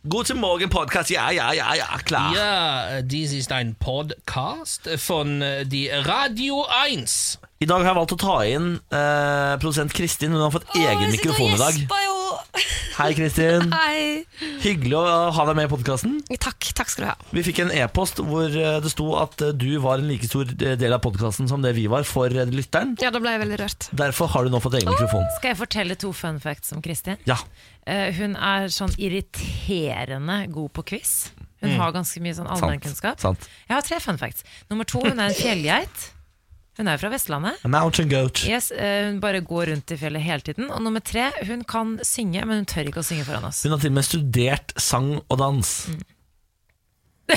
God til morgen, podkast. Ja, ja, ja, ja, klar. Ja, dies ist ein Podcast von äh, die Radio 1. I dag har jeg valgt å ta inn eh, produsent Kristin. Hun har fått egen mikrofon i dag. Gjespa jo. Hei, Kristin. Hei. Hyggelig å ha deg med i podkasten. Takk, takk skal du ha. Vi fikk en e-post hvor eh, det sto at eh, du var en like stor eh, del av podkasten som det vi var for eh, lytteren. Ja, da ble jeg veldig rørt. Derfor har du nå fått egen mikrofon. Skal jeg fortelle to fun facts om Kristin? Ja. Eh, hun er sånn irriterende god på quiz. Hun har ganske mye sånn allmennkunnskap. Mm. Sant. Jeg har tre fun facts. Nummer to, hun er en fjellgeit. Hun er jo fra Vestlandet. A mountain goat. Yes, eh, hun bare går rundt i fjellet hele tiden. Og nummer tre, hun kan synge, men hun tør ikke å synge foran oss. Hun har til og med studert sang og dans. Å,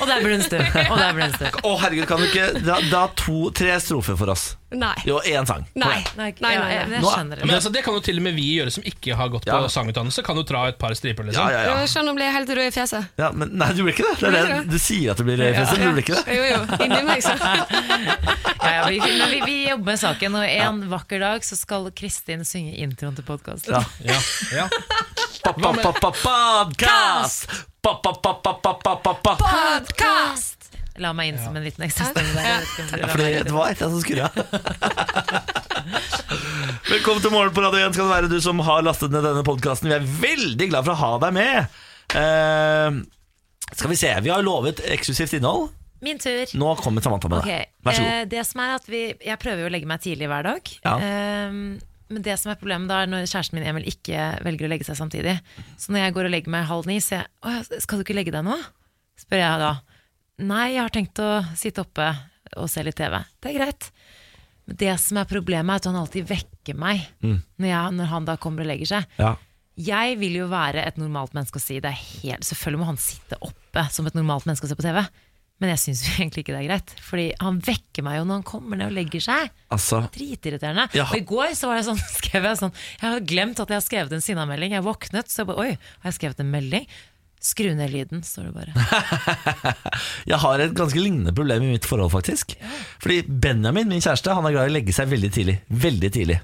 Og der ble hun stum. Og der ble hun stum. herregud, kan du ikke Da, da to, tre strofer for oss. Nei. Jo, én sang. Kom Nei. igjen. Nei, Nei, ikke- nei, ja, ja, nei. Jeg Nå- skjønner Men det. altså, det kan jo til og med vi gjøre som ikke har gått på Ja. sangutdannelse. Kan jo dra et par striper, Ja, liksom. Jo, ja, ja. Jeg skjønner å bli helt rød i fjeset. ja men, nei, du blir ikke det. det, er det. Du sier at du blir fesen, men du blir ikke det. Jo, jo. Inni meg, så. Ja, ja, vi, men vi, vi jobber med saken, og en vakker dag så skal Kristin synge introen til podkasten. Ja. Ja, ja. Podkast! Ja, Podcast! La meg inn som en liten ekstra stemme der. Jeg vet ikke om du la for meg det, inn. det var et jeg som skurra. Velkommen til Morgen på Radio 1 skal det være du som har lastet ned denne podkasten. Vi er veldig glad for å ha deg med. Eh, skal vi se, vi har lovet eksklusivt innhold. Min tur. Nå kommer Samantha med Ok, det. Vær så god. Eh, det som er at vi, jeg prøver jo å legge meg tidlig hver dag. Ja. Eh, men det som er problemet da er når kjæresten min Emil ikke velger å legge seg samtidig. Så når jeg går og legger meg halv ni, sier jeg «Å ja, skal du ikke legge deg nå? Spør jeg da. Nei, jeg har tenkt å sitte oppe og se litt TV. Det er greit. Men det som er problemet, er at han alltid vekker meg Mm. når, jeg, når han da kommer og legger seg. Ja. Jeg vil jo være et normalt menneske og si det er helt, Selvfølgelig må han sitte oppe som et normalt menneske og se på TV. Men jeg syns egentlig ikke det er greit. Fordi han vekker meg jo når han kommer ned og legger seg. Altså, Dritirriterende. Ja. Og i går så var det sånn, skrev jeg sånn Jeg har glemt at jeg har skrevet en sinnamelding. Jeg våknet, så jeg bare Oi, har jeg skrevet en melding? Skru ned lyden, står det bare. jeg har et ganske lignende problem i mitt forhold, faktisk. Fordi Benjamin, min kjæreste, han er glad i å legge seg veldig tidlig. Veldig tidlig.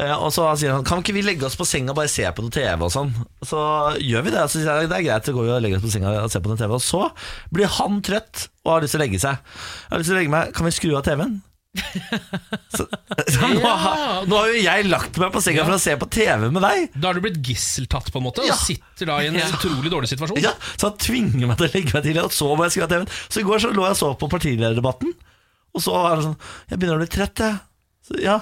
Eh, og så sier han kan ikke vi legge oss på senga og bare se på noe TV og sånn. Så gjør vi det. Så sier jeg det er greit, så går vi og legger oss på senga og ser på noe TV. Og så blir han trøtt og har lyst til å legge seg. Jeg har lyst til å legge meg Kan vi skru av TV-en? så, så nå, har, nå har jo jeg lagt meg på senga for å se på TV med deg. Da har du blitt gisseltatt, på en måte, Ja. og sitter da i en utrolig dårlig situasjon. Ja, så han tvinger meg til å legge meg til Og så må jeg skru av TV-en Så i går så lå jeg og så på partilederdebatten Og så var det sånn Jeg begynner å bli trøtt jeg så, Ja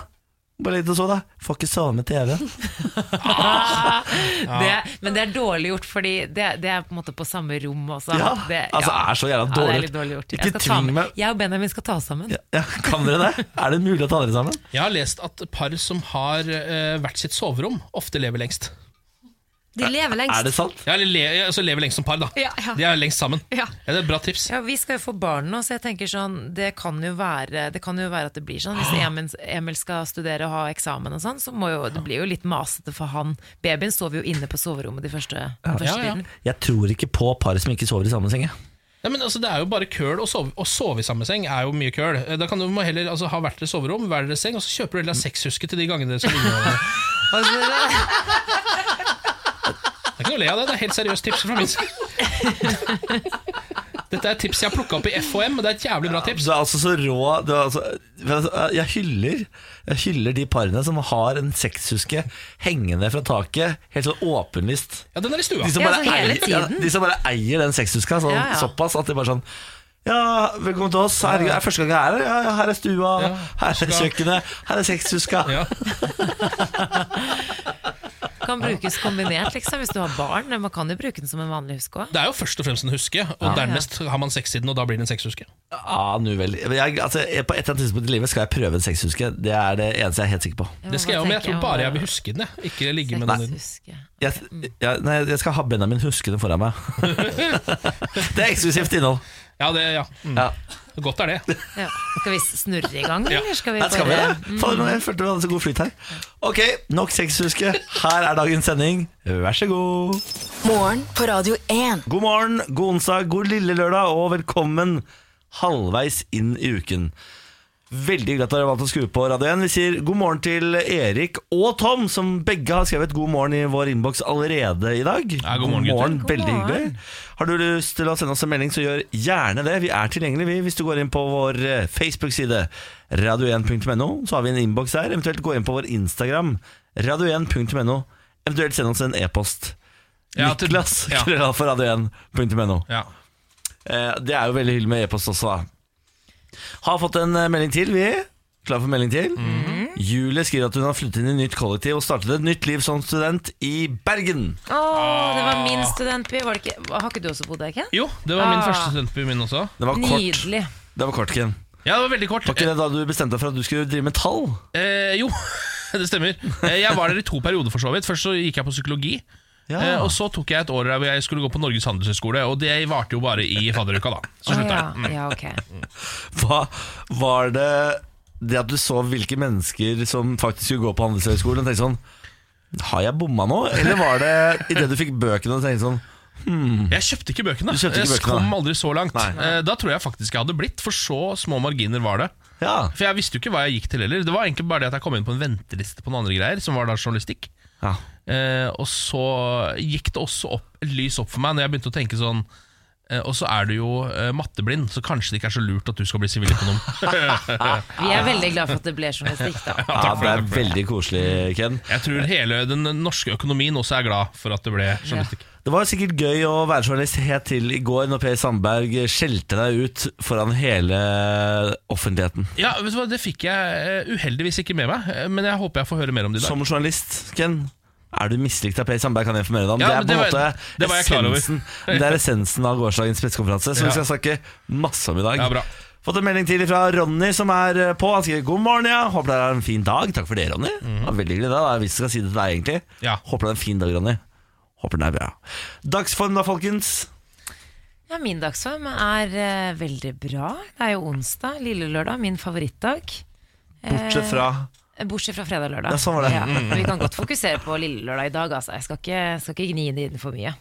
bare litt og så da Får ikke sove med TV Det, men det er dårlig gjort, fordi det, det er på en måte på samme rom også. Ja, Det, altså ja. er så jævla Ja, det er dårlig litt dårlig gjort. Jeg, Ikke skal ta tving med, meg jeg og Benjamin skal ta oss sammen. ja, ja, Kan dere det? Er det mulig å ta dere sammen? Jeg har lest at par som har eh, hvert sitt soverom, ofte lever lengst. De lever Er lengst. det sant? Ja, eller le, altså lever lengst som par, da. Ja, ja. De er lengst sammen. Ja. det er et bra tips. Ja, Vi skal jo få barn nå, så jeg tenker sånn Det kan jo være, det kan jo være at det blir sånn. Hvis Ah. Emil, Emil skal studere og ha eksamen og sånn, så må jo, det blir jo litt masete for han. Babyen sover jo inne på soverommet de første, den første Ja, ja. tiden. Jeg tror ikke på par som ikke sover i samme seng jeg. Nei, men altså, det er jo bare køl å sove, å sove i samme seng. er jo mye køl. Eh, Da kan du må heller altså, ha hvert deres soverom, hver deres seng, og så kjøper du heller sexhuske til de gangene dere skal ligge med hverandre. Det er ikke noe å le av det, det er helt seriøst tips fra min side. Dette er et tips jeg har plukka opp i FHM, og det er et jævlig bra tips. Du er altså så rå du er altså, men altså, jeg, hyller, jeg hyller de parene som har en sekshuske Hengende fra taket Helt sånn åpenlyst Ja, den er i stua. De som, Ja, bare altså hele eier, ja, tiden. de som bare eier den sexhuska sånn, Ja, ja. såpass at de bare sånn ja, velkommen til oss. Herregud, det er første gang jeg er her. Ja, ja, her er stua, Ja, her er huska. kjøkkenet, her er sexhuska. Ja. Kan brukes kombinert, liksom, hvis du har barn. Man kan jo bruke den som en vanlig huske òg. Det er jo først og fremst en huske, og dernest har man sex i den, og da blir det en sexhuske. Ja, nu vel. Men Jeg, altså, på et eller annet tidspunkt i livet skal jeg prøve en sexhuske. Det er det eneste jeg er helt sikker på. Det skal jeg jo, men jeg tror bare jeg vil huske den, jeg. Ikke ligge med den. i den. Jeg, jeg, nei, jeg skal ha Benjamin huskende foran meg. det er eksklusivt innhold. Ja, det, ja. Mm. Ja. Godt er det. Ja. Skal vi snurre i gang, eller skal vi Her skal vi bare det. Fader, jeg følte vi hadde så god flyt her. Ok, nok sexhuske. Her er dagens sending. Vær så god. Morgen på Radio 1. God morgen, god onsdag, god lille lørdag, og velkommen halvveis inn i uken. Veldig hyggelig at dere har valgt å skru på Radio 1. Vi sier god morgen til Erik og Tom, som begge har skrevet god morgen i vår innboks allerede i dag. Ja, god morgen, gutter. Veldig hyggelig. Har du lyst til å sende oss en melding, så gjør gjerne det. Vi er tilgjengelige vi, hvis du går inn på vår eh, Facebook-side, radio1.no. Så har vi en innboks der. Eventuelt gå inn på vår Instagram, radio1.no. Eventuelt send oss en e-post. Ja, til- Niklas, ja. krølla for radio1.no. Ja. Eh, Det er jo veldig hyggelig med e-post også. Da. Har fått en eh, melding til, vi. Klar for melding til? Mhm. Julie skriver at hun har flyttet inn i nytt kollektiv og startet et nytt liv som student i Bergen. Å, det var Ah. min studentby. Var det ikke... Har ikke du også bodd der, Ken? Jo, det var min Ah. første studentby min også. Det var kort, Nydelig. det var kort Ken. Ja, det var veldig kort. Var ikke det da du bestemte deg for at du skulle drive med tall? Eh, jo, det stemmer. Eh, Jeg var der i to perioder, for så vidt. Først så gikk jeg på psykologi. Eh, og så tok jeg et år der hvor jeg skulle gå på Norges handelshøyskole, og det varte jo bare i fadderuka, da. Så Å, slutta ja. jeg. Mm. ja, ok. Hva var det det at du så hvilke mennesker som faktisk skulle gå på Handelshøyskolen, og tenkte sånn Har jeg bomma nå? Eller var det idet du fikk bøkene og tenkte sånn Jeg kjøpte ikke bøkene. Du kjøpte jeg ikke bøkene, kom nei. aldri så langt. Nei. Eh, Da tror jeg faktisk jeg hadde blitt, for så små marginer var det. Ja. For jeg visste jo ikke hva jeg gikk til heller. Det var egentlig bare det at jeg kom inn på en venteliste på noen andre greier, som var da journalistikk. ja. Eh, og så gikk det også opp, et lys opp for meg når jeg begynte å tenke sånn eh, Og så er du jo eh, matteblind, så kanskje det ikke er så lurt at du skal bli siviløkonom. Vi er veldig glad for at det ble journalistikk, da. ja det er veldig koselig, Ken. jeg tror hele den norske økonomien også er glad for at det ble journalistikk. Det var sikkert gøy å være journalist helt til i går når Per Sandberg skjelte deg ut foran hele offentligheten. Ja, vet du hva, Det fikk jeg eh, uheldigvis ikke med meg, eh, men jeg håper jeg får høre mer om det i dag. Som journalist, Ken, er du mislikt av Per Sandberg, kan jeg informere deg om. Ja, det er men på en det var- måte det var jeg klar over. essensen, det er essensen av gårsdagens pressekonferanse, som Ja. vi skal snakke masse om i dag. Ja, bra. Fått en melding til fra Ronny, som er eh, på. Han skriver 'God morgen, ja. Håper dere har en fin dag'. Takk for det, Ronny. Det var veldig hyggelig, det. da, Hvis jeg skal si det til deg, egentlig. Mhm. Ja. Håper det er en fin dag, Ronny. Håper den er bra. Dagsform, da, folkens. Ja, min dagsform er eh, veldig bra. Det er jo onsdag, lille lørdag, min favorittdag. Bortsett fra Eh, Bortsett fra fredag og lørdag. Ja, sånn var det. men vi kan godt fokusere på lille lørdag i dag, altså. Jeg skal ikke, skal ikke gni det inn for mye.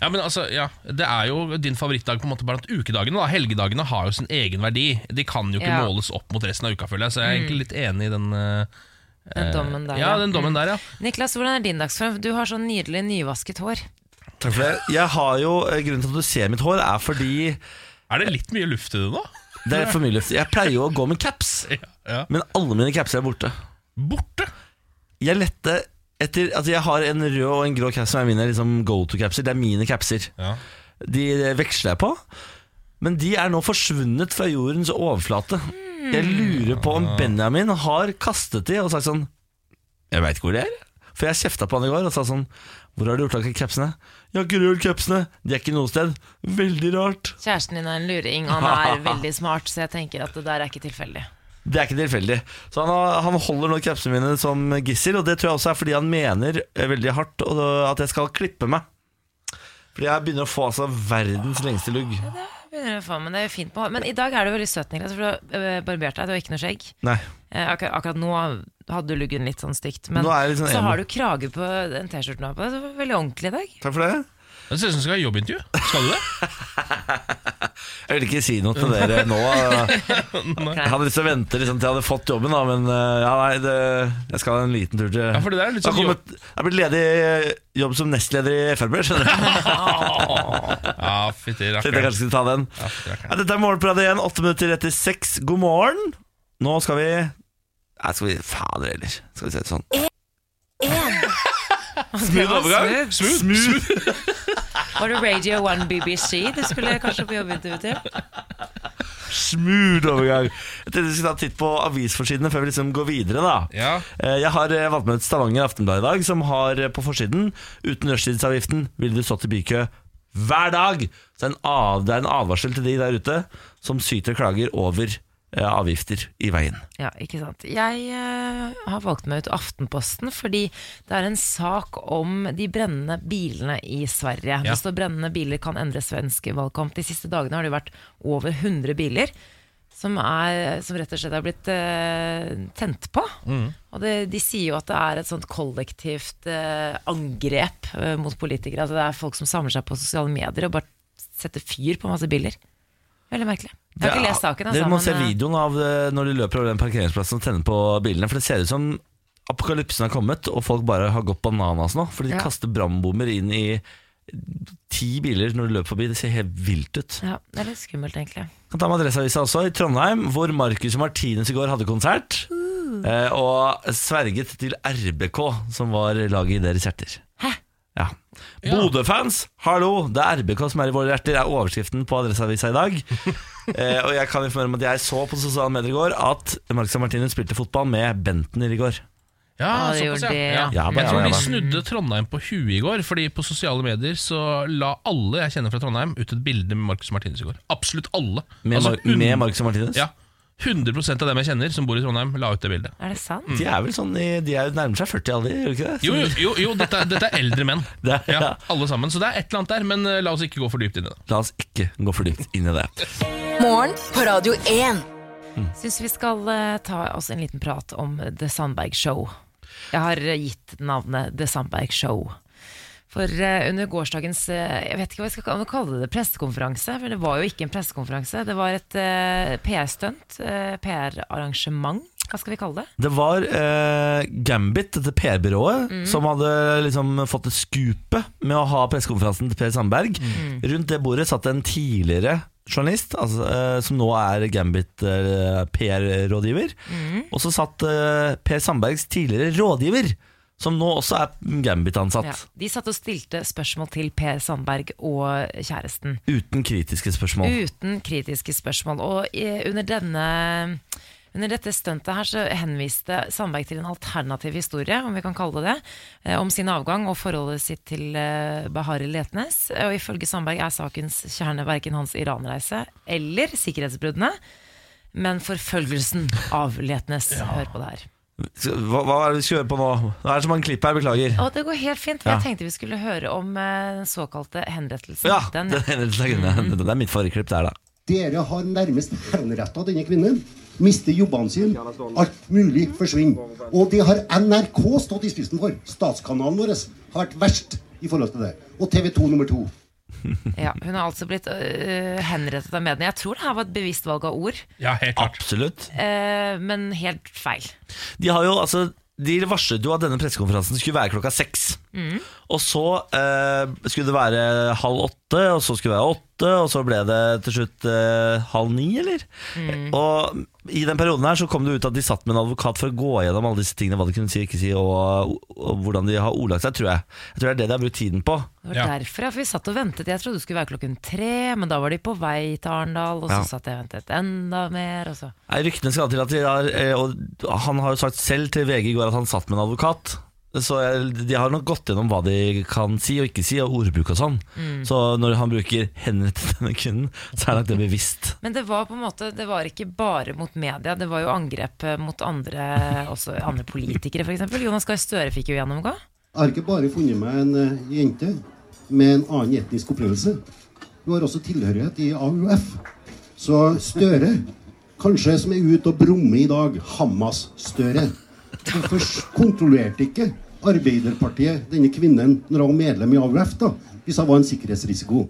Ja, men altså, ja, Det er jo din favorittdag på en måte blant ukedagene. da Helgedagene har jo sin egen verdi. De kan jo ikke Ja. måles opp mot resten av uka, føler jeg. Så jeg er egentlig litt enig i den, eh, Den dommen der. ja, den dommen Mm. der, ja. Niklas, hvordan er din dagsform? Du har sånn nydelig nyvasket hår. Takk for det. Jeg har jo, eh, Grunnen til at du ser mitt hår, er fordi Er det litt mye luft i det nå? det er for mye luft. Jeg pleier jo å gå med caps, Ja, ja. men alle mine capser er borte. Borte! Jeg lette etter altså Jeg har en rød og en grå caps som er mine liksom, go to-capser. Det er mine capser. Ja. De eh, veksler jeg på, men de er nå forsvunnet fra jordens overflate. Jeg lurer på om Benjamin har kastet de og sagt sånn Jeg veit ikke hvor de er. For jeg kjefta på han i går og sa sånn Hvor har du gjort av capsene? Jeg har ikke rørt capsene. De er ikke noe sted. Veldig rart. Kjæresten din er en luring, og han er veldig smart, så jeg tenker at det der er ikke tilfeldig. Det er ikke tilfeldig. Så han, har, han holder nå krepsene mine som gissel, og det tror jeg også er fordi han mener eh, veldig hardt og, at jeg skal klippe meg. Fordi jeg begynner å få altså verdens lengste lugg. Begynner å få, Men det er jo fint på hår. Men i dag er du veldig søt, Niklas, for du har øh, barbert deg, du har ikke noe skjegg. Nei, Eh, akkurat, akkurat nå hadde du luggen litt sånn stygt, men Nå er jeg litt sånn så emo. har du krage på den T-skjorten du har på deg. Det var veldig ordentlig i dag. takk for det. Det ser ut som du skal ha jobbintervju. Skal du det? Jeg vil ikke si noe til dere nå. eh. Jeg hadde lyst til å vente liksom, til jeg hadde fått jobben, da, men eh, ja, nei, det, jeg skal ha en liten tur til Ja, for det der er litt Jeg har sånn jobb. kommet- jeg har blitt ledig eh, jobb som nestleder i Frp, skjønner du. Ah! Ja, fytti Tenkte jeg rakkeren. kanskje skulle ta den. Ja, fytti rakkeren. Ja, dette er Morgenpratet igjen, åtte minutter etter seks. God morgen. Nå skal vi Nei, skal vi Fader heller. Skal vi se det sånn. Det var smooth. Smooth. Var det Radio 1 BBC du skulle kanskje på jobbintervju til? Smooth overgang. Jeg tenkte vi skulle ta en titt på avisforsidene før vi liksom går videre, da. Ja. Eh, Jeg har eh, valgt med et Stavanger Aftenblad i dag, som har eh, på forsiden Uten rushtidsavgiften ville du stått i bykø hver dag. Så det er en, av, det er en advarsel til de der ute som syter og klager over eh, avgifter i veien. Ja, ikke sant. Jeg eh, har valgt meg ut Aftenposten fordi det er en sak om de brennende bilene i Sverige. Ja. Det står 'brennende biler kan endre svensk valgkamp'. De siste dagene har det jo vært over 100 biler som, er, som rett og slett er blitt eh, tent på. Mm. Og det, de sier jo at det er et sånt kollektivt eh, angrep eh, mot politikere. Altså det er folk som samler seg på sosiale medier og bare setter fyr på masse biler. Veldig merkelig. Jeg har ikke lest saken. Dere må men, se eh, videoen av eh, når de løper over den parkeringsplassen og tenner på bilene. For det ser ut som apokalypsen har kommet, og folk bare har gått bananas nå. Fordi de Ja. kaster brannbomber inn i ti biler når de løper forbi. Det ser helt vilt ut. Ja, det er litt skummelt, egentlig. Kan ta med Adresseavisa også, i Trondheim, hvor Marcus og Martinus i går hadde konsert. eh, Og sverget til RBK, som var laget i deres hjerter. Hæ? Ja. Bodø-fans, hallo! Det er RBK som er i våre hjerter, er overskriften på Adresseavisa i dag. eh, og jeg kan informere om at jeg så på sosiale medier i går at Marcus og Martinus spilte fotball med Bentner i går. Ja, Ja, det såpass, gjorde de, ja. ja. Ja, ja. bare- Jeg tror ja, de bare. snudde Trondheim på huet i går, Fordi på sosiale medier så la alle jeg kjenner fra Trondheim ut et bilde med Marcus Martinus i går. Absolutt alle. Med, Altså, Mar un- med Marcus og Martinus. Ja, 100 av dem jeg kjenner som bor i Trondheim, la ut det bildet. Er det sant? De er vel sånn i, De er jo nærmer seg 40 alder, gjør de ikke det? Jo, jo, jo, jo dette, er- dette er eldre menn. Det er- Ja, alle sammen. Så det er et eller annet der, men eh, la oss ikke gå for dypt inn i det. La oss ikke gå for dypt inn i det. Morgen på Radio 1. Syns vi skal eh, ta oss en liten prat om The Sandberg Show. Jeg har eh, gitt navnet The Sandberg Show. For eh, under gårsdagens eh, jeg vet ikke hva jeg skal kalle- om jeg kalle det, pressekonferanse, for det var jo ikke en pressekonferanse, det var et eh, PR-stunt, eh, PR-arrangement, hva skal vi kalle det? Det var eh, Gambit, dette PR-byrået, som hadde liksom fått et skupe med å ha pressekonferansen til Per Sandberg. Rundt det bordet satt en tidligere journalist, altså, eh, som nå er Gambit eh, PR-rådgiver. Og så satt eh, Per Sandbergs tidligere rådgiver, som nå også er Gambit-ansatt. Ja. De satt og stilte spørsmål til Per Sandberg og kjæresten. Uten kritiske spørsmål. Uten kritiske spørsmål. Og i, under, denne, under dette stuntet her så henviste Sandberg til en alternativ historie, om vi kan kalle det det, eh, om sin avgang og forholdet sitt til eh, Bahareh Letnes. Og ifølge Sandberg er sakens kjerne verken hans Iran-reise eller sikkerhetsbruddene, men forfølgelsen av Letnes. Hør på det her. Hva, hva er det vi skal gjøre på nå? Det er så mange klipp her, beklager. Og det går helt fint. for Ja. Jeg tenkte vi skulle høre om eh, den såkalte henrettelsen. Ja, Den- det, det er mitt forrige klipp der, da. Dere har nærmest henretta denne kvinnen. Mister jobbene sine. Alt mulig forsvinner. Og det har NRK stått i spissen for. Statskanalen vår har vært verst i forhold til det. Og TV 2 nummer to. Ja, hun har altså blitt øh, henrettet av mediene. Jeg tror det her var et bevisst valg av ord, Ja, helt klart. Absolutt. øh, men helt feil. De har jo, altså de varslet jo at denne pressekonferansen skulle være klokka seks. Og så eh, skulle det være halv åtte, og så skulle det være åtte, og så ble det til slutt eh, halv ni, eller? Og i den perioden her så kom det ut at de satt med en advokat for å gå gjennom alle disse tingene, hva de kunne si og ikke si, og, og hvordan de har ordlagt seg, tror jeg. Jeg tror det er det de har brukt tiden på. Det var Ja. derfor ja, for vi satt og ventet. Jeg trodde det skulle være klokken tre, men da var de på vei til Arendal, og så Ja. satt jeg og ventet enda mer. Og så. Nei, Ryktene skal til at de har eh, Og han har jo sagt selv til VG i går at han satt med en advokat. Så jeg- de har nok gått gjennom hva de kan si og ikke si, og ordbruk og sånn. Så når han bruker 'henrettet denne kvinnen', så er nok det bevisst. Men det var på en måte, det var ikke bare mot media, det var jo angrep øh, mot andre, også andre politikere f.eks. Jonas Gahr Støre fikk jo gjennomgå. Jeg har ikke bare funnet meg en eh, jente med en annen etnisk opplevelse. Hun har også tilhørighet i AUF. Så Støre, kanskje som er ute og brummer i dag, Hamas-Støre Hvorfor s- kontrollerte ikke Arbeiderpartiet denne kvinnen når hun var medlem i AUF, da, hvis hun var en sikkerhetsrisiko?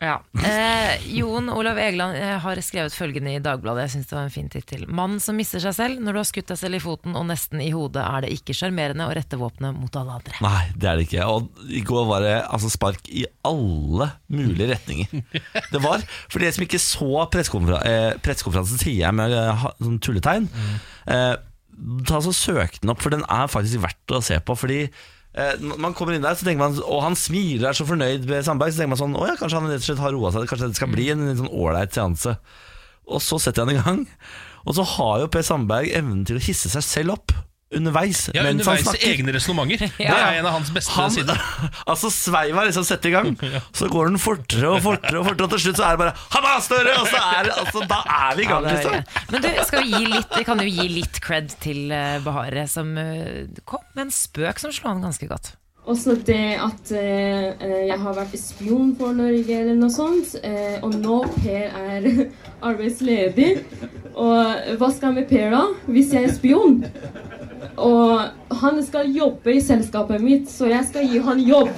Ja. Eh, Jon Olav Egeland eh, har skrevet følgende i Dagbladet. Jeg synes det var en fin tittel. 'Mannen som mister seg selv. Når du har skutt deg selv i foten og nesten i hodet, er det ikke sjarmerende å rette våpenet mot alle andre'. Nei, det er det ikke. Og i går var det altså spark i alle mulige retninger. Det var, For dere som ikke så pressekonfera- eh, pressekonferansen, sier jeg med eh, ha- sånn tulletegn. Mm. Eh, ta så Søk den opp, for den er faktisk verdt å se på. Fordi eh, når man kommer inn der, så tenker man Og han smiler og er så fornøyd med Sandberg, så tenker man sånn Å ja, kanskje han rett og slett har roa seg. Kanskje det skal bli en litt sånn ålreit seanse. Og så setter jeg den i gang. Og så har jo Per Sandberg evnen til å hisse seg selv opp. underveis Ja, mens han underveis i snakker. egne resonnementer. Det Ja. er en av hans beste Han, sider. altså Sveiva liksom setter i gang, så går den fortere og fortere, og fortere Og til slutt så er det bare Hamas, Støre! Og så er, det- altså, da er vi i gang, Ja, det liksom. er greit. Men du, skal vi, gi litt, vi kan jo gi litt cred til eh, Bahare, som eh, kom med en spøk som slo an ganske godt. Også det at eh, eh, jeg har vært spion for Norge eller noe sånt, eh, og nå Per er arbeidsledig. Og hva skal jeg med Per da, hvis jeg er spion? Og han skal jobbe i selskapet mitt, så jeg skal gi han jobb.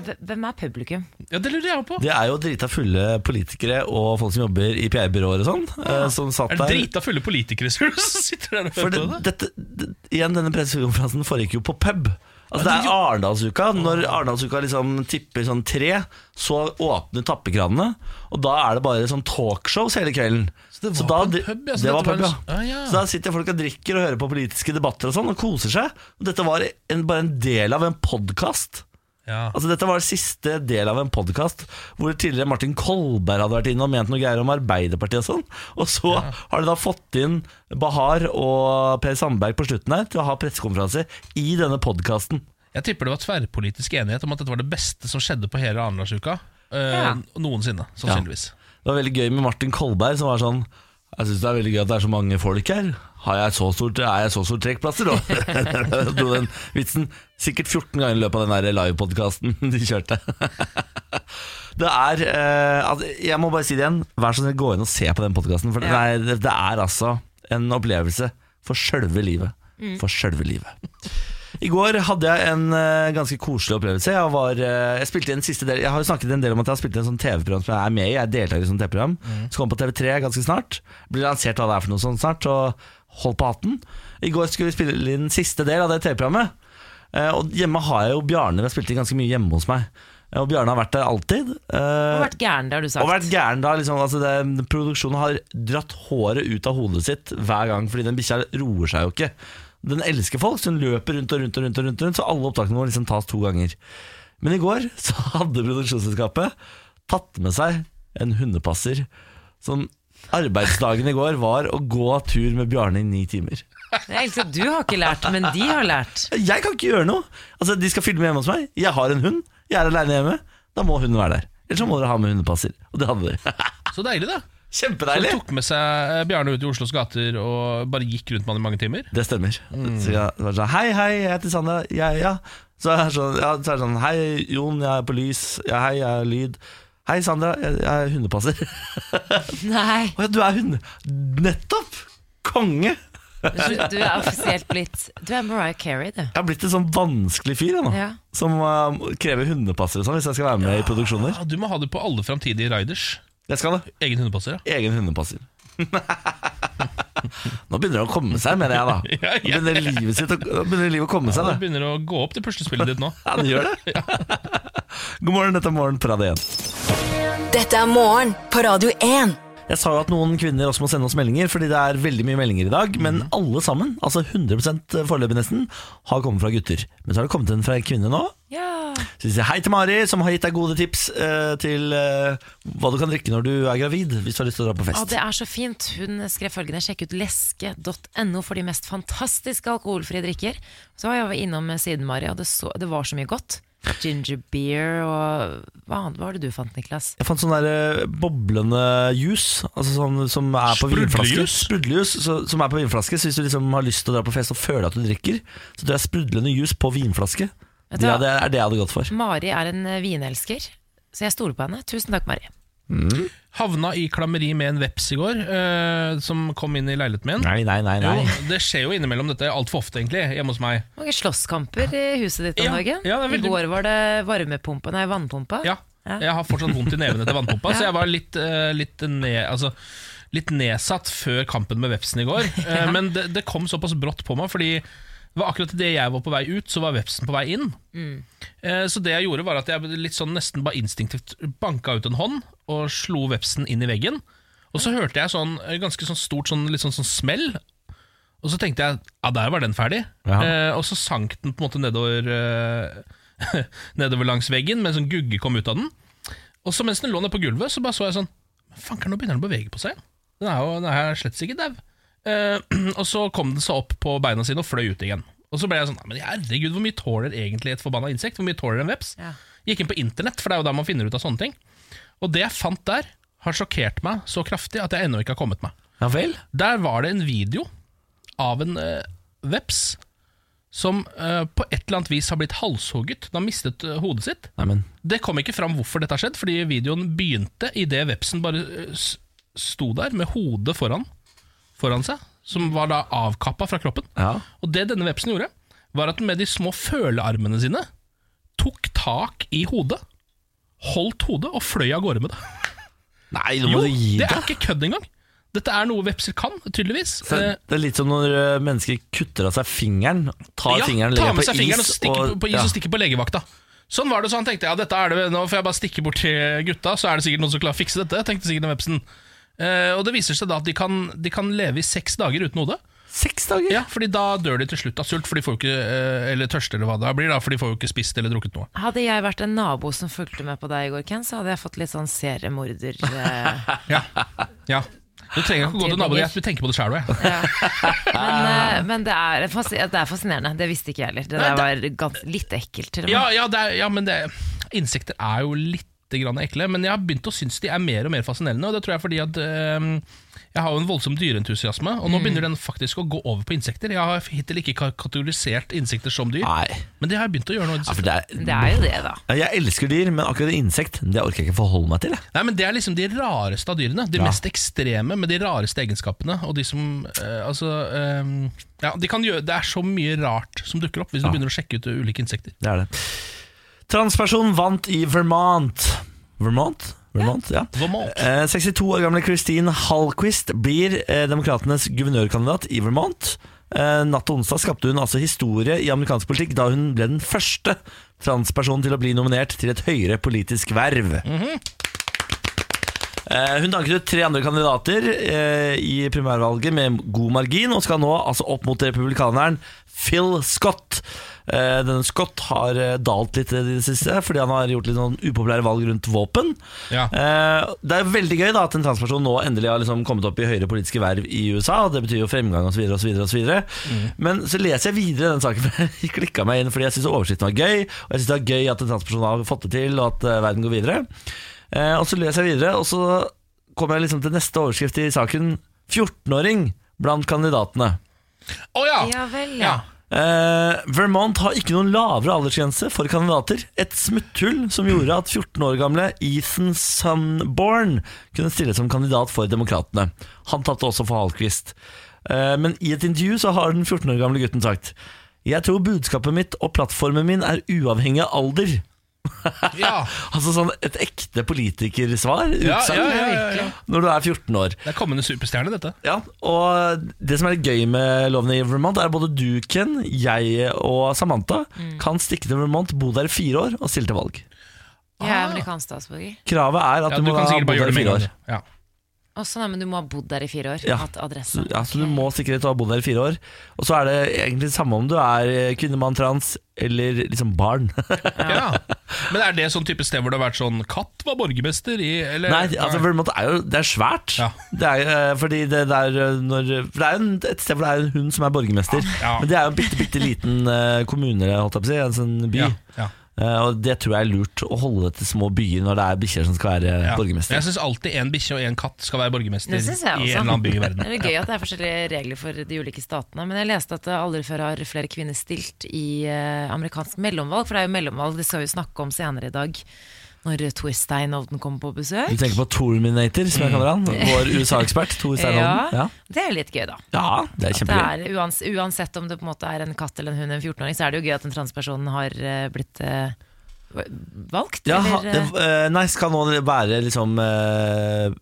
Hv- Hvem er publikum? Ja, Det lurer jeg også på. Det er jo drita fulle politikere og folk som jobber i PR-byråer og sånn, eh, som satt Er det der. drita fulle politikere som sitter der og For hører det, på det? dette, det, igjen, denne pressekonferansen foregikk jo på pub. Altså Det er Arendalsuka. Når Arendalsuka liksom tipper sånn tre, så åpner tappekranene. Og da er det bare sånn talkshows hele kvelden. Så det var da, på en dri- pub, ja, så det dette var var pub, ja. en- Ah, ja. Så da sitter folk og drikker og hører på politiske debatter og sånn, og koser seg. Og dette var en, bare en del av en podkast. Ja. Altså Dette var siste del av en podkast hvor tidligere Martin Kolberg hadde vært inne og ment noe greier om Arbeiderpartiet og sånn. Og så har de da fått inn Bahar og Per Sandberg på slutten her til å ha pressekonferanse i denne podkasten. Jeg tipper det var tverrpolitisk enighet om at dette var det beste som skjedde på hele Arendalsuka. eh, Ja. Noensinne, sannsynligvis. Det var veldig gøy med Martin Kolberg som var sånn jeg syns det er veldig gøy at det er så mange folk her. Har jeg så stort, er jeg så stor trekkplasser, da? Dro den vitsen sikkert 14 ganger i løpet av den der livepodkasten de kjørte. Det er eh, altså, Jeg må bare si det igjen. Vær så snill, gå inn og se på den podkasten. For det, er, det er altså en opplevelse for sjølve livet. For sjølve livet. I går hadde jeg en eh, ganske koselig opplevelse. Jeg, var, eh, jeg spilte inn siste del Jeg har jo snakket en del om at jeg har spilt inn en sånn TV-program som jeg er med i. Jeg er deltaker i sånn TV-program Mm. Som kommer på TV3 ganske snart. Blir lansert hva det er for noe sånt snart, så hold på hatten. I går skulle vi spille inn siste del av det TV-programmet. Eh, og hjemme har jeg jo Bjarne. Vi har spilt inn ganske mye hjemme hos meg. Eh, Og Bjarne har vært der alltid. Du Eh, har vært gæren, det har du sagt. og vært gæren da liksom, altså det, Produksjonen har dratt håret ut av hodet sitt hver gang Fordi den bikkja roer seg jo ikke Den elsker folk, så den løper rundt og rundt og rundt, og rundt, og rundt Så alle opptakene våre liksom tas to ganger Men i går så hadde produksjonsselskapet Tatt med seg en hundepasser Som arbeidsdagen i går var Å gå tur med Bjarne i ni timer Jeg elsker at du har ikke lært, men de har lært. Jeg kan ikke gjøre noe Altså de skal filme hjemme hos meg Jeg har en hund, jeg er alene hjemme Da må hunden være der Ellers så må dere ha med hundepasser Og det hadde dere Så deilig, da. Så Kjempedeilig de tok med seg eh, Bjarne ut i Oslos gater og bare gikk rundt med han i mange timer. Det stemmer. Mm. Så jeg var sånn Hei, hei, jeg heter Sandra. Ja, ja. Så er jeg sånn, ja, så er jeg sånn Hei, Jon, jeg er på lys. Ja, hei, jeg er lyd. Hei, Sandra, jeg, jeg er hundepasser. Nei, Å ja, du er hund... Nettopp! Konge! du, du er offisielt blitt Du er Mariah Carey, du. Jeg har blitt en sånn vanskelig fyr jeg, nå. Ja. Som eh, krever hundepasser og sånn hvis jeg skal være med i produksjoner. Ja, du må ha det på alle framtidige riders. Jeg skal det. Egen hundepasser, ja. Egen hundepasser. nå begynner det å komme seg, mener jeg, da. Ja, ja, Nå begynner livet, sitt, å- nå begynner livet å komme seg, Det da. begynner å gå opp det puslespillet ditt nå. Ja, det gjør det. God morgen, dette er Morgen på Radio 1. Dette er morgen på Radio 1. Jeg sa jo at noen kvinner også må sende oss meldinger, fordi det er veldig mye meldinger i dag. Men alle sammen, altså 100 foreløpig nesten, har kommet fra gutter. Men så har det kommet en fra en kvinne nå. Ja. Så vi sier hei til Mari, som har gitt deg gode tips eh, til eh, hva du kan drikke når du er gravid, hvis du har lyst til å dra på Å, fest. det er så fint. Hun skrev følgende Sjekk ut leske.no for de mest fantastiske alkoholfrie drikker. Så var jeg over innom siden, Mari, og det, så, det var så mye godt. Ginger beer og Hva annet var det du fant, Niklas? Jeg fant sånn der eh, boblende juice, altså sånn som er på vinflaske. Sprudlejus? Sprudlejus? så- Som er på vinflaske. Så hvis du liksom har lyst til å dra på fest og føler at du drikker, så tror jeg sprudlende juice på vinflaske. Vet du Det hva? er det er det jeg hadde gått for. Mari er en eh, vinelsker, så jeg stoler på henne. Tusen takk, Mari. Havna i klammeri med en veps i går, eh, som kom inn i leiligheten min. Nei, nei, nei. Jo, nei. det skjer jo innimellom dette altfor ofte, egentlig, hjemme hos meg. Mange slåsskamper i huset ditt om Ja, dagen. ja, det er veldig- I går var det varmepumpa, nei, vannpumpa. Ja, jeg har fortsatt vondt i neven etter vannpumpa, så jeg var litt, eh, litt, ned, altså, litt nedsatt før kampen med vepsen i går. Eh, Men det, det kom såpass brått på meg, fordi det var akkurat det jeg var på vei ut, så var vepsen på vei inn. Eh, Så det jeg gjorde, var at jeg litt sånn nesten bare instinktivt banka ut en hånd og slo vepsen inn i veggen. Og så hørte jeg sånn eh, ganske sånn stort sånn, litt sånn, sånn smell. Og så tenkte jeg ja, der var den ferdig. Ja. Eh, og så sank den på en måte nedover, eh, nedover langs veggen, mens en gugge kom ut av den. Og så mens den lå nede på gulvet, så bare så jeg sånn Fanker, nå begynner den å bevege på seg. Den er jo den er slett ikke dau. Eh, og så kom den seg opp på beina sine og fløy ut igjen. Og så ble jeg sånn, «Nei, men herregud, hvor mye tåler egentlig et forbanna insekt? Hvor mye tåler en veps? Ja. Gikk inn på internett, for det er jo der man finner ut av sånne ting. Og det jeg fant der, har sjokkert meg så kraftig at jeg ennå ikke har kommet meg. Ja vel? Der var det en video av en eh, veps som eh, på et eller annet vis har blitt halshogget. Den har mistet eh, hodet sitt. Nei, men Det kom ikke fram hvorfor dette har skjedd, fordi videoen begynte idet vepsen bare eh, s- sto der med hodet foran, foran seg, som var da avkappa fra kroppen. Ja. Og det denne vepsen gjorde, var at den med de små følearmene sine tok tak i hodet, holdt hodet og fløy av gårde med det. Nei, nå Jo, må du gi det deg. er ikke kødd engang! Dette er noe vepser kan, tydeligvis. Så Eh, Det er litt som når ø, mennesker kutter av seg fingeren. Tar ja, fingeren, ta legger med på seg fingeren og is stikker på- på is ja. og stikker på legevakta. Sånn var det, så han tenkte ja, dette er det, nå får jeg bare stikke bort til gutta, så er det sikkert noen som klarer å fikse dette. tenkte sikkert den vepsen. Eh, og det viser seg da at de kan, de kan leve i seks dager uten hode. Seks dager? Ja, fordi da dør de til slutt av sult, for de får jo ikke, eh, eller tørste eller hva det blir, da, for de får jo ikke spist eller drukket noe. Hadde jeg vært en nabo som fulgte med på deg i går, Ken, så hadde jeg fått litt sånn seriemorder... Eh, Ja, ja. Du trenger ikke å gå til naboen, jeg tenker på det sjæl òg. ja. men, eh, men det er, fas- det er fascinerende. Det visste ikke jeg heller. Det der var gans, litt ekkelt. Til og med. Ja, ja, det er- ja, men det, insekter er jo litt grann ekle, men jeg har begynt å synes de er mer og mer fascinerende. Og det tror jeg fordi at øhm, jeg har jo en voldsom dyreentusiasme, og nå Mm. begynner den faktisk å gå over på insekter. Jeg har hittil ikke ka- kategorisert insekter som dyr, Nei. men det har jeg begynt å gjøre nå. i det Ja, siste. for det er, Det er jo det, da. Ja, Jeg elsker dyr, men akkurat insekt Det orker jeg ikke forholde meg til. Jeg. Nei, men Det er liksom de rareste av dyrene. De Ja. mest ekstreme med de rareste egenskapene. Og de som, øh, altså, øhm, ja, de kan gjøre, Det er så mye rart som dukker opp hvis du Ja. begynner å sjekke ut øh, ulike insekter. Det er det. Transperson vant i Vermont. Vermont? Vermont, ja. Vermont. Eh, 62 år gamle Christine Hallquist blir eh, demokratenes guvernørkandidat i Vermont. Eh, natt til onsdag skapte hun altså historie i amerikansk politikk da hun ble den første transpersonen til å bli nominert til et høyere politisk verv. Eh, Hun danket ut tre andre kandidater eh, i primærvalget med god margin, og skal nå altså opp mot republikaneren Phil Scott. Eh, Denne Scott har eh, dalt litt i det siste, fordi han har gjort litt sånn upopulære valg rundt våpen. Ja. Eh, Det er veldig gøy da at en transperson nå endelig har liksom kommet opp i høyere politiske verv i USA, og det betyr jo fremgang osv. Mm. Men så leser jeg videre den saken, for jeg klikka meg inn fordi jeg syns oversikten var gøy, og jeg syns det er gøy at en transperson har fått det til, og at eh, verden går videre. Eh, og så leser jeg videre, og så kommer jeg liksom til neste overskrift i saken. 14-åring blant kandidatene. Å ja! Ja vel, ja. ja. Eh, Vermont har ikke noen lavere aldersgrense for kandidater. Et smutthull som gjorde at 14 år gamle Ethan Sunborn kunne stille som kandidat for Demokratene. Han tapte også for Hallquist. Eh, men i et intervju så har den 14 år gamle gutten sagt Jeg tror budskapet mitt og plattformen min er uavhengig av alder. ja. Altså sånn et ekte politikersvar. Ja, utsagn, ja, ja, ja, ja. Når du er 14 år. Det er kommende superstjerne, dette. Ja, og det som er litt gøy med lovene i Vermont, er at både du, Ken, jeg og Samantha Mm. kan stikke til Vermont, bo der i fire år og stille til valg. Jeg Ah. er amerikansk statsborger. Kravet er at Ja, du, du må kan ha sikkert bodd bare der gjøre i det med fire en år. gang. Ja. Og sånn, nei, men du må ha bodd der i fire år. Ja. Hatt adresse. Så, ja, så du må sikre deg til å ha bodd der i fire år. Og så er det egentlig det samme om du er eh, kvinne, mann, trans eller liksom barn. Ja. Men er det sånn type sted hvor det har vært sånn Katt var borgermester i eller, Nei, altså Vermont er jo det er svært. Eh, Ja. Det er, eh, fordi det der eh, når, for det er jo en- et sted hvor det er en hund som er borgermester. Ja. Men det er jo en bitte, bitte liten eh, kommune, holdt jeg på å si. En sånn by. Ja, ja, Eh, Og det tror jeg er lurt å holde det til små byer når det er bikkjer som skal være ja. borgermester. Jeg syns alltid en bikkje og en katt skal være borgermester Det synes jeg også. i en eller annen by i Det verden. er jo gøy at det er forskjellige regler for de ulike statene, men jeg leste at det aldri før har flere kvinner stilt i eh, amerikansk mellomvalg, for det er jo mellomvalg det skal vi snakke om senere i dag, når Tor Steinhovden kommer på Du besøk. tenker på Torminator, som jeg kaller han. Vår USA-ekspert. Tor Steinholden. Mm. Ja, Ja. det er litt gøy, da. ja, det er Det kjempegøy. er, uans uansett om det på en måte er en katt eller en hund, en 14-åring, så er det jo gøy at en transperson har eh, blitt eh, valgt. Ja, ha- eller, eh, eh, nei, skal nå være liksom eh, eh,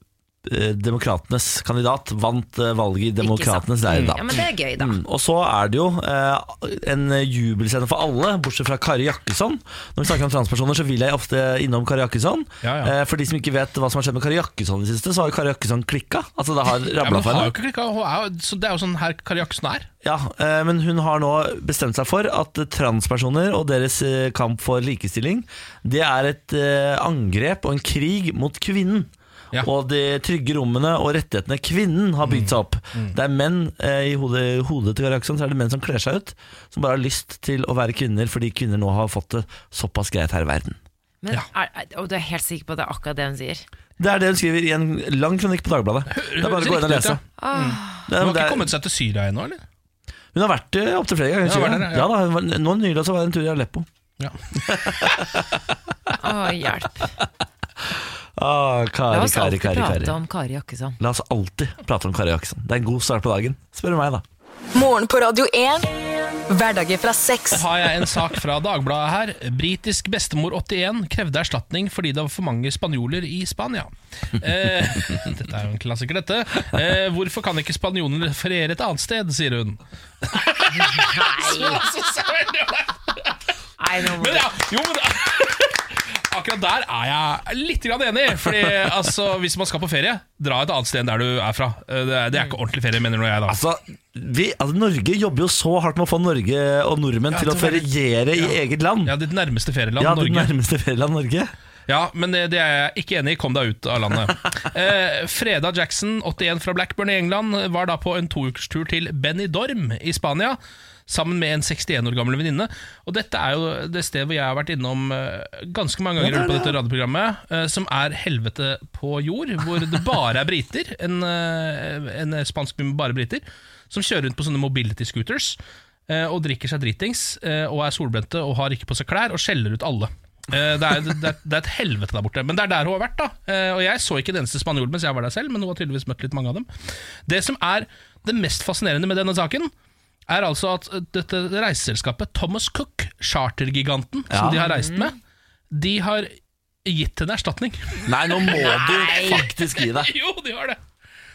Demokratenes kandidat. Vant eh, valget i Demokratenes leir, da. ja, men det er gøy, da. Mm, og så er det jo eh, en jubelscene for alle, bortsett fra Kari Jakkesson. Når vi snakker om transpersoner, så vil jeg ofte innom Kari Jakkesson. Ja, ja. Eh, for de som ikke vet hva som har skjedd med Kari Jakkesson i det siste, så har jo Kari Jakkesson klikka. Altså, det har Ja, men rabla hun for har henne. jo ikke klikka. Hun er jo- så Det er jo sånn her Kari Jakkesen er. Ja, eh, men hun har nå bestemt seg for at transpersoner og deres eh, kamp for likestilling, det er et eh, angrep og en krig mot kvinnen. Ja. og de trygge rommene og rettighetene kvinnen har bygd seg opp. Mm, Det er menn eh, i hodet, hodet til Kari Jackson, så er det menn som kler seg ut, som bare har lyst til å være kvinner fordi kvinner nå har fått det såpass greit her i verden. Men er, er, og du er helt sikker på at det er akkurat det hun sier? Det er det hun skriver i en lang kronikk på Dagbladet. Det er bare å gå inn og riktig ut, ja. Ah. lese. Det Hun er- har det ikke er- kommet seg til Syria ennå, eller? Hun har vært eh, opptil flere ganger. Ja, sier var hun. det det? ja, Ja. da, hun var, Nå nylig så var det en tur i Aleppo. Å, hjelp. Ah, La Kari, oss Kari, alltid Kari, prate Kari. om Kari Jakkesson. La oss alltid prate om Kari Jackson. Det er en god start på dagen. Spør du meg, da. Morgen på Radio 1. Hverdager fra seks. Har jeg en sak fra Dagbladet her. Britisk bestemor 81 krevde erstatning fordi det var for mange spanjoler i Spania. Eh, dette er jo en klassiker, dette. Eh, hvorfor kan ikke spanjolene feriere et annet sted, sier hun. Så- så- Nei, nå må Men du ja, jo, men Akkurat der er jeg litt grann enig. Fordi altså, Hvis man skal på ferie, dra et annet sted enn der du er fra. Eh, Det er, det er ikke ordentlig ferie, mener nå jeg da. Altså, vi, altså, Norge jobber jo så hardt med å få Norge og nordmenn Ja, til å til å være- feriere i eget land. Ja, Ditt nærmeste ferieland, Ja, det Norge. nærmeste ferieland Norge. Ja, men det, det er jeg ikke enig i. Kom deg ut av landet. Eh, Freda Jackson, 81 fra Blackburn i England, var da på en toukerstur til Benidorm i Spania. Sammen med en 61 år gammel venninne. Og dette er jo det stedet hvor jeg har vært innom eh, ganske mange ganger. på dette radioprogrammet eh, Som er helvete på jord, hvor det bare er briter. En, eh, en spansk by med bare briter. Som kjører rundt på sånne mobility scooters eh, og drikker seg dritings. eh, Og er solbrente og har ikke på seg klær, og skjeller ut alle. Eh, Det er, det, er, det er et helvete der borte. Men det er der hun har vært. da Eh, Og jeg så ikke den eneste spanjol mens jeg var der selv, men hun har tydeligvis møtt litt mange av dem. Det som er det mest fascinerende med denne saken, er altså at dette reiseselskapet, Thomas Cook, chartergiganten som Ja. de har reist med, de har gitt henne erstatning. Nei, nå må du faktisk gi deg. jo, de har det!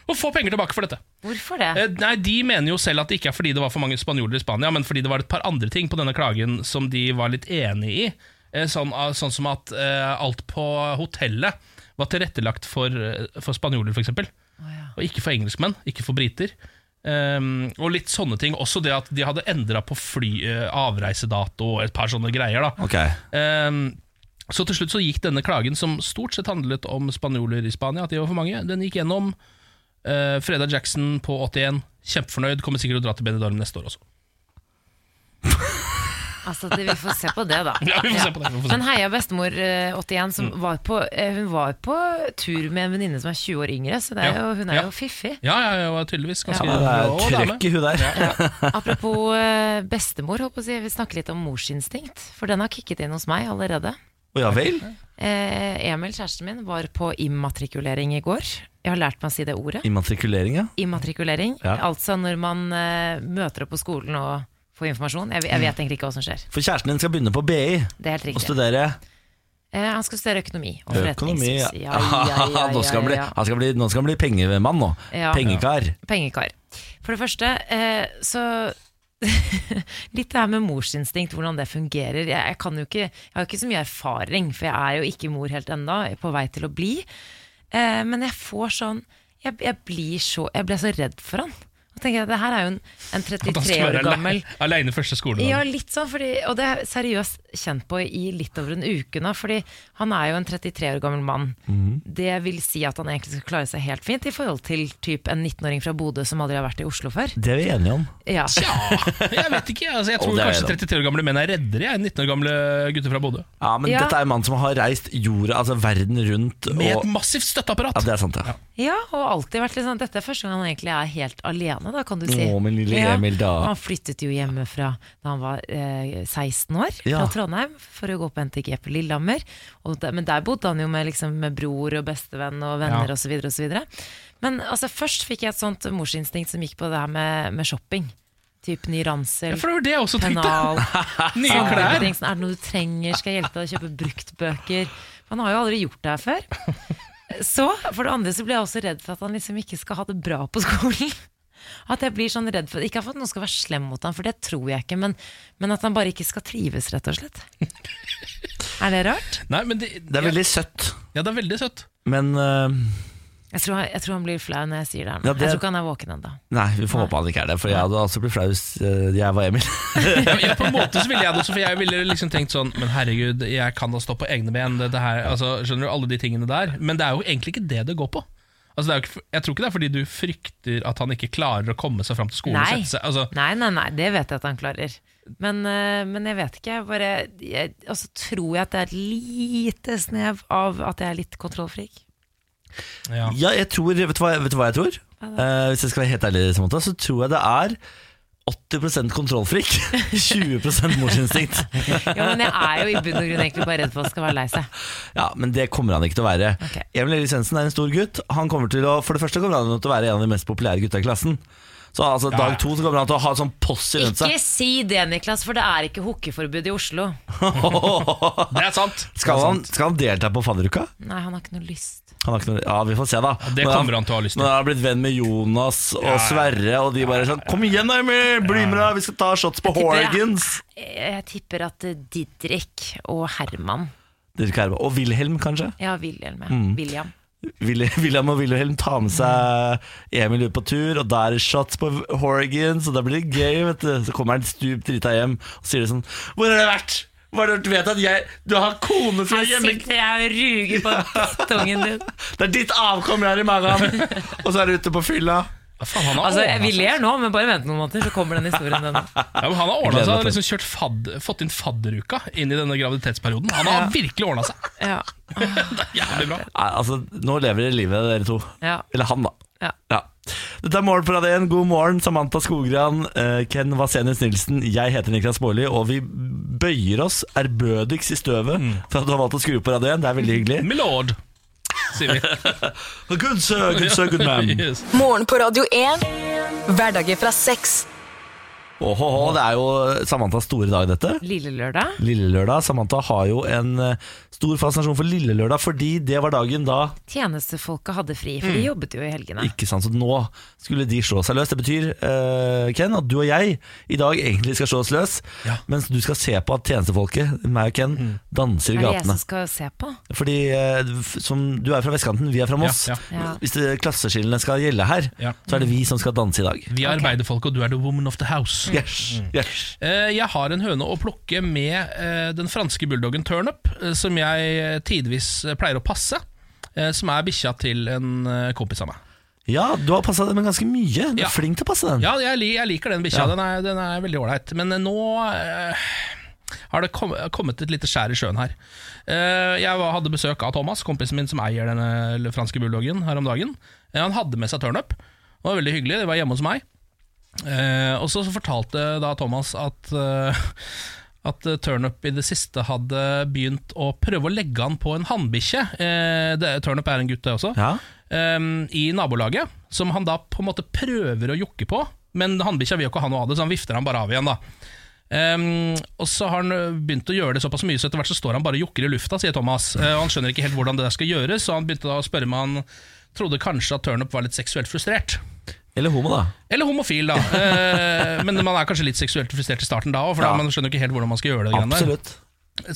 Og få penger tilbake for dette. Hvorfor det? Eh, Nei, De mener jo selv at det ikke er fordi det var for mange spanjoler i Spania, men fordi det var et par andre ting på denne klagen som de var litt enig i. Eh, Sånn, ah, sånn som at eh, alt på hotellet var tilrettelagt for, eh, for spanjoler, f.eks. Og ikke for engelskmenn, ikke for briter. Ehm, og litt sånne ting. Også det at de hadde endra på fly, eh, avreisedato og et par sånne greier. da Ok, Ehm, så til slutt så gikk denne klagen, som stort sett handlet om spanjoler i Spania, at de var for mange, den gikk gjennom. Uh, Freda Jackson på 81, kjempefornøyd, kommer sikkert til å dra til Benidorm neste år også. Altså, det, vi får se på det, da. Ja, vi får se på det, Mm. vi får se. Men heia bestemor eh, 81, som var på, eh, hun var på tur med en venninne som er 20 år yngre, så det Ja. er jo, hun er Ja. jo fiffig. Ja, ja, ja, var tydeligvis ganske ja, Det Å, er dame. trøkk i hun der. Apropos eh, bestemor, håper jeg å si, vi snakker litt om morsinstinkt. For den har kicket inn hos meg allerede. Å ja vel? Eh, Emil, kjæresten min, var på immatrikulering i går. Jeg har lært meg å si det ordet. Immatrikulering, ja. Immatrikulering. Ja. Altså når man eh, møter opp på skolen og får informasjon. Jeg, jeg vet egentlig ikke hva som skjer. For kjæresten din skal begynne på BI Det er helt og riktig. studere Eh, han skal studere økonomi og økonomi. forretningsjus. Ja, ja, ja, Nå skal han bli, ja, ja. han skal bli, nå skal han bli pengemann nå. Ja. Pengekar. Pengekar. For det første, eh, så Litt det her med morsinstinkt, hvordan det fungerer. Jeg, jeg, kan jo ikke, jeg har jo ikke så mye erfaring, for jeg er jo ikke mor helt ennå, jeg er på vei til å bli. Eh, men jeg får sånn jeg, jeg, blir så, jeg ble så redd for han. Og tenker jeg, Det her er jo en, en At han 33 skal år være gammel ale- Alene første skoledag. ja, litt sånn, fordi, og det er jeg seriøst kjent på i litt over en uke nå, fordi han er jo en 33 år gammel mann. Det vil si at han egentlig skal klare seg helt fint i forhold til typ en 19-åring fra Bodø som aldri har vært i Oslo før. Det er vi enige om. Ja. Tja, jeg vet ikke. Altså, jeg Å, tror det er kanskje det. 33 år gamle menn er reddere jeg, enn 19 år gamle gutter fra Bodø. Ja, Men Ja. dette er en mann som har reist jorda, altså verden rundt. Og, Med et ja, massivt støtteapparat! det er sant, ja. ja, og alltid vært litt sånn, dette er første gang han egentlig er helt alene, da kan du si. Å, min lille Ja. Emil, da. Han flyttet jo hjemmefra da han var eh, 16 år, Ja. fra Trondheim, for å gå på NTG på Lillehammer. Og der, men der bodde han jo med, liksom, med bror og bestevenn og venner Ja. og så videre og så videre Men altså, først fikk jeg et sånt morsinstinkt som gikk på det her med, med shopping. Typ ny ransel, Ja, for det var det jeg også tenkte. pennal, Nye sånne klær. ting. Sånn, er det noe du trenger? Skal jeg hjelpe deg å kjøpe bruktbøker? For Han har jo aldri gjort det her før. Så, for det andre så blir jeg også redd for at han liksom ikke skal ha det bra på skolen. At jeg blir sånn redd for Ikke for at noen skal være slem mot ham, for det tror jeg ikke, men, men at han bare ikke skal trives, rett og slett. Er det rart? Nei, men det, Det er veldig søtt, ja, det er veldig søtt. men øh, Jeg tror, han- jeg tror han blir flau når jeg sier det. her nå. Ja, det- Jeg tror ikke han er våken ennå. Nei, vi får håpe han ikke er det, for jeg hadde altså blitt flau hvis eh, jeg var Emil. Ja, men på en måte så ville jeg det også, for jeg ville liksom tenkt sånn Men herregud, jeg kan da stå på egne ben, dette her altså, Skjønner du, alle de tingene der. Men det er jo egentlig ikke det det går på. Altså, det er jo ikke, jeg tror ikke det er fordi du frykter at han ikke klarer å komme seg fram til skolen. og Nei. sette Seg, altså, Nei, nei, nei, det vet jeg at han klarer. Men, eh, men jeg vet ikke. Jeg bare, jeg, og så tror jeg at det er et lite snev av at jeg er litt kontrollfrik. ja. Ja, jeg tror, vet, du hva, vet du hva jeg tror? Eh, hvis jeg skal være helt ærlig, Samantha, så tror jeg det er 80 kontrollfrik, 20 morsinstinkt. Jo, men jeg er jo i bunn og grunn egentlig bare redd for at han skal være lei seg. Ja, Men det kommer han ikke til å være. Ok. Emil Erik Svendsen er en stor gutt. Han kommer til å, For det første kommer han til å være en av de mest populære gutta i klassen. Så altså, Ja, ja. dag to så kommer han til å ha sånn post rundt seg. Ikke si det, Niklas, for det er ikke hookeforbud i Oslo. Det er sant! Altså, skal, Det er han, sant. skal han delta på fadderuka? Nei, han har ikke noe lyst. Han har ikke noe, ja, vi får se, da. Det Når kommer han til å ha lyst Når til. han har blitt venn med Jonas og Ja, ja. Sverre, og de bare sånn Kom igjen, da, Emil! Bli med, da! Vi skal ta shots på tipper jeg- Horgans! Jeg, jeg tipper at eh, Didrik og Herman Dere skal herme. Og Wilhelm, kanskje? Ja, William. ja. William. Will- William og Wilhelm tar med seg Emil ut på tur, og da er det shots på Horgans, og da blir det gøy, vet du. Så kommer han stup drita hjem og sier det sånn Hvor har du vært? Hva har du vet at jeg Du har kone fra Her hjemme... sitter jeg og ruger på drittungen din. Det er ditt avkom jeg har i magen! og så er du ute på fylla. Ja, faen, han har Altså, jeg ordnet vil ler nå, men bare vent noen måneder, så kommer den historien. Den. Ja, men han har ordnet Gleder seg, han har meg liksom kjørt fadd, fått inn fadderuka inn i denne graviditetsperioden. Han har virkelig ordna seg. Ja, Jævlig bra. Nei, altså, nå lever dere livet, dere to. ja, Eller han, da. ja. Ja. Dette er Morgen på Radio 1. God morgen, Samantha Skogran, eh, Ken Vasenius Nilsen. Jeg heter Niklas Baarli, og vi bøyer oss ærbødigst i støvet for at du har valgt å skru på Radio 1. Det er veldig hyggelig. Milord, sier vi. Good sir, good sir, good man. Yes. Morgen på Radio 1. Hverdager fra seks. Åhåhå, det er jo Samanthas store dag, dette. Lille lørdag. Lillelørdag. Samantha har jo en eh, stor fascinasjon for Lillelørdag, fordi det var dagen da Mm. Tjenestefolka hadde fri, for de jobbet jo i helgene. Ikke sant, så nå skulle de slå seg løs. Det betyr, eh, Ken, at du og jeg i dag egentlig skal slå oss løs, Ja. Mm. mens du skal se på at tjenestefolket, meg og Ken, danser i Er det jeg gatene. som skal se på? Fordi eh, f- som du er fra vestkanten, vi er fra Moss. Ja, ja. Hvis det, klasseskillene skal gjelde her, Ja. så er det vi som skal danse i dag. Vi er arbeiderfolk, og du er the woman of the house. Yes, yes. Eh, Jeg har en høne å plukke med eh, den franske bulldoggen Turnup, eh, som jeg eh, tidvis eh, pleier å passe. eh, Som er bikkja til en eh, kompis av meg. Ja, du har passa den ganske mye. Du er Ja. flink til å passe den. Ja, jeg, li- jeg liker den bikkja. Ja. Den, er- den er veldig ålreit. Men eh, nå eh, har det kom, kommet et lite skjær i sjøen her. Eh, jeg var, hadde besøk av Thomas, kompisen min som eier denne l- franske bulldoggen, her om dagen. Eh, han hadde med seg turnup. Det var veldig hyggelig. Det var hjemme hos meg. Eh, og så så fortalte da Thomas at eh, at eh, Turnup i det siste hadde begynt å prøve å legge han på en hannbikkje. Eh, det- Turnup er en gutt, det også Ja. um, i nabolaget, som han da på en måte prøver å jokke på. Men hannbikkja vil jo ikke ha noe av det, så han vifter han bare av igjen. da Ehm, Og så har han ø, begynt å gjøre det såpass mye, så etter hvert så står han bare og jokker i lufta, sier Thomas. Eh, og han skjønner ikke helt hvordan det der skal gjøres, så han begynte da å spørre meg han trodde kanskje at turnup var litt seksuelt frustrert. Eller homo, da. Eller homofil, da. Eh, men man er kanskje litt seksuelt frustrert i starten da òg, for Ja. da, man skjønner ikke helt hvordan man skal gjøre det. greiene der. Absolutt.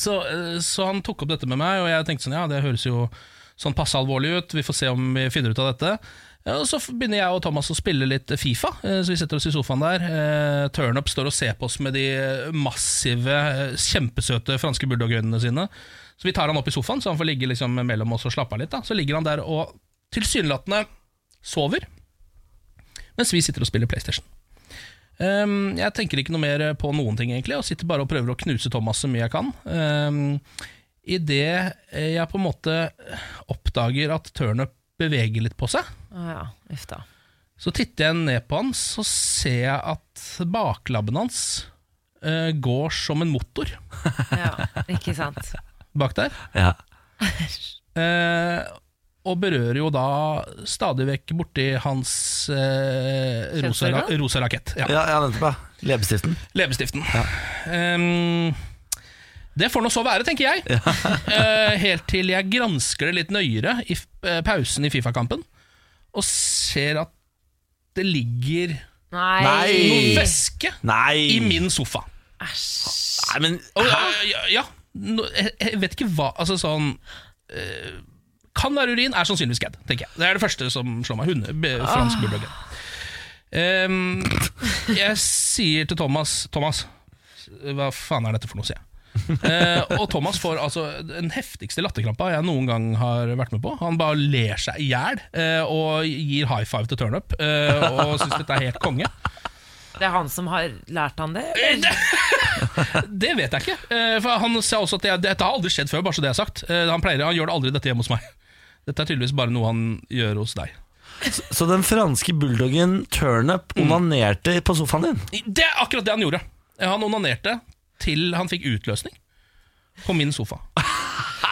Så, eh, så han tok opp dette med meg, og jeg tenkte sånn, ja, det høres jo sånn passe alvorlig ut, vi får se om vi finner ut av dette. Ja, Og så begynner jeg og Thomas å spille litt Fifa, eh, så vi setter oss i sofaen der. Eh, Turnup står og ser på oss med de massive, eh, kjempesøte franske bulldogøynene sine. Så vi tar han opp i sofaen, så han får ligge liksom mellom oss og slappe av litt. Da. Så ligger han der og tilsynelatende sover, mens vi sitter og spiller Playstation. Ehm, jeg tenker ikke noe mer på noen ting, egentlig, og sitter bare og prøver å knuse Thomas så mye jeg kan. Um, Idet eh, jeg på en måte oppdager at turnup beveger litt på seg, Å ja, uff da. så titter jeg ned på han, så ser jeg at baklabben hans eh, går som en motor Ja, ikke sant. bak der. Ja. Eh, og berører jo da stadig vekk borti hans eh, rosa, ra- Kjønnsorgan? rosa rakett. Ja. Ja, ja, nettopp, ja. Leppestiften. Leppestiften. Ehm, det får nå så være, tenker jeg. Eh, helt til jeg gransker det litt nøyere i f- eh, pausen i Fifa-kampen, og ser at det ligger Nei! Nei. noe væske Nei! i min sofa. Nei, men Og, ja, ja, ja, no, jeg, jeg vet ikke hva Altså sånn eh, kan være urin, er sannsynligvis gad. tenker jeg. Det er det første som slår meg. Hunde, be- fransk bulldog. Ehm, jeg sier til Thomas Thomas, hva faen er dette for noe, sier jeg. Eh, og Thomas får altså den heftigste latterkrampa jeg noen gang har vært med på. Han bare ler seg i hjel eh, og gir high five til turnup eh, og syns dette er helt konge. Det er han som har lært han det? Det vet jeg ikke. Eh, For han sa også at jeg, Dette har aldri skjedd før, bare så det er sagt. Eh, Han, pleier, han gjør det aldri dette hjemme hos meg. Dette er tydeligvis bare noe han gjør hos deg. Så den franske bulldoggen Turnup Mm. onanerte på sofaen din? Det er akkurat det han gjorde. Eh, Han onanerte til han fikk utløsning på min sofa.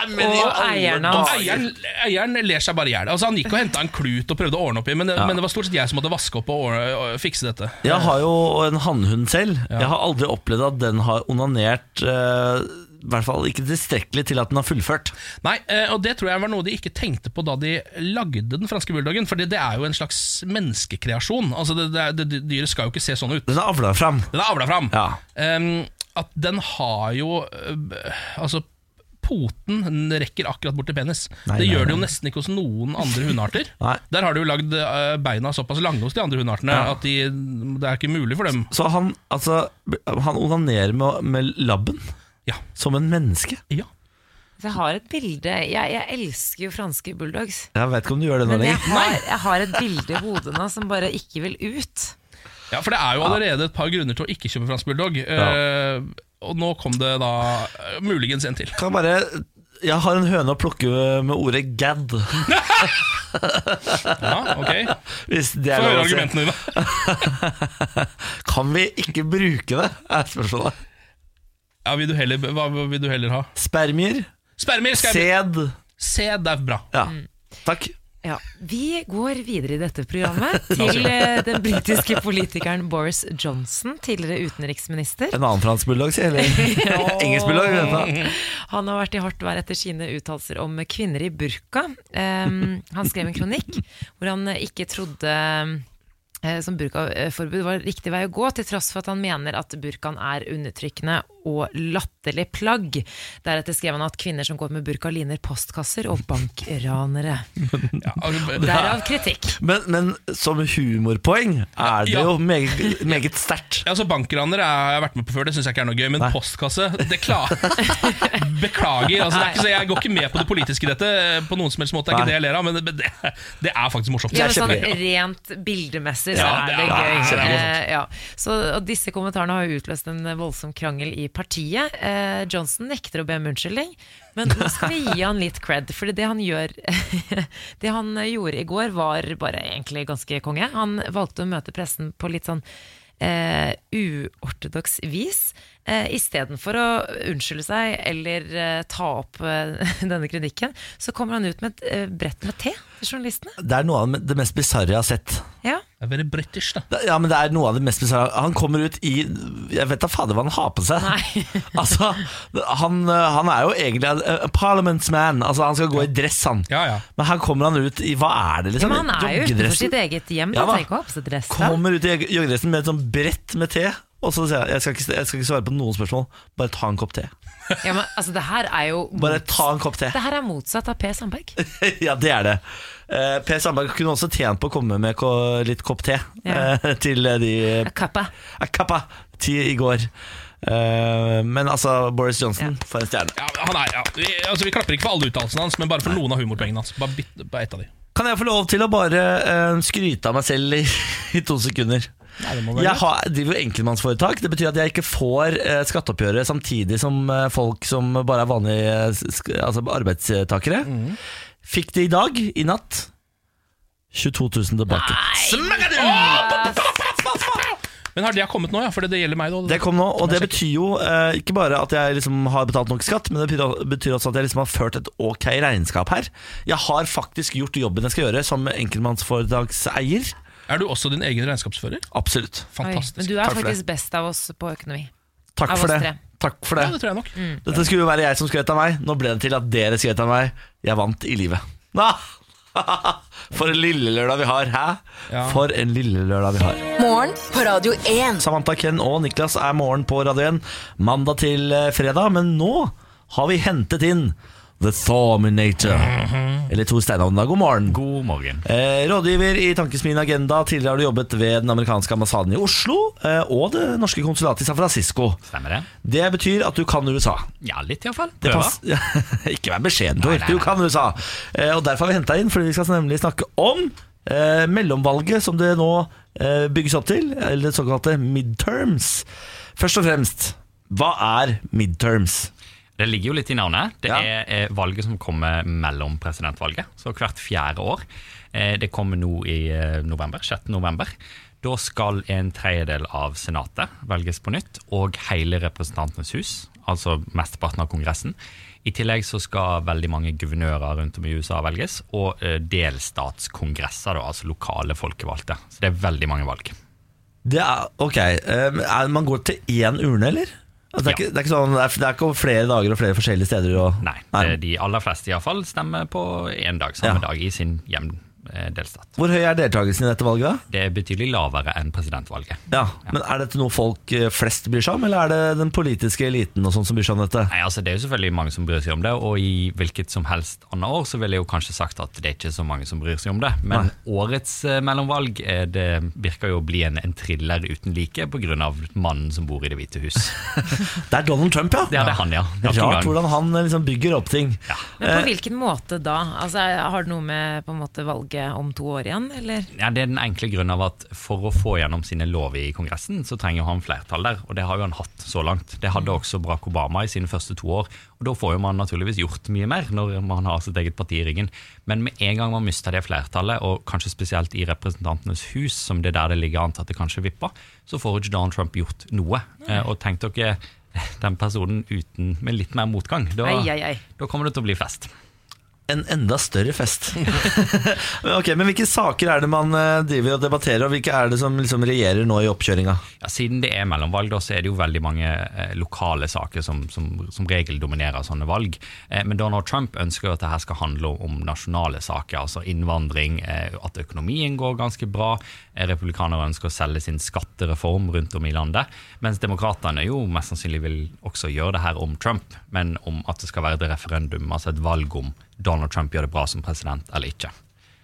Og eieren Og hans. eieren, eieren ler seg bare i hjel. Altså, han gikk og henta en klut og prøvde å ordne opp i, men, det- men det var stort sett jeg som måtte vaske opp og, ordne, og fikse dette. Jeg har jo en hannhund selv. Jeg har aldri opplevd at den har onanert eh, I hvert fall ikke tilstrekkelig til at den har fullført. Nei, eh, og det tror jeg var noe de ikke tenkte på da de lagde den franske bulldoggen, for det er jo en slags menneskekreasjon. Altså, det, det, er- det, det Dyret skal jo ikke se sånn ut. Den er avla fram. Den er avla fram. Ja. Ehm, at den har jo øh, b- Altså, poten den rekker akkurat bort til penis. Nei, det nei, gjør det nei. jo nesten ikke hos noen andre hundearter. Nei. Der har du jo lagd øh, beina såpass lange hos de andre hundeartene Ja. at de, det er ikke mulig for dem. Så han, altså, han onanerer med, med labben. Ja. Som en menneske. Ja. Jeg har et bilde Jeg, jeg elsker jo franske bulldogs. Jeg vet ikke om du gjør det nå Men jeg lenger. har, jeg har et bilde i hodet nå som bare ikke vil ut. ja, for det er jo allerede et par grunner til å ikke kjøpe fransk bulldog. Eh, og nå kom det da eh, muligens en til. Kan jeg bare Jeg har en høne å plukke med ordet 'gad'. Ja, ok Hvis det er Få høre lov å si. argumentene dine. Kan vi ikke bruke det? er spørsmålet. Ja, vil du heller, hva vil du heller ha? Spermier, Spermer, skal jeg sæd Se, det er bra. Ja, takk. Ja, Vi går videre i dette programmet til eh, den britiske politikeren Boris Johnson, tidligere utenriksminister. En annen fransk bulldog, sier jeg. Eller engelsk bulldog. vent da. Han har vært i hardt vær etter sine uttalelser om kvinner i burka. Ehm, han skrev en kronikk hvor han eh, ikke trodde eh, som burkaforbud var riktig vei å gå, til tross for at han mener at burkaen er undertrykkende og latterlig plagg. Deretter skrev han at kvinner som går med burka, ligner postkasser og bankranere. Ja, altså, Derav kritikk. Men, men som humorpoeng er det Ja. jo meget, meget sterkt. Ja, altså Bankraner har jeg vært med på før, det syns jeg ikke er noe gøy. Men Nei. postkasse, det klar... Beklager. Altså, det er ikke så, jeg går ikke med på det politiske i dette, eh, på noen som helst måte. Det er Nei. ikke det jeg ler av, men det, det, det er faktisk morsomt. Ja, men sånn kjempegøy. rent bildemessig så Ja, er det er- det gøy. det er morsomt. Eh, ja. så, og disse kommentarene har jo utløst en voldsom krangel i partiet. Eh, Johnson nekter å be om unnskyldning, men nå skal vi gi han litt cred. For det han gjør Det han gjorde i går, var bare egentlig ganske konge. Han valgte å møte pressen på litt sånn eh, uortodoks vis. Eh, Istedenfor å unnskylde seg eller eh, ta opp eh, denne kritikken, så kommer han ut med et eh, brett med te til journalistene. Det er noe av det mest bisarre jeg har sett. Ja. Det er veldig british, da. Det- Ja, men det er noe av det mest bisarre. Han kommer ut i Jeg vet da fader hva han har på seg. altså, han, han er jo egentlig en a parliamentsman. Altså, han skal gå i dress, han. Ja, ja. Men her kommer han ut i Hva er det, liksom? Men han er jo utenfor Joggedressen? sitt eget hjem. Ja, da, hva? tenk å ha på seg dress da. Kommer ut i jogg- joggedressen med et sånn brett med te. Og så sier jeg jeg skal, ikke, jeg skal ikke svare på noen spørsmål, bare ta en kopp te. Ja, men, altså, det her er jo Bare mots- ta en kopp te. det her er motsatt av Per Sandberg. ja, det er det. Eh, per Sandberg kunne også tjent på å komme med ko litt kopp te Ja. eh, til eh, de eh, Kappa. Kappa til i går. Eh, men altså, Boris Johnson, for en stjerne. Ja, han er, ja. Vi, altså, vi klapper ikke for alle uttalelsene hans, men bare for noen av humorpoengene hans. Bare, bit, bare ett av de. Kan jeg få lov til å bare eh, skryte av meg selv i, i to sekunder? Jeg har, driver jo enkeltmannsforetak. Det betyr at jeg ikke får eh, skatteoppgjøret samtidig som eh, folk som bare er vanlige eh, sk altså arbeidstakere. Fikk det i dag, i natt. 22 000 tilbake. Men har det kommet nå, ja? For det, det gjelder meg, da. Det kom nå, og det betyr jo eh, ikke bare at jeg liksom har betalt nok skatt, men det betyr- betyr også at jeg liksom har ført et ok regnskap her. Jeg har faktisk gjort jobben jeg skal gjøre som enkeltmannsforetakseier. Er du også din egen regnskapsfører? Absolutt. Oi, Fantastisk. men du Takk er for det. faktisk best av oss på økonomi. Takk Av for oss det. tre. Takk for Ja, det det. tror jeg nok. Mm. Dette skulle jo være jeg som skrøt av meg. Nå ble det til at dere skrøt av meg. Jeg vant i livet. Ah! For en lille lørdag vi har, hæ? Ja. For en lille lørdag vi har. Morgen på Radio 1. Samantha, Ken og Niklas er morgen på Radio 1 mandag til eh, fredag, men nå har vi hentet inn The Thominator. Eller Tor Steinhovden. God morgen. God morgen. Eh, rådgiver i Tankesmien Agenda. Tidligere har du jobbet ved den amerikanske ambassaden i Oslo eh, og det norske konsulatet i San Francisco. Stemmer det? Det betyr at du kan USA. Ja, litt iallfall. Det Prøver. pass- ikke vær beskjeden, Tor. Nei, nei, Du nei. kan USA. Eh, og derfor har vi henta inn, fordi vi skal nemlig snakke om eh, mellomvalget som det nå eh, bygges opp til, eller såkalte midterms. Først og fremst, hva er midterms? Det ligger jo litt i navnet. Det Ja. er eh, valget som kommer mellom presidentvalget, så hvert fjerde år. Eh, Det kommer nå i eh, november, 6. november. Da skal en tredjedel av senatet velges på nytt, og hele Representantenes hus, altså mesteparten av Kongressen. I tillegg så skal veldig mange guvernører rundt om i USA velges, og eh, delstatskongresser, da, altså lokale folkevalgte. Så det er veldig mange valg. Det er, ok, eh, er, Man går til én urne, eller? Altså, det, er Ja. ikke, det, er ikke sånn, det, er, det er ikke over flere dager og flere forskjellige steder? Og, Nei, det- de aller fleste iallfall stemmer på én dag, Ja. samme dag, i sin eh, hjemdelstat. Hvor høy er deltakelsen i dette valget? da? Det er betydelig lavere enn presidentvalget. Ja, men Er dette noe folk eh, flest bryr seg om, eller er det den politiske eliten og sånn som bryr seg om dette? Nei, altså Det er jo selvfølgelig mange som bryr seg om det, og i hvilket som helst annet år så ville jeg jo kanskje sagt at det er ikke så mange som bryr seg om det. Men årets eh, mellomvalg eh, det virker jo å bli en, en thriller uten like pga. mannen som bor i Det hvite hus. Det er Donald Trump, ja! Det er det han, ja. Nok en gang. Rart hvordan han eh, liksom bygger opp ting. Men Eh. på hvilken måte da? Altså, har det noe med på en måte valget om to år igjen, eller? Ja, det er den enkle grunnen av at for å få gjennom sine lover i Kongressen, så trenger han flertall der, og det har jo han hatt så langt. Det Mm. hadde også Barack Obama i sine første to år, og da får jo man naturligvis gjort mye mer når man har sitt eget parti i ryggen. Men med en gang man mister det flertallet, og kanskje spesielt i Representantenes hus, som det er der det ligger an til at det kanskje vipper, så får ikke Donald Trump gjort noe. Eh, Og tenk dere den personen uten, med litt mer motgang. Da, Ai, ai, ai. da kommer det til å bli fest. En enda større fest. ok, Men hvilke saker er det man eh, driver og debatterer, og hvilke er det som liksom regjerer nå i oppkjøringa? Ja, siden det er mellomvalg, da, så er det jo veldig mange eh, lokale saker som, som, som regel dominerer sånne valg. Eh, men Donald Trump ønsker jo at dette skal handle om nasjonale saker, altså innvandring, eh, at økonomien går ganske bra. Eh, republikanere ønsker å selge sin skattereform rundt om i landet. Mens demokratene jo mest sannsynlig vil også gjøre det her om Trump, men om at det skal være et referendum, altså et valg om Donald Trump gjør det bra som president eller ikke.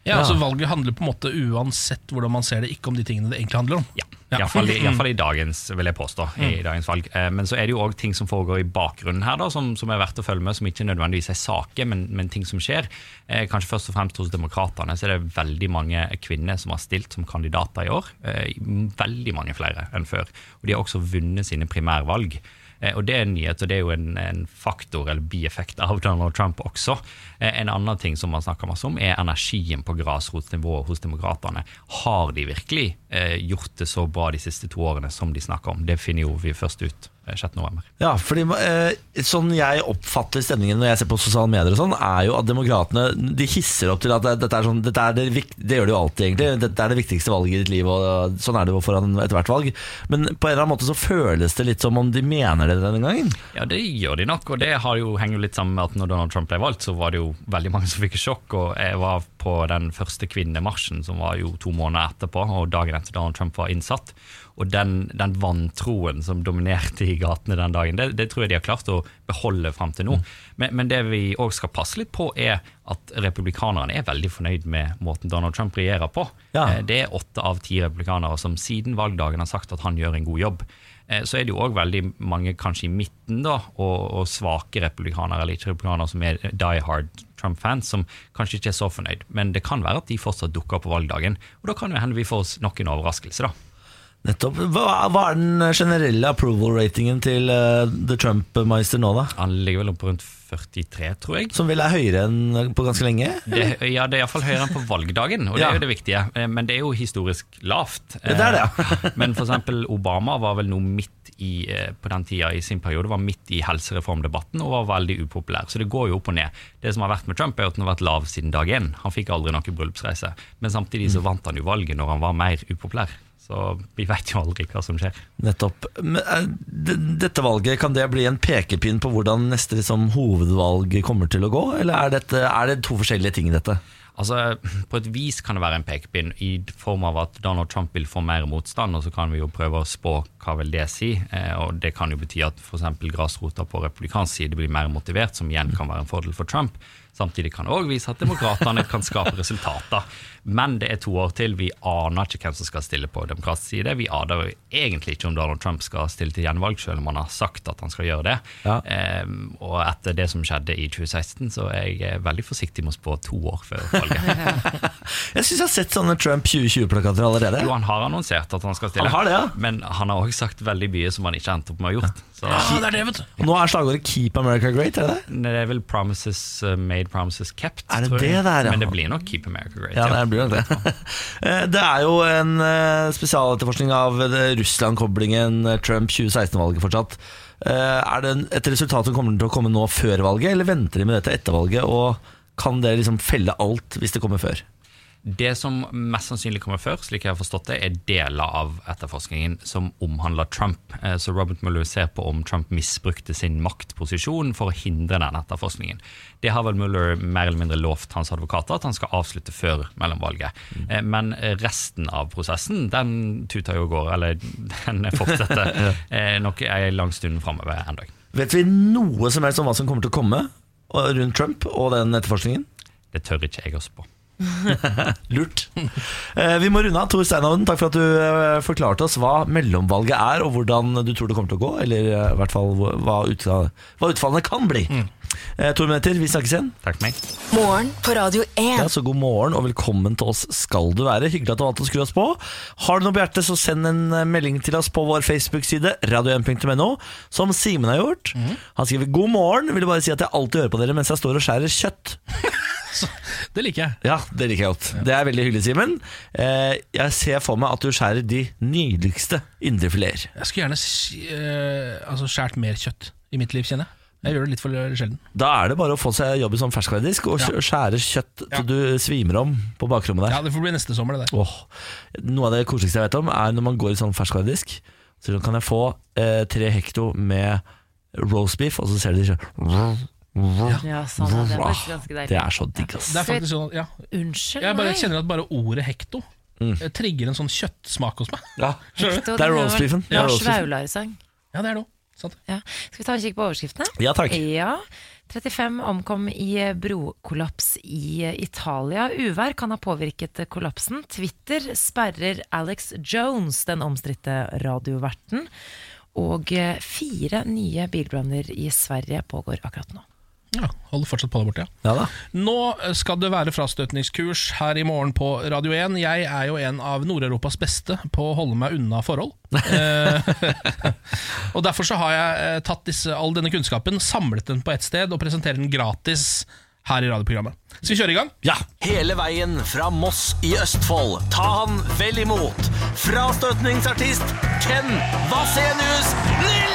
Ja, altså Valget handler på en måte uansett hvordan man ser det, ikke om de tingene det egentlig handler om. Ja, iallfall Mm. i, hvert fall i dagens, vil jeg påstå. i dagens valg. Eh, Men så er det jo òg ting som foregår i bakgrunnen her, da, som, som er verdt å følge med, som ikke nødvendigvis er saker, men, men ting som skjer. Eh, Kanskje først og fremst hos demokratene så er det veldig mange kvinner som har stilt som kandidater i år. eh, Veldig mange flere enn før. Og de har også vunnet sine primærvalg. Eh, Og Det er en nyhet, og det er jo en, en faktor eller bieffekt av Donald Trump også. Eh, En annen ting som man snakker masse om, er energien på grasrotnivået hos demokratene. Har de virkelig eh, gjort det så bra de siste to årene som de snakker om? Det finner jo vi først ut eh, 6. november. Ja, fordi eh, Sånn jeg oppfatter stemningen når jeg ser på sosiale medier, og sånn er jo at demokratene de hisser opp til at det- dette er sånn dette er det, vik- det gjør de jo alltid, egentlig. Dette er det viktigste valget i ditt liv, og sånn er det jo foran ethvert valg. Men på en eller annen måte så føles det litt som om de mener det denne gangen. Ja, det gjør de nok, og det har jo, henger jo litt sammen med at når Donald Trump ble valgt, så var det jo veldig mange som fikk sjokk, og jeg var på den første kvinnemarsjen, som var jo to måneder etterpå, og dagen etter Donald Trump var innsatt. Og den, den vantroen som dominerte i gatene den dagen, det, det tror jeg de har klart å beholde fram til nå. Men, men det vi òg skal passe litt på, er at republikanerne er veldig fornøyd med måten Donald Trump regjerer på. Ja. Eh, Det er åtte av ti republikanere som siden valgdagen har sagt at han gjør en god jobb. Eh, Så er det jo òg veldig mange kanskje i midten da, og, og svake republikanere eller ikke republikanere som er die hard Trump-fans, som kanskje ikke er så fornøyd. Men det kan være at de fortsatt dukker opp på valgdagen. Og da kan det hende vi får oss nok en overraskelse, da. Nettopp. Hva, hva er den generelle approval-ratingen til eh, The Trump-meister nå, da? Han ligger vel oppe rundt 43, tror jeg. Som vel er høyere enn eh, på ganske lenge? Det, ja, det er iallfall høyere enn på valgdagen, og det er jo det viktige. Eh, Men det er jo historisk lavt. Eh, Ja, det er det, Men for eksempel Obama var vel noe midt i, eh, på den tida i sin periode, var midt i helsereformdebatten og var veldig upopulær. Så det går jo opp og ned. Det som har vært med Trump, er jo at han har vært lav siden dag én. Han fikk aldri noen bryllupsreise. Men samtidig Mm. så vant han jo valget når han var mer upopulær. Så vi veit jo aldri hva som skjer. Nettopp. Men, eh, d- dette valget, kan det bli en pekepinn på hvordan neste liksom, hovedvalg kommer til å gå? Eller er, dette, er det to forskjellige ting, dette? Altså, På et vis kan det være en pekepinn i form av at Donald Trump vil få mer motstand, og så kan vi jo prøve å spå hva vil det si. Eh, og Det kan jo bety at f.eks. grasrota på republikansk side blir mer motivert, som igjen kan være en fordel for Trump. Samtidig kan det òg vise at demokratene kan skape resultater. Men det er to år til. Vi aner ikke hvem som skal stille på demokratisk side. Vi aner jo egentlig ikke om Donald Trump skal stille til gjenvalg, selv om han har sagt at han skal gjøre det. Ja. Eh, og etter det som skjedde i 2016, så er jeg eh, veldig forsiktig med å spå to år før valget. Jeg syns jeg har sett sånne Trump 2020-plakater allerede. Jo, han har annonsert at han skal stille, Han har det, ja. men han har òg sagt veldig mye som han ikke endte opp med å ha gjort. Så Ja, det er det, vet du. Og nå er slagordet 'Keep America Great', er det det? det er vel promises eh, made, promises kept. Er det tror jeg. det der, ja? Men det blir nok Keep America Great. Ja, ja. det blir nok det. Eh, Det er jo en eh, spesialetterforskning av det Russland-koblingen eh, Trump 2016-valget fortsatt. Eh, Er det en- et resultat som kommer til å komme nå før valget, eller venter de med dette etter valget? Og kan det liksom felle alt hvis det kommer før? Det som mest sannsynlig kommer før, slik jeg har forstått det, er deler av etterforskningen som omhandler Trump. Eh, Så Robert Mueller ser på om Trump misbrukte sin maktposisjon for å hindre den etterforskningen. Det har vel Mueller mer eller mindre lovt hans advokater, at han skal avslutte før mellomvalget. Mm. Eh, Men resten av prosessen, den tuter jo og går, eller den fortsetter eh, nok en lang stund framover en dag. Vet vi noe som helst om hva som kommer til å komme og- rundt Trump og den etterforskningen? Det tør ikke jeg også på. Lurt. Eh, Vi må runde av. Tor Steinhoven, takk for at du eh, forklarte oss hva mellomvalget er, og hvordan du tror det kommer til å gå. Eller eh, i hvert fall hva hva utfall- hva utfallene kan bli. Eh, To minutter, vi snakkes igjen. Takk for meg. Morgen på Radio 1. Ja, så God morgen og velkommen til oss skal du være. Hyggelig at du valgte å skru oss på. Har du noe på hjertet, så send en eh, melding til oss på vår Facebook-side, radio1.no, som Simen har gjort. Han skriver 'God morgen'. Vil bare si at jeg alltid hører på dere mens jeg står og skjærer kjøtt. Det liker jeg. Ja, det liker jeg godt. Det er veldig hyggelig, Simen. Eh, jeg ser for meg at du skjærer de nydeligste indrefileter. Jeg skulle gjerne sk- eh, altså, skjært mer kjøtt i mitt liv, kjenner jeg. Jeg gjør det litt for sjelden. Da er det bare å få seg jobb som ferskvaredisk og Ja. skjære kjøtt Ja. til du svimer om på bakrommet der. Ja, Det får bli neste sommer, det der. Åh, noe av det koseligste jeg vet om er når man går i sånn ferskvaredisk, så sier de, kan jeg få eh, tre hekto med roastbeef, og så ser du de sånn Ja, sånn, ja, det er faktisk ganske Det deilig. er så digg, ass. Det er faktisk sånn, ja Unnskyld Jeg bare meg. kjenner at bare ordet hekto Mm. eh, trigger en sånn kjøttsmak hos meg. Ja. Hektor, Det er den roastbeefen. Det er Ja, roastbeefen. Svaular-sang. Ja, det er det òg. Ja. Skal vi ta en kikk på overskriftene? ja takk. Ja. 35 omkom i brokollaps i Italia. Uvær kan ha påvirket kollapsen. Twitter sperrer Alex Jones, den omstridte radioverten. Og eh, fire nye bilbranner i Sverige pågår akkurat nå. Ja, holder fortsatt på der borte, ja. Ja da. Nå skal det være frastøtningskurs her i morgen på Radio 1. Jeg er jo en av Nord-Europas beste på å holde meg unna forhold. Eh, og Derfor så har jeg eh, tatt disse, all denne kunnskapen, samlet den på ett sted og presenterer den gratis her i radioprogrammet. Skal vi kjøre i gang? Ja. Hele veien fra Moss i Østfold. Ta han vel imot. Frastøtningsartist Ken Vasenius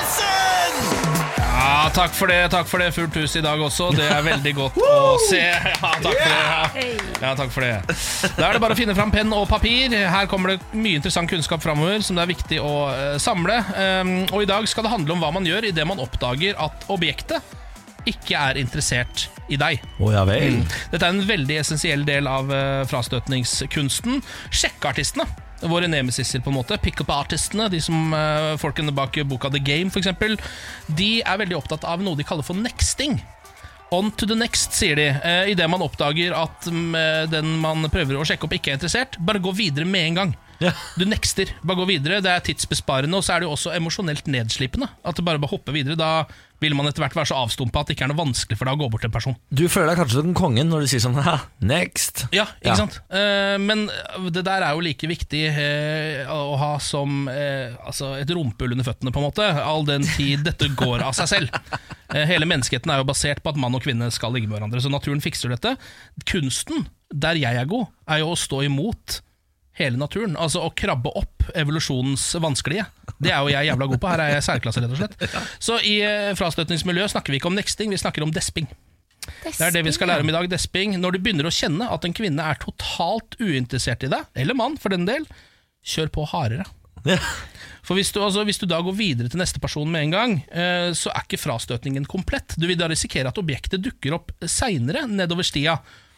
Nilsen! Ja, takk for det. takk for det Fullt hus i dag også. Det er veldig godt å se. Ja, takk for det. Ja. Ja, takk for det. Da er det bare å finne fram penn og papir. Her kommer det mye interessant kunnskap framover som det er viktig å eh, samle. Um, og i dag skal det handle om hva man gjør idet man oppdager at objektet ikke er interessert i deg. Å ja vel. Mm. Dette er en veldig essensiell del av eh, frastøtningskunsten. Sjekkeartistene. Våre nemesisser, på en måte. Pickup-artistene, de som eh, folkene bak boka The Game, f.eks. De er veldig opptatt av noe de kaller for nexting. On to the next, sier de. Eh, Idet man oppdager at mm, den man prøver å sjekke opp, ikke er interessert, bare gå videre med en gang. Ja. Du nexter. Bare gå videre. Det er tidsbesparende, og så er det jo også emosjonelt nedslipende. At du bare bare hopper videre. Da vil man etter hvert være så avstumpa at det ikke er noe vanskelig for deg å gå bort til en person. Du føler deg kanskje som kongen når du sier sånn ha, next. Ja, ikke Ja. sant? Eh, men det der er jo like viktig eh, å ha som eh, altså et rumpehull under føttene, på en måte. All den tid dette går av seg selv. Eh, hele menneskeheten er jo basert på at mann og kvinne skal ligge med hverandre, så naturen fikser dette. Kunsten, der jeg er god, er jo å stå imot hele naturen. Altså å krabbe opp evolusjonens vanskelige. Det er jo jeg jævla god på. Her er jeg særklasse, rett og slett. Så i eh, frastøtningsmiljøet snakker vi ikke om nexting, vi snakker om desping. Det er det vi skal lære om i dag, desping. Når du begynner å kjenne at en kvinne er totalt uinteressert i deg, eller mann for den del, kjør på hardere. Ja. For hvis du, altså, hvis du da går videre til neste person med en gang, eh, så er ikke frastøtningen komplett. Du vil da risikere at objektet dukker opp seinere nedover stia.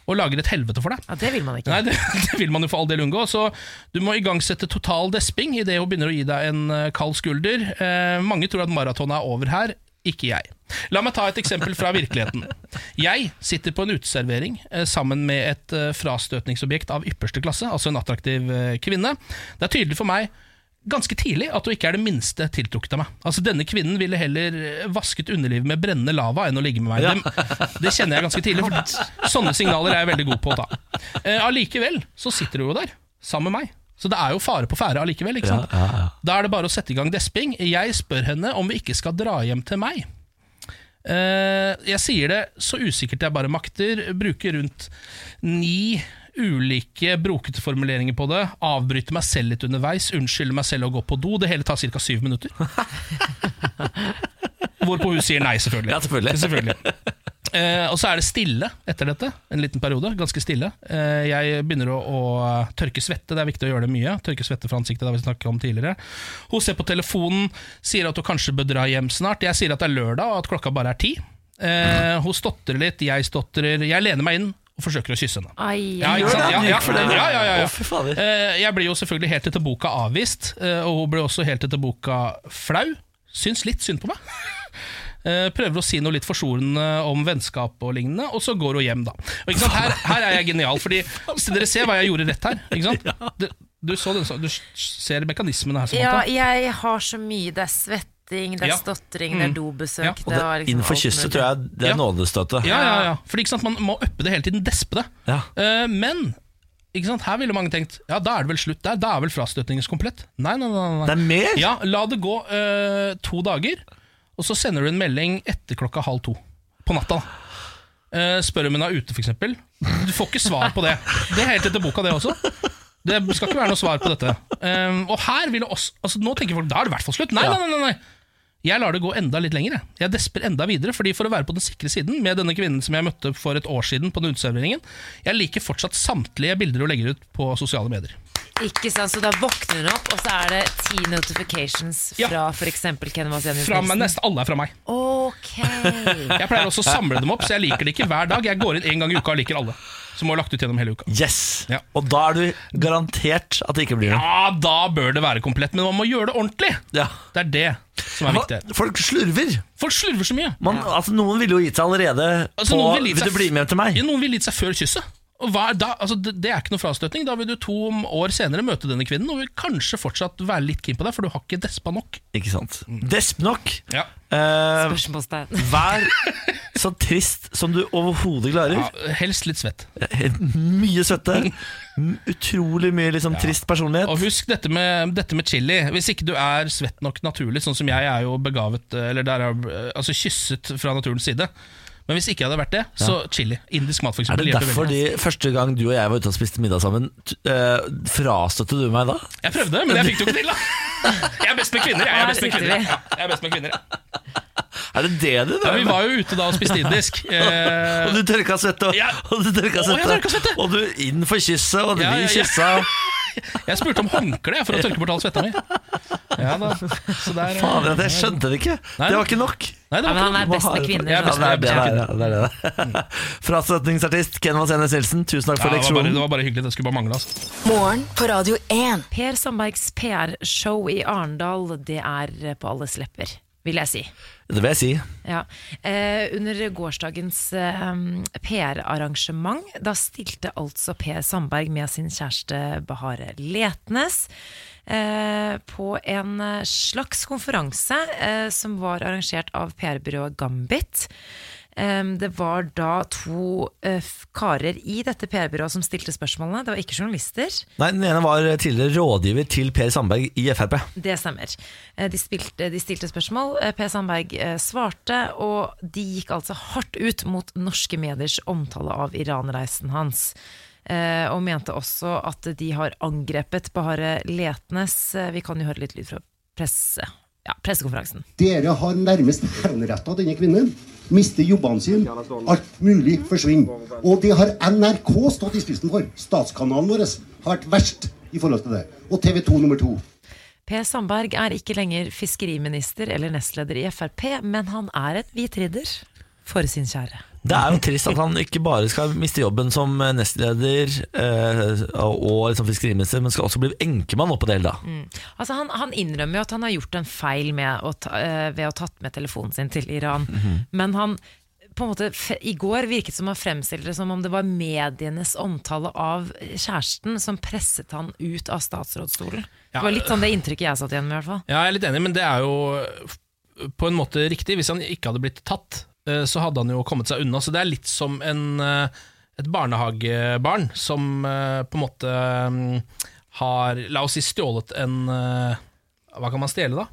og lager et helvete for deg. Ja, det vil man ikke. Nei, det, det vil man jo for all del unngå. Så du må igangsette total desping idet hun begynner å gi deg en eh, kald skulder. Eh, mange tror at maraton er over her. Ikke jeg. La meg ta et eksempel fra virkeligheten. Jeg sitter på en uteservering eh, sammen med et eh, frastøtningsobjekt av ypperste klasse, altså en attraktiv eh, kvinne. Det er tydelig for meg ganske tidlig at hun ikke er det minste tiltrukket av meg. Altså Denne kvinnen ville heller vasket underlivet med brennende lava enn å ligge med meg. Det, det kjenner jeg ganske tidlig, for sånne signaler er jeg veldig god på å ta. Eh, Allikevel så sitter hun jo der, sammen med meg. Så det er jo fare på ferde allikevel. ikke sant? Da er det bare å sette i gang desping. Jeg spør henne om vi ikke skal dra hjem til meg. Eh, jeg sier det så usikkert jeg bare makter. Bruker rundt ni ulike brokete formuleringer på det. Avbryter meg selv litt underveis. Unnskylder meg selv og går på do. Det hele tar ca. syv minutter. Hvorpå hun sier nei, selvfølgelig. Ja, selvfølgelig. Eh, og så er det stille etter dette, en liten periode. Ganske stille. Eh, jeg begynner å, å tørke svette, det er viktig å gjøre det mye. Tørke svette fra ansiktet, det har vi snakket om tidligere. Hun ser på telefonen, sier at hun kanskje bør dra hjem snart. Jeg sier at det er lørdag, og at klokka bare er ti. Eh, hun stotrer litt, jeg stotrer. Jeg lener meg inn og forsøker å kysse henne. Ai, Ja, ikke sant? Ja, ja, ja, ja, ja, ja. Å, fy fader. Eh, Jeg blir jo selvfølgelig helt etter boka avvist, eh, og hun ble også helt etter boka flau. Syns litt synd på meg. Eh, Prøver å si noe litt forsonende om vennskap og lignende, og så går hun hjem, da. Og ikke sant? Her, her er jeg genial, fordi så dere ser hva jeg gjorde rett her. Ikke sant? Du, du, så den, så- du ser mekanismene her. Samantha. Ja, jeg har så mye. Det er svetting, det er Ja. Mm. stottring, det er dobesøk Ja. Og det det, var liksom innenfor alt kysset mulig. tror jeg det Ja. er nådestøtet. Ja, ja, ja. Fordi ikke sant, Man må uppe det hele tiden, despe det. Ja. Eh, men ikke sant, her ville mange tenkt Ja, da er det vel slutt der. Da er vel frastøtningen komplett. Nei, nei, nei, nei. Det er mer! Ja, la det gå eh, to dager, og så sender du en melding etter klokka halv to på natta. da. Eh, spør om hun er ute, f.eks. Du får ikke svar på det. Det er helt etter boka, det også. Det skal ikke være noe svar på dette. Eh, og her vil det også, altså Nå tenker folk da er det i hvert fall slutt. Nei, nei, nei, nei, nei. Jeg lar det gå enda litt lenger. jeg. Jeg desper enda videre, fordi For å være på den sikre siden med denne kvinnen som jeg møtte for et år siden på den uteserveringen Jeg liker fortsatt samtlige bilder hun legger ut på sosiale medier. Ikke sant, Så da våkner hun opp, og så er det ti notifications Ja. fra f.eks. Ken Vasenius Fra meg, Nilsen. nesten alle er fra meg. Ok. Jeg pleier også å samle dem opp, så jeg liker det ikke hver dag. Jeg går inn en gang i uka og liker alle. Som har lagt ut gjennom hele uka. Yes! Ja. Og da er du garantert at det ikke blir noe. Ja, da bør det være komplett, men man må gjøre det ordentlig. Ja. Det er det som er Hva- viktig. Folk slurver! Folk slurver så mye. Man, altså, noen ville jo gitt seg allerede Altså, på noen ville Vil gitt du seg- bli med hjem til meg? Ja, Noen vil gitt seg før kysset. Og hva er da, altså det, det er ikke noe frastøtning. Da vil du to år senere møte denne kvinnen og vil kanskje fortsatt være litt keen på deg, for du har ikke despa nok. Ikke sant? Mm. Desp nok. Ja. Eh, Spørsmålstegn. vær så trist som du overhodet klarer. helst litt svett. Mye svette. m- Utrolig mye liksom, trist personlighet. Og husk dette med, dette med chili. Hvis ikke du er svett nok naturlig, sånn som jeg er jo begavet Eller der er, eh, altså kysset fra naturens side. Men hvis ikke jeg hadde vært det, så chili. Indisk mat, for Er eksempel. det hjelper derfor veldig. de første gang du og jeg var ute og spiste middag sammen, t- eh, frastøtte du meg da? Jeg prøvde, men jeg fikk det jo ikke til, da. Jeg er best med kvinner, jeg. jeg er best med Her sitter kvinner. vi. Ja, jeg er best med kvinner. jeg. Er det det du Ja, drev vi med? var jo ute da og spiste indisk. Eh, Og du tørka svette, og, Ja. og du tørka Å, jeg svette, tørka svette. og du inn for kysset, og Ja, vi ja, ja. kyssa. jeg spurte om håndkle jeg, for å tørke bort all svetta mi. Ja da, så der eh, Fader, at jeg skjønte det ikke. Nei. Det var ikke nok. Nei, det Ja, var ikke men han noe. er best med kvinner. Jeg er Ja, best det er med- det, jeg er best med det er det, det er det. Frastøtningsartist Ken Vasenes Nilsen, tusen takk Ja, det, var for bare, det leksjonen. var bare hyggelig. Det skulle bare mangle. Altså. Morgen på Radio 1. Per Sandbergs PR-show i Arendal, det er på alles lepper, vil jeg si. Det vil jeg si. Ja. Eh, under gårsdagens eh, PR-arrangement, da stilte altså Per Sandberg med sin kjæreste Bahare Letnes eh, på en eh, slags konferanse eh, som var arrangert av PR-byrået Gambit. Eh, det var da to eh, f- karer i dette PR-byrået som stilte spørsmålene. Det var ikke journalister. Nei, Den ene var tidligere rådgiver til Per Sandberg i Frp. Det stemmer. Eh, De, spilte, de stilte spørsmål, eh, Per Sandberg eh, svarte, og de gikk altså hardt ut mot norske mediers omtale av Iran-reisen hans. Eh, Og mente også at de har angrepet Bahare Letnes. Eh, Vi kan jo høre litt lyd fra presse, ja, pressekonferansen. Dere har nærmest henretta denne kvinnen. Mister jobbene sine. Alt mulig forsvinner. Og det har NRK stått i spissen for. Statskanalen vår har vært verst i forhold til det. Og TV 2 nummer to. Per Sandberg er ikke lenger fiskeriminister eller nestleder i Frp, men han er et hvitridder. for sin kjære. Det er jo trist at han ikke bare skal miste jobben som nestleder eh, og liksom fiskeriminister, men skal også bli enkemann oppå det hele, da. Altså han, han innrømmer jo at han har gjort en feil med å ta, eh, ved å ha tatt med telefonen sin til Iran. Mhm. Men han på en måte, f I går virket som han fremstilte det som om det var medienes omtale av kjæresten som presset han ut av statsrådsstolen. Det var litt sånn det inntrykket jeg satt igjen med. i hvert fall Ja, jeg er litt enig, men det er jo f- på en måte riktig. Hvis han ikke hadde blitt tatt, eh, så hadde han jo kommet seg unna. Så det er litt som en, eh, et barnehagebarn som eh, på en måte mm, har, la oss si, stjålet en eh, Hva kan man stjele, da?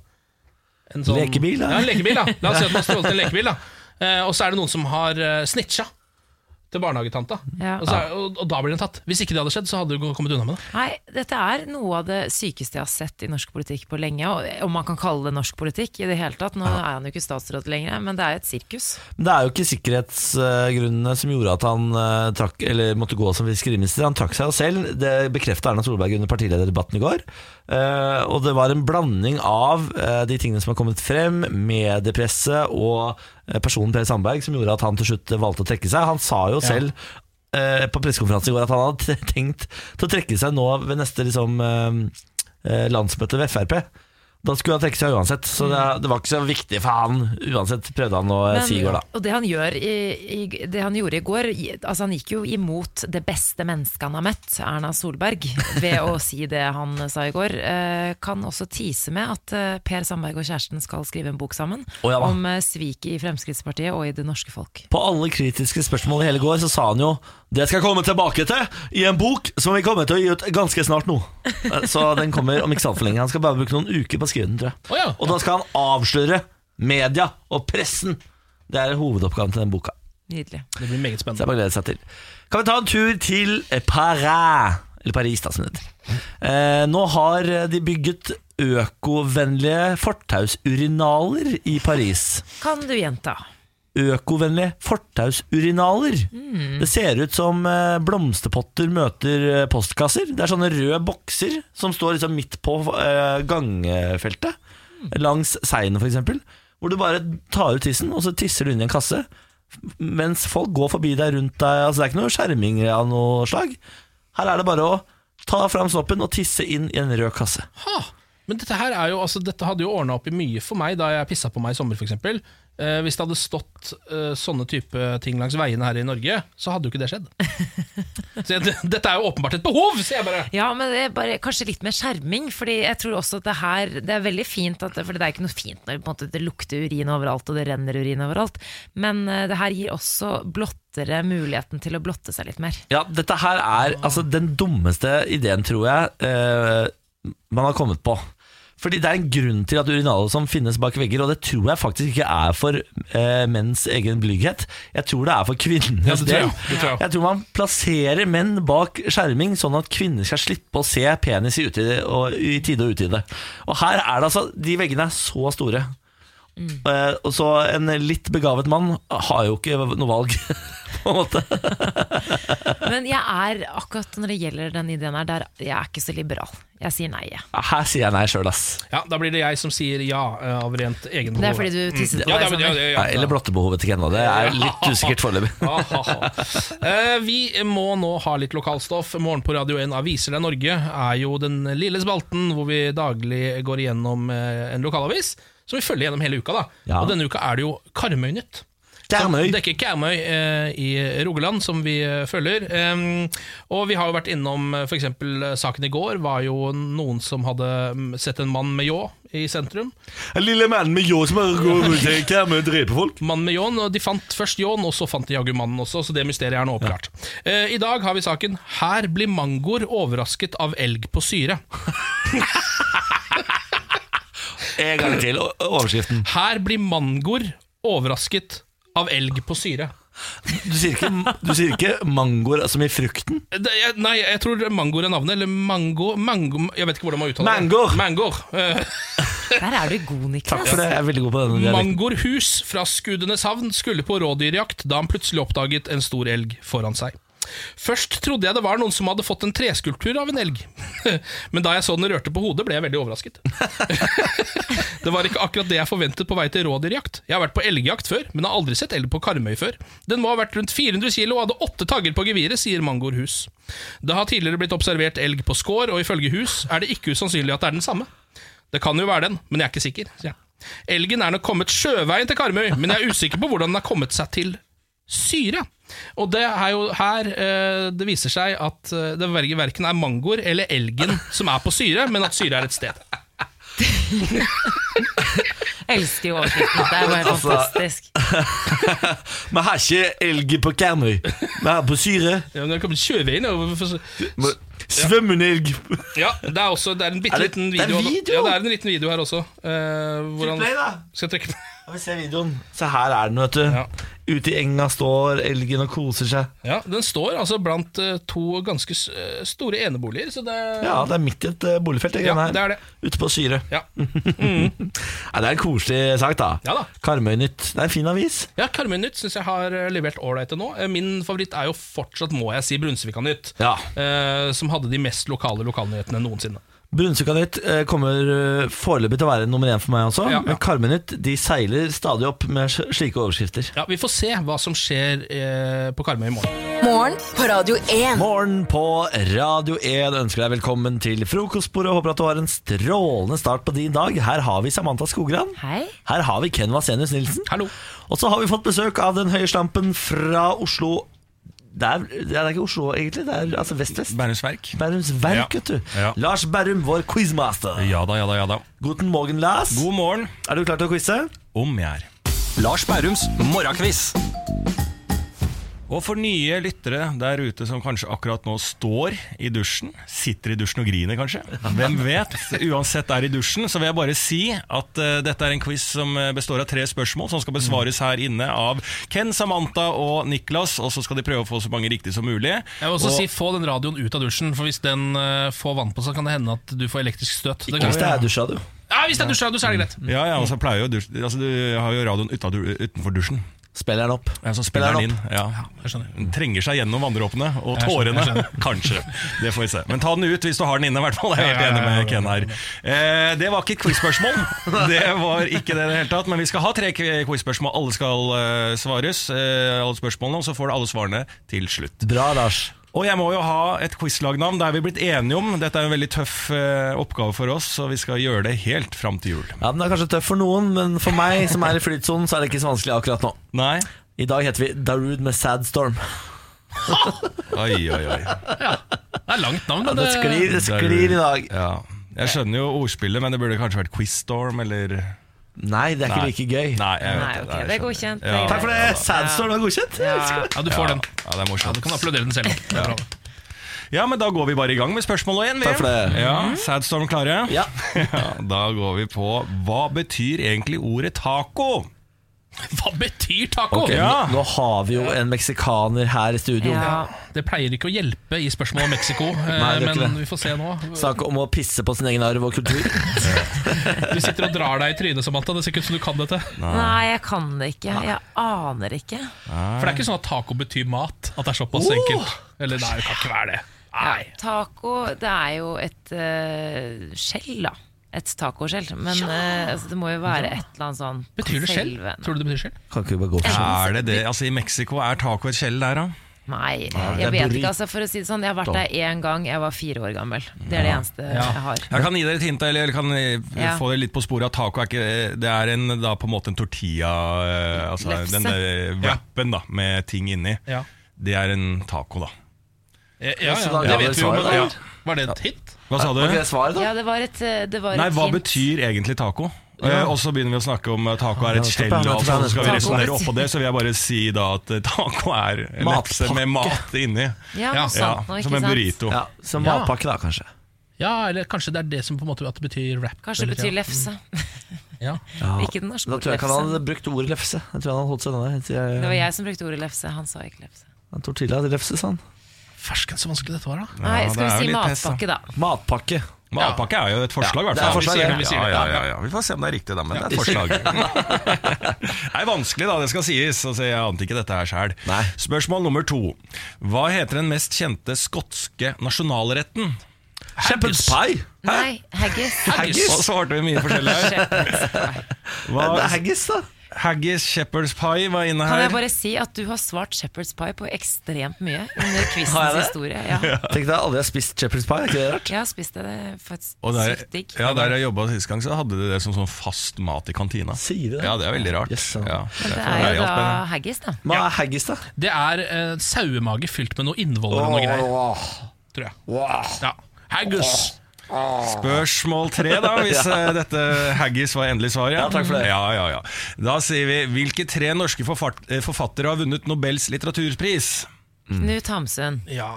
En sånn- Lekebil, da? Ja, en lekebil, da. La oss si at man har stjålet en lekebil, da. Eh, Og så er det noen som har eh, snitcha. Til barnehagetanta. Ja. Og, så er, og, og da blir den tatt. Hvis ikke det hadde skjedd, så hadde du kommet unna med det. Nei, dette er noe av det sykeste jeg har sett i norsk politikk på lenge. og- Om man kan kalle det norsk politikk i det hele tatt. Nå er han jo ikke statsråd lenger, men det er et sirkus. Men det er jo ikke sikkerhetsgrunnene som gjorde at han eh, trakk, eller måtte gå som fiskeriminister. Han trakk seg jo selv. Det bekrefta Erna Solberg under partilederdebatten i går. Eh, og det var en blanding av eh, de tingene som har kommet frem, mediepresset og eh, personen Per Sandberg, som gjorde at han til slutt valgte å trekke seg. Han sa jo selv eh, på pressekonferansen i går at han hadde t- tenkt til å trekke seg nå ved neste liksom, eh, eh, landsmøte ved Frp. Da skulle han trekke seg uansett, så det, det var ikke så viktig for han. Uansett prøvde han å eh, si i går, da. og det han, gjør i, i, det han gjorde i går i- altså Han gikk jo imot det beste mennesket han har møtt, Erna Solberg, ved å si det han sa i går. Eh, kan også tease med at eh, Per Sandberg og kjæresten skal skrive en bok sammen Å, ja da. om eh, sviket i Fremskrittspartiet og i det norske folk. På alle kritiske spørsmål i hele går så sa han jo Det skal jeg komme tilbake til i en bok som vi kommer til å gi ut ganske snart nå. Eh, Så den kommer om ikke så altfor lenge. Han skal bare bruke noen uker på å skrive den, tror jeg. Å ja. Og da skal han avsløre media og pressen. Det er hovedoppgaven til den boka. Nydelig. Det blir meget spennende. Så jeg bare gleder seg til. Kan vi ta en tur til eh, Paris? Eller Paris, da, som det heter. Eh, nå har de bygget økovennlige fortausurinaler i Paris Kan du gjenta? økovennlige fortausurinaler. Det ser ut som eh, blomsterpotter møter eh, postkasser. Det er sånne røde bokser som står liksom midt på eh, gangfeltet, langs seien f.eks., hvor du bare tar ut tissen, og så tisser du inn i en kasse. Mens folk går forbi deg rundt deg, altså det er ikke noe skjerming av noe slag. Her er det bare å ta fram snoppen og tisse inn i en rød kasse. Ha! Ah, Men dette her er jo, altså, dette hadde jo ordna opp i mye for meg da jeg pissa på meg i sommer, f.eks. Eh, hvis det hadde stått eh, sånne type ting langs veiene her i Norge, så hadde jo ikke det skjedd. Så jeg, dette er jo åpenbart et behov, sier jeg bare. Ja, men det er bare kanskje litt mer skjerming. Fordi jeg tror også at det her Det er veldig fint, at, for det er ikke noe fint når det, på en måte, det lukter urin overalt og det renner urin overalt. Men eh, det her gir også blottere muligheten til å blotte seg litt mer. Ja, dette her er altså, den dummeste ideen, tror jeg, eh, man har kommet på. Fordi det er en grunn til at urinaler som finnes bak vegger, og det tror jeg faktisk ikke er for eh, menns egen blyghet. Jeg tror det er for kvinnenes det tror jeg. del. Det tror jeg. Jeg tror man plasserer menn bak skjerming, sånn at kvinner skal slippe å se penis i, utide, og, i tide og utide. Og her er det altså De veggene er så store. Eh, og så en litt begavet mann har jo ikke noe valg, på en måte. Men jeg er akkurat når det gjelder den ideen her, der jeg er ikke så liberal. Jeg sier nei, jeg. Her sier jeg nei sjøl, ass. Ja, Da blir det jeg som sier ja eh, av rent egen Mm. Det er fordi du tisset på ja, det er- deg i ja, sommer. det- ja, Ja, eller blottebehovet til Kenna. Det er litt usikkert foreløpig. Ah, ah, ah. Eh, Vi må nå ha litt lokalstoff. Morgen på Radio 1 Aviser deg Norge er jo den lille spalten hvor vi daglig går igjennom eh, en lokalavis, som vi følger gjennom hele uka. da Ja. Og denne uka er det jo Karmøy-nytt. Karmøy. Som dekker Karmøy eh, i Rogaland, som vi eh, følger. Em, og vi har jo vært innom eh, for eksempel eh, saken i går, var jo noen som hadde mm, sett en mann med ljå i sentrum. En lille mann med ljå som går rundt i Karmøy og dreper folk. Mannen med ljåen, og de fant først ljåen, og så fant de jaggu mannen også, så det mysteriet er nå oppklart. Eh, I dag har vi saken 'Her blir mangoer overrasket av elg på syre'. En gang til, o- overskriften. Her blir mangoer overrasket av elg på syre. Du sier ikke, du sier ikke mangoer som i frukten? Eh, Det, jeg, nei, jeg tror mangoer er navnet, eller mango, mango Jeg vet ikke hvordan man uttaler Mangoer. det. Mangoer. Eh, Der er du god, Takk Niklas. for det, jeg er veldig god på denne dialekten. Mangorhus fra Skudeneshavn skulle på rådyrjakt da han plutselig oppdaget en stor elg foran seg. Først trodde jeg det var noen som hadde fått en treskulptur av en elg. Men da jeg så den rørte på hodet, ble jeg veldig overrasket. Det var ikke akkurat det jeg forventet på vei til rådyrjakt. Jeg har vært på elgjakt før, men har aldri sett elg på Karmøy før. Den må ha vært rundt 400 kilo og hadde åtte tagger på geviret, sier Mangor Hus. Det har tidligere blitt observert elg på Skår, og ifølge Hus er det ikke usannsynlig at det er den samme. Det kan jo være den, men jeg er ikke sikker, sier jeg. Elgen er nok kommet sjøveien til Karmøy, men jeg er usikker på hvordan den har kommet seg til syre. Og det er jo her eh, det viser seg at eh, det ver- verken er mangoer eller elgen som er på syre, men at syre er et sted. Jeg elsker jo overskriften. Det er bare helt fantastisk. Vi har ikke elg på Karmøy. Vi har på Syre. Ja, men det har kommet sjøveien over for- Men- Svømmende elg. Ja, det er også Det er en bitte Er det- liten det er video. video? Ja, det er en liten video her også. eh, hvor han Play, da. skal trekke Ja, Vi ser videoen. Se, her er den, vet du. Ja. Ute i enga står elgen og koser seg. Ja, Den står altså blant eh, to ganske s- eh, store eneboliger, så det Ja, det er midt i et eh, boligfelt. det Ja, greiene her. det er det. Ute på Syre. Ja. Ja, det er en koselig sak, da. Ja da. Karmøy Nytt. Det er en fin avis. Ja, Karmøy Nytt syns jeg har eh, levert ålreite nå. Eh, Min favoritt er jo fortsatt, må jeg si, Brunsvika Nytt. Ja. eh, som hadde de mest lokale lokalnyhetene noensinne. Brunsvika Nytt eh, kommer eh, foreløpig til å være nummer én for meg også. Ja, ja. Men Karmøy Nytt de seiler stadig opp med sl- slike overskrifter. Ja, Vi får se hva som skjer eh, på Karmøy i morgen. Morgen på Radio 1. Morgen på Radio 1 ønsker deg velkommen til frokostbordet. Håper at du har en strålende start på din dag. Her har vi Samantha Skogran. Hei. Her har vi Ken Vasenius Nilsen. Hallo. Og så har vi fått besøk av den høye slampen fra Oslo det er, det er ikke Oslo, egentlig. Det er altså vest-vest. Bærums Verk. Bærums verk, Ja. vet du. Ja. Lars Bærum, vår quizmaster. Ja da, ja da, ja da. Guten morgen, Lars. God morgen, Er du klar til å quize? om jeg er. Lars Bærums morgenkviss. Og for nye lyttere der ute som kanskje akkurat nå står i dusjen, sitter i dusjen og griner kanskje, hvem vet, uansett er i dusjen, så vil jeg bare si at eh, dette er en quiz som eh, består av tre spørsmål som skal besvares her inne av Ken, Samantha og Niklas, og så skal de prøve å få så mange riktig som mulig. Jeg vil også Og- si Få den radioen ut av dusjen, for hvis den eh, får vann på seg, kan det hende at du får elektrisk støt. Det kan- Hvis det er dusja, du. Mm. ja, hvis det er dusjradio, så er det greit. Ja, ja, og så pleier jo dusj, altså du har jo radioen uta- utenfor dusjen. Spill den opp. Ja, så Spiller spiller den den inn. Ja. Jeg skjønner. Den trenger seg gjennom vanndråpene og Jeg skjønner, tårene. jeg Kanskje. Det får vi se. Men ta den ut hvis du har den inne, i hvert fall. Jeg er helt enig med Ken her. Eh, det var ikke et quiz-spørsmål. Det var ikke det i det hele tatt. Men vi skal ha tre quiz-spørsmål. Alle skal eh, svares, eh, alle spørsmålene, og så får du alle svarene til slutt. Bra, Lars. Og jeg må jo ha et quizlagnavn. Det er vi blitt enige om. Dette er en veldig tøff eh, oppgave for oss, så vi skal gjøre det helt fram til jul. Ja, Den er kanskje tøff for noen, men for meg som er i flytsonen, så er det ikke så vanskelig akkurat nå. Nei? I dag heter vi Darude med Sad Storm. Oi, oi, oi. Det er langt navn, Ja, men det sklir, det sklir i dag. Ja. Jeg skjønner jo ordspillet, men det burde kanskje vært Quizstorm eller Nei, det er ikke like gøy. Nei, jeg vet Nei, det. ok, det er godkjent. Ja. er Takk for det! greit. Sad Storm er godkjent. Ja, du får den. Ja, det er Ja, morsomt. du kan applaudere den selv. Det er bra. Ja, men da går vi bare i gang med spørsmål og én. Takk for det. Ja, Sadstorm klare? Ja. Ja, Da går vi på Hva betyr egentlig ordet taco? Hva betyr taco? Ok, Ja. nå, nå har vi jo en meksikaner her i studio. Ja. Det pleier ikke å hjelpe i spørsmålet om Mexico, eh, Nei, det gjør ikke men det. vi får se nå. Snakk om å pisse på sin egen arv og kultur. Du sitter og drar deg i trynet, Samantha. Det ser ikke ut som du kan dette. For Nei, jeg kan det ikke. Jeg aner ikke. det er ikke sånn at taco betyr mat. At det er såpass enkelt. Eller nei, det kan ikke være det. Nei. Taco, det er jo et eh, skjell, da. Et tacoskjell. Men eh, altså, det må jo være et eller annet sånn Betyr det skjell? konserve- Tror du det betyr skjell? Kan ikke vi bare gå for sånn? Er det det? Altså, I Mexico er taco et skjell der, da? Nei, det er jeg vet burrito. ikke. Altså, for å si det sånn, jeg har vært der én gang, jeg var fire år gammel. Det er det eneste jeg har. Jeg kan gi dere et hint, eller kan eh, Ja. få dere litt på sporet at taco er ikke eh, Det er en, da, på en måte en tortilla eh, Altså Lefse. den der wrappen da, med ting inni. Ja. Det er en taco, da. Ja, ja, så ja. da Det ga vi vet vi jo, men svaret, da. ja. var det et hint? Hva sa du? Var ikke det svaret, da? Ja, det var et, eh, det var Nei, et hva hint. betyr egentlig taco? Eh, Og så begynner vi å snakke om eh, taco er Ja, et skjell, nettopp, ja, og så nettopp, skal vi nettopp. resonnere oppå det. Så vil jeg bare si da at eh, taco er en lefse Matpakke. med mat inni. Ja, Ja, noe Ja, sånt nå, ikke som en sant? burrito. Ja, Som Ja. matpakke, da, kanskje. Ja, eller kanskje det er det som på en måte at det betyr rap. Kanskje det betyr lefse. Ja. Ikke den norske Da tror jeg ikke han hadde brukt ordet lefse. Jeg tror han hadde holdt seg denne. Det var til- jeg som brukte ordet lefse, han sa ikke lefse. eh, Tortilla til lefse, sa han. Fersken, så vanskelig dette var, da. Nei, det skal er vi si jo litt test, da. matpakke, da. Matpakke. Men avpakke er jo et forslag, i Ja, hvert det er fall. et forslag, Vi ja. sier- vi sier det. Ja, ja, ja, ja. Vi får se om det er riktig, da, men det er et forslag. Det er vanskelig, da, det skal sies. Altså, jeg ante ikke dette her sjøl. Spørsmål nummer to. Hva heter den mest kjente skotske nasjonalretten? Shepherd's pie! Nei, haggis. Haggis. Og svarte vi mye forskjellig her. Det er haggis, da. Haggis Shepherd's pie var inne Kan jeg her. bare si at du har svart Shepherd's pie på ekstremt mye under quizens historie? Ja. Tenk deg, aldri har spist shepherd's pie. Er ikke det rart? Jeg har spist det, det er faktisk Og der, sykt digg. ja, der jeg jobba sist gang, så hadde de det som sånn fast mat i kantina. Sier du det? Ja, det er veldig rart. ja, Men det derfor er jo hjalp da jeg det. haggis, da. Hva er haggis, da? Det er eh, sauemage fylt med noe innvoller og noe greier, tror jeg. Ja. Haggis! Spørsmål tre, da, hvis eh, dette haggis var endelig svar. Ja. takk for det. Ja, ja, ja. Da sier vi hvilke tre norske forfart- eh, forfattere har vunnet Nobels litteraturpris? Knut Hamsun. Ja.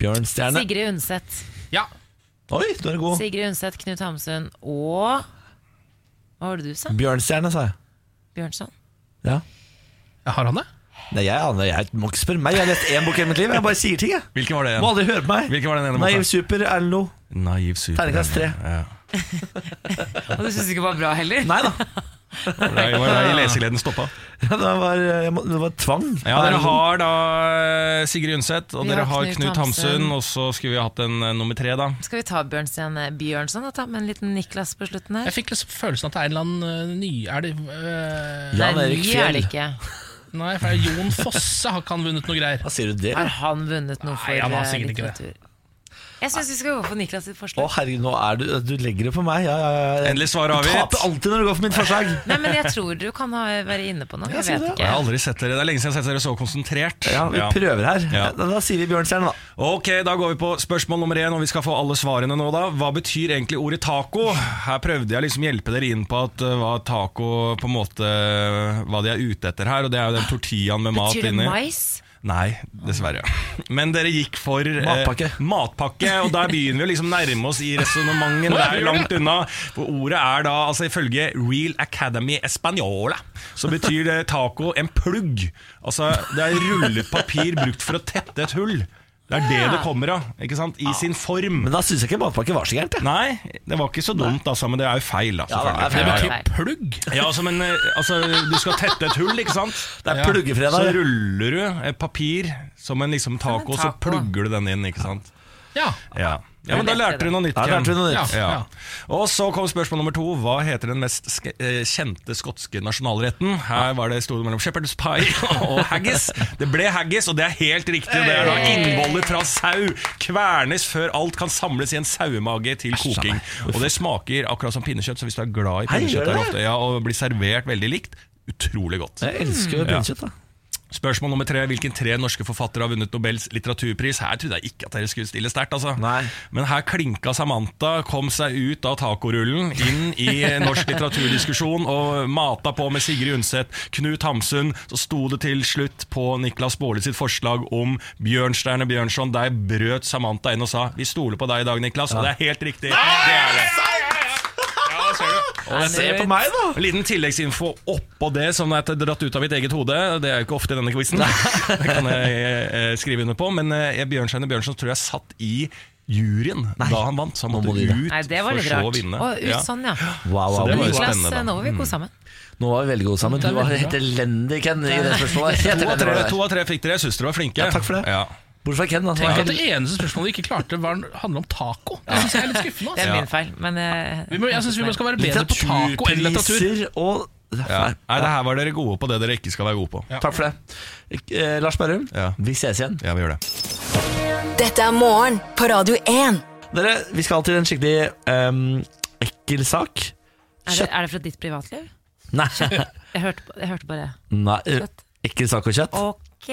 Bjørnstjerne. Sigrid Undset. ja. Oi, du er god. Sigrid Undset, Knut Hamsun og Hva var det du sa? Bjørnstjerne, sa jeg. Bjørnson? Ja. Har han det? Nei, jeg aner Jeg må ikke spørre meg. Jeg har lest én bok i mitt liv. Jeg bare sier ting, jeg. Hvilken var det? Må aldri høre på meg. Hvilken var den ene boka? Naiv super, Erlend Loe. Naiv super. Terningkast tre. Ja. Og du syns ikke det var bra heller? Nei da. Nei, det var der lesegleden stoppa. Ja, det, var, eh, jeg må, det var tvang. Ja, dere sånn- har da eh, Sigrid Undset, og Vi dere har har Knut Knut Hamsun, Hamsun. og så skulle vi hatt en eh, nummer tre, da. Skal vi ta Bjørnstjerne Bjørnson og ta med en liten Niklas på slutten her? Jeg fikk liksom følelsen at det er en eller annen eh, ny... Er det eh, Jan Nei, Erik ni er Fjell. det ikke. Nei, for det er Jon Fosse har ikke han vunnet noe greier. Hva sier du det? Har han vunnet noe for Nei, han har eh, sikkert ikke det. litteratur? Jeg syns vi skal gå for Niklas sitt Å forslag. herregud, nå er du Du legger det på meg. Ja, ja, ja, ja. Endelig svar Du avgitt. taper alltid når du går for mitt forslag. Nei, men jeg tror du kan ha, være inne på noe. Jeg sier vet Jeg har ikke. aldri sett dere, Det er lenge siden jeg har sett dere så konsentrert. Ja, vi Ja. prøver her. Ja. Da, da sier vi Bjørnstjerne, da. Ok, Da går vi på spørsmål nummer én, og vi skal få alle svarene nå. da Hva betyr egentlig ordet taco? Her prøvde jeg liksom hjelpe dere inn på at uh, hva taco på en måte Hva de er ute etter her, og det er jo den tortillaen med mat Betyr det inni. mais? Nei, dessverre. Men dere gikk for eh, Matpakke. matpakke, og der begynner vi å liksom nærme oss i resonnementet. Det er jo langt unna. For ordet er da, altså ifølge Real Academy Española, så betyr det taco en plugg. Altså, det er rullet papir brukt for å tette et hull. Det er det det kommer av, ikke sant? I sin form. Men da syns jeg ikke matpakke var så gærent. jeg. Nei, det var ikke så dumt, altså, men det er jo feil, da, Ja, det er selvfølgelig. feil. Det Ja, betyr ja. plugg. Ja, altså, men eh, altså, du skal tette et hull, ikke sant? Det er Ja. Så pluggefredag. ruller du et papir som en liksom taco, og så taco. plugger du den inn, ikke sant? Ja. Ja, ja men da lærte du noe nytt, Da Ken. lærte vi noe Ja. nytt. Ja. Ja. Og så kom spørsmål nummer to. Hva heter den mest ske eh, kjente skotske nasjonalretten? Her var det sto det mellom shepherd's pie og haggis. Det ble haggis, og det er helt riktig. Det er da innvoller fra sau. Kvernes før alt kan samles i en sauemage til koking. Og det smaker akkurat som pinnekjøtt, så hvis du er glad i Hei, pinnekjøtt gjør det? er ofte, ja, og blir servert veldig likt, utrolig godt. Jeg elsker jo pinnekjøtt, da. Spørsmål nummer tre. Hvilken tre norske forfattere har vunnet Nobels litteraturpris? Her trodde jeg ikke at dere skulle stille sterkt. altså. Nei. Men her klinka Samantha, kom seg ut av tacorullen, inn i eh, norsk litteraturdiskusjon og mata på med Sigrid Undset, Knut Hamsun. Så sto det til slutt på Niklas Baarli sitt forslag om Bjørnstjerne Bjørnson. Der brøt Samantha inn og sa 'Vi stoler på deg i dag, Niklas', og det er helt riktig. Det er det. Ja, det ser du. Se på meg, da! En liten tilleggsinfo oppå det som er dratt ut av mitt eget hode. Det er jo ikke ofte i denne quizen. Det kan jeg eh, skrive under på. Men eh, Bjørnstein Bjørnson tror jeg satt i juryen da han vant, så han måtte må de det. ut Nei, det var for litt så å rart. vinne. Å, ut Ja. sånn, ja. Wow, Så det wow, var jo wow. Niklas, eh, spennende, da. nå var vi gode sammen. Mm. Nå var vi veldig gode sammen. Du var helt elendig, Ken, i det spørsmålet. Helt To av elendig tre, var det. to av tre fikk dere. Jeg syns dere var flinke. Ja, takk for det. Ja. Bortsett fra Ken, da. Tenk at Helt- det eneste spørsmålet vi ikke klarte, var, handler om taco. Det synes jeg er litt skuffende. Det Altså. er min feil, men eh, Vi må, jeg syns vi skal være bedre på taco enn litteratur. Litteraturpriser og Ja. Nei. Nei, det her var dere gode på det dere ikke skal være gode på. Takk for det. Eh, Lars Berrum, Ja. vi ses igjen. Ja, vi gjør det. Dette er morgen på Radio 1. Dere, vi skal til en skikkelig ehm, ekkel sak. er det, er det fra ditt privatliv? Nei. Jeg hørte, på- jeg hørte bare Nei. eh, Kjøtt. Ekkel sak og kjøtt. Ok.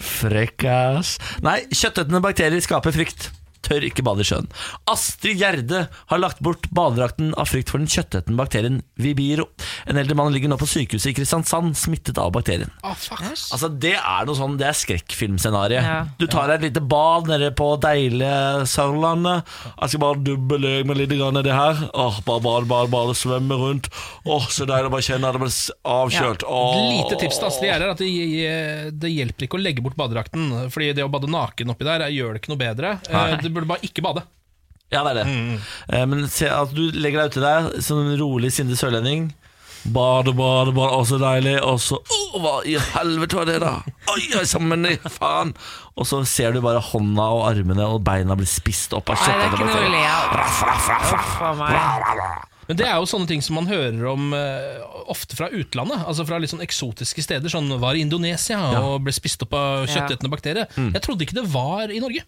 Frekkas. Nei, kjøttetende bakterier skaper frykt. Tør ikke bade i sjøen. Astrid Gjerde har lagt bort badedrakten av frykt for den kjøttetende bakterien Vibiro. En eldre mann ligger nå på sykehuset i Kristiansand, smittet av bakterien. Ah, fuck. Altså Det er noe sånn, det er skrekkfilmscenario. Ja. Du tar deg et lite bad nede på deilige Sørlandet. Jeg skal bare dubbe løk med litt grann i det her. Åh, Bare bade, bade, bade, svømme rundt. Åh, Så deilig å bare kjenne at det blir s- avkjølt. Et Åh. Altså, lite tips til Astrid er at det, det hjelper ikke å legge bort badedrakten. Fordi det å bade naken oppi der gjør det ikke noe bedre. Eh, Det burde bare ikke bade. Ja, det er det. Eh, Men se at du legger deg uti der som en rolig, sindig sørlending. Bade, bade, bade, å så deilig. Og så Å, hva i helvete var det, da? Oi, oi, sammen, i faen! Og så ser du bare hånda og armene og beina blir spist opp av Nei, det er ikke noe å kjøttet. le av. Raff, raff, raff, raff. Raff, raff, raff. Men det er jo sånne ting som man hører om eh, ofte fra utlandet. Altså fra litt sånn eksotiske steder. Sånn var i Indonesia Ja. og ble spist opp av Ja. kjøttetende bakterier. Mm. Jeg trodde ikke det var i Norge.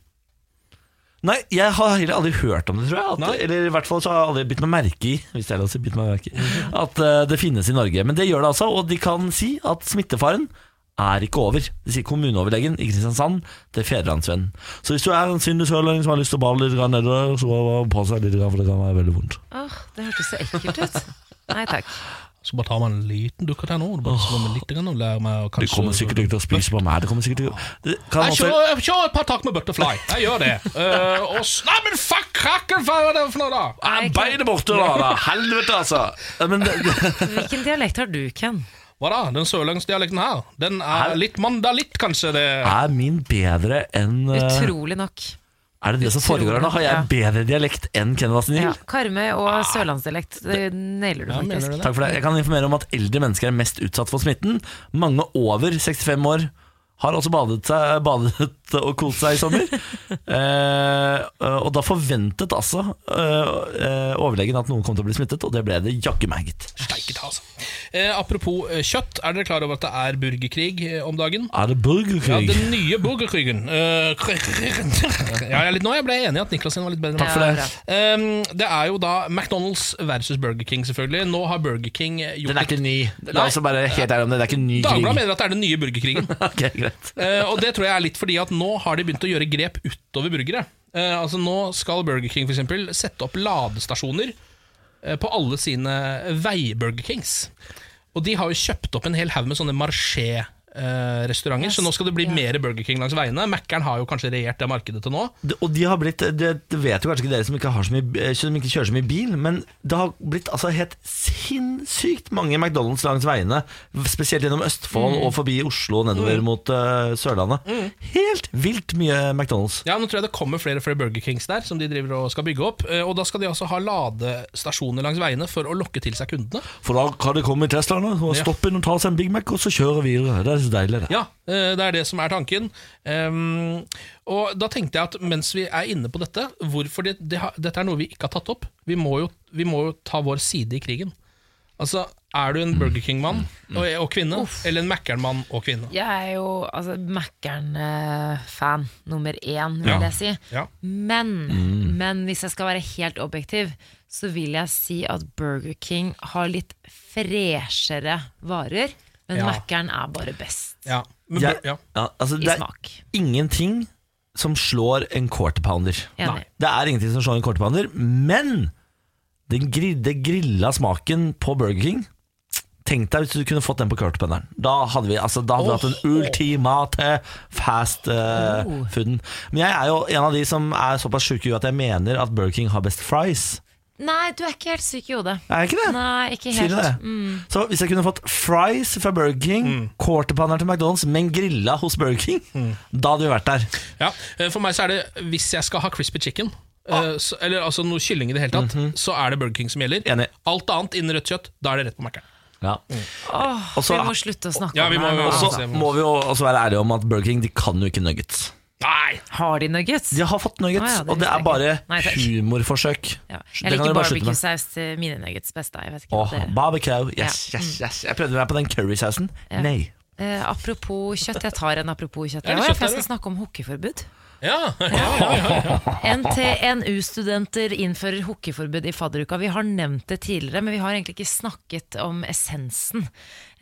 Nei, jeg har heller aldri hørt om det, tror jeg. At, eller i hvert fall så har jeg aldri bitt meg merke i Hvis det er lov å si, bitt meg merke i at eh, det finnes i Norge. Men det gjør det altså, og de kan si at smittefaren er ikke over. Det sier kommuneoverlegen i Kristiansand til Fedrelandsvennen. Så hvis du er en sindig sørlending som har lyst til å bade litt grann nedover, så pass deg litt, grann, for det kan være veldig vondt. Åh, det hørtes så ekkelt ut. Nei takk. Så bare tar man en liten dukkert her nå. og Bare slår med litt grann og lærer meg å Du kommer sikkert ikke til å spise på meg. Du kommer sikkert til å Det kan Jeg også- kjører, jeg kjører eh, et par tak med butterfly. Jeg gjør det. Eh, og s- Nei, men fuck krakken! Hva er det for noe, da? Arbeidet borte, da! da. Helvete, altså! Ja, Men det, Hvilken dialekt har du, Ken? Hva da? Den sørlandsdialekten her? Den er litt mandalitt, kanskje? det er min bedre enn eh, Utrolig nok. Er det det som Utrolig. foregår her nå? Har jeg Ja. bedre dialekt enn Ken Vasenil? Ja, Karmøy og sørlandsdialekt, det nailer du faktisk. Takk for det. Ah. Jeg kan informere om at eldre mennesker er mest utsatt for smitten. Mange over 65 år har også badet, seg, badet og kost seg i sommer. eh, og da forventet altså eh, eh, overlegen at noen kom til å bli smittet, og det ble det jaggu meg, gitt. Steike ta, altså. Eh, apropos eh, kjøtt, er dere klar over at det er burgerkrig eh, om dagen? Er det Ja, burgerkrig? den nye burgerkrigen. Eh, krig- ja, jeg er litt, nå ble jeg enig i at Niklas sin var litt bedre. enn meg. Takk for det. Um, det er jo da McDonald's versus Burger King, selvfølgelig. Nå har Burger King gjort Den er ikke ny. La oss være helt ærlige om det. Det er ikke en ny krig. Dagbladet mener at det er den nye burgerkrigen. Ok, greit. Eh, og det tror jeg er litt fordi at nå har de begynt å gjøre grep utover burgere. Eh, altså Nå skal Burger King for eksempel sette opp ladestasjoner eh, på alle sine vei-Burger Kings. Og de har jo kjøpt opp en hel haug med sånne marché-restauranter, så nå skal det bli mer Burger King langs veiene. Mækkern har jo kanskje regjert det markedet til nå. Det- Og de har blitt, det det vet jo kanskje ikke dere som ikke, har så mye, eh, som ikke kjører så mye bil, men det har blitt altså helt sinnssykt mange McDonald's langs veiene, spesielt gjennom Østfold Mm. og forbi Oslo og nedover Mm. mot eh, Sørlandet. Helt vilt mye McDonald's. Ja, nå tror jeg det kommer flere og flere Burger Kings der, som de driver og skal bygge opp. Eh, Og da skal de altså ha ladestasjoner langs veiene for å lokke til seg kundene. For da kan det komme i Teslaene, og Ja. stoppe inn og ta seg en Big Mac, og så kjøre videre. Det er så deilig, det. Ja, eh, det er det som er tanken. Ehm, og da tenkte jeg at mens vi er inne på dette, hvorfor det, det har, dette er noe vi ikke har tatt opp. Vi må, jo, vi må jo ta vår side i krigen. Altså, er du en Burger King-mann og, og kvinne, eller en Mækkern-mann og kvinne? Jeg er jo altså, Mækkern-fan nummer én, vil Ja. jeg si. Ja. Men, Mm. men hvis jeg skal være helt objektiv, så vil jeg si at Burger King har litt freshere varer. Men Ja. Mækkern er bare best. Ja, Jeg- ja, altså, I det er smak. ingenting som slår en quarter pounder. Enig. Nei. Det er ingenting som slår en quarter pounder, men den gri- det grilla smaken på Burger King Tenk deg hvis du kunne fått den på quarter pounderen. Da hadde vi, altså, da hadde vi hatt den ultimate fast eh, Oh. fooden. Men jeg er jo en av de som er såpass sjuke i huet at jeg mener at Burger King har best fries. Nei, du er ikke helt syk i hodet. Er jeg ikke det? Nei, ikke Sier helt. du det? Mm. Så hvis jeg kunne fått fries fra Burger King, quarter pounder til McDonald's, men grilla hos Burger King, da hadde vi vært der. Ja, eh, For meg så er det hvis jeg skal ha crispy chicken, eh, så, eller altså noe kylling i det hele tatt, så er det Burger King som gjelder. Alt annet innen rødt kjøtt, da er det rett på Mækkern. Ja. Åh, Og så- vi må slutte å snakke Ja, vi om må- det. her nå. Og så må vi jo også være ærlige om at Burger King de kan jo ikke nuggets. Nei! Har de nuggets? De har fått nuggets, Å ja, det og det visste er jeg bare ikke. Nei, takk. humorforsøk. Ja. Det kan Jeg dere liker bare slutte med. barbecue-saus til mine nuggets best. da. Jeg vet ikke hva Åh, dere- barbecue, yes, Ja. Mm. yes, yes. Jeg prøvde meg på den currysausen. Ja. Nei. Eh, apropos kjøtt, jeg tar en apropos kjøtt. Ja, Jeg, litt var, kjøtt for jeg der, skal snakke om hokkeforbud. Ja, ja, ja, ja, ja. NTNU-studenter innfører hokkeforbud i fadderuka. Vi har nevnt det tidligere, men vi har egentlig ikke snakket om essensen.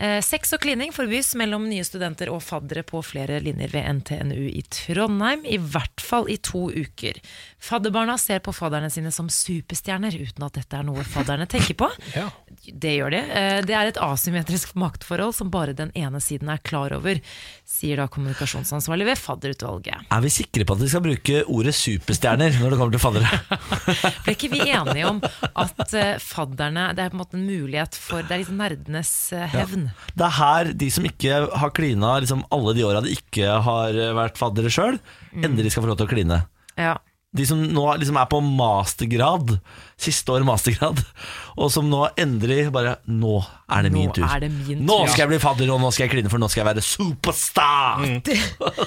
Eh, sex og klining forbys mellom nye studenter og faddere på flere linjer ved NTNU i Trondheim, i hvert fall i to uker. Fadderbarna ser på fadderne sine som superstjerner, uten at dette er noe fadderne tenker på. Ja. Det gjør de. Eh, Det er et asymmetrisk maktforhold som bare den ene siden er klar over, sier da kommunikasjonsansvarlig ved fadderutvalget. Er vi sikre på at vi skal bruke ordet superstjerner når det kommer til faddere? Ble ikke vi enige om at eh, fadderne Det er på en måte en mulighet for Det er litt nerdenes eh, hevn. Det er her de som ikke har klina Mm. liksom alle de åra de ikke har vært faddere sjøl, endelig skal få lov til å kline. Ja. de som nå liksom er på mastergrad, siste år mastergrad, og som nå endelig bare Nå er det Nå min tur. er det min nå tur. skal jeg bli fadder, og nå skal jeg kline, for nå skal jeg være superstar! Mm.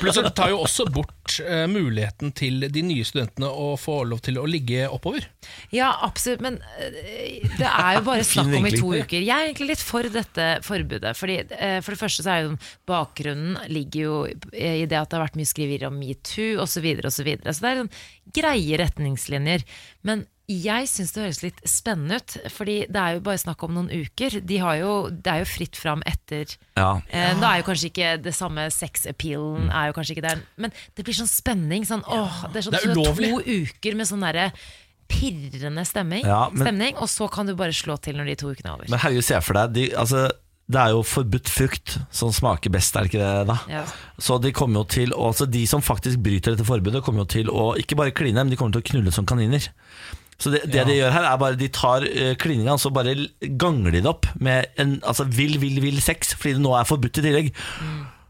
Pluss at det tar jo også bort eh, muligheten til de nye studentene å få lov til å ligge oppover. Ja, absolutt, men øh, det er jo bare snakk om i vinkling. to uker. Jeg er egentlig litt for dette forbudet. Fordi, eh, for det første så er jo bakgrunnen ligger jo i det at det har vært mye skriverier om metoo osv. Så, videre, og så, videre. så det er sånn greie retningslinjer. Men jeg syns det høres litt spennende ut, fordi det er jo bare snakk om noen uker. De har jo, det er jo fritt fram etter Ja. Mm. Eh, Da er jo kanskje ikke det samme sex-appealen er jo kanskje ikke der Men det blir sånn spenning. Sånn, åh, det er, sånn, Det er sånn ulovlig. To uker med sånn derre pirrende stemming, Ja, men- stemning, og så kan du bare slå til når de to ukene er over. Men herregud, se for deg de, altså, Det er jo forbudt frukt som smaker best, er det ikke det da? Ja. Så de kommer jo til å- altså, De som faktisk bryter dette forbudet, kommer jo til å ikke bare kline, men de kommer til å knulle som kaniner. Så det, det de gjør her, er bare de tar eh, klininga og så bare l- ganger de det opp med en altså, vill, vill, vill sex, fordi det nå er forbudt i tillegg.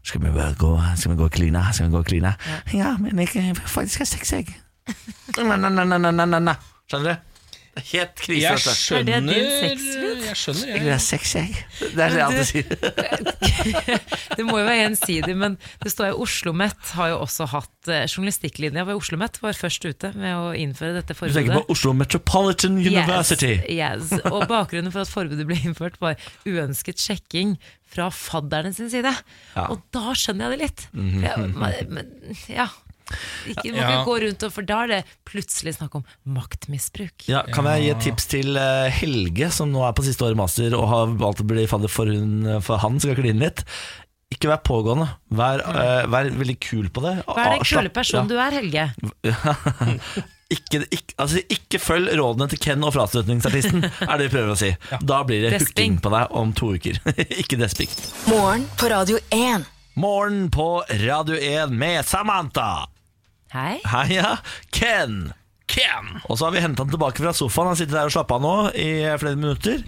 Skal vi bare gå Skal vi gå og kline? Skal vi gå og kline? Ja, men jeg jeg faktisk har sex, jeg. Nei, nei, nei, nei, nei, nei, nei. Skjønner du? Det er helt krise. Jeg dette. skjønner Er det din sexlyd? Jeg skjønner, Jeg jeg. vil ha sex, jeg. Det er det jeg Men alltid sier. Det må jo være gjensidig, men det står jo OsloMet har jo også hatt eh, Journalistikklinja ved OsloMet var først ute med å innføre Du dette forbudet. tenker på Oslo Metropolitan University. Yes, yes. Og bakgrunnen for at forbudet ble innført, var uønsket sjekking fra fadderne sin side. Og da skjønner jeg det litt. Jeg, men- men, ja. Ikke, må Ja. ikke gå rundt og For da er det plutselig snakk om maktmisbruk. Ja, kan jeg gi et tips til eh, Helge, som nå er på siste året master og har valgt å bli fadder for, hun, for han skal kline litt? Ikke vær pågående. Vær, eh, vær veldig kul på det. Ah, Hva er den kule personen du er, Helge? Ikke, ikke, altså, ikke følg rådene til Ken og frastøtningsartisten, er det vi prøver å si. Da blir det Desping. hooking på deg om to uker. ikke desping. Morgen på Radio 1. Morgen på Radio 1 med Samantha. Hei. Heia, Ken. Ken! Og så har vi hentet han tilbake fra sofaen. Han sitter der og slapper av nå i flere minutter.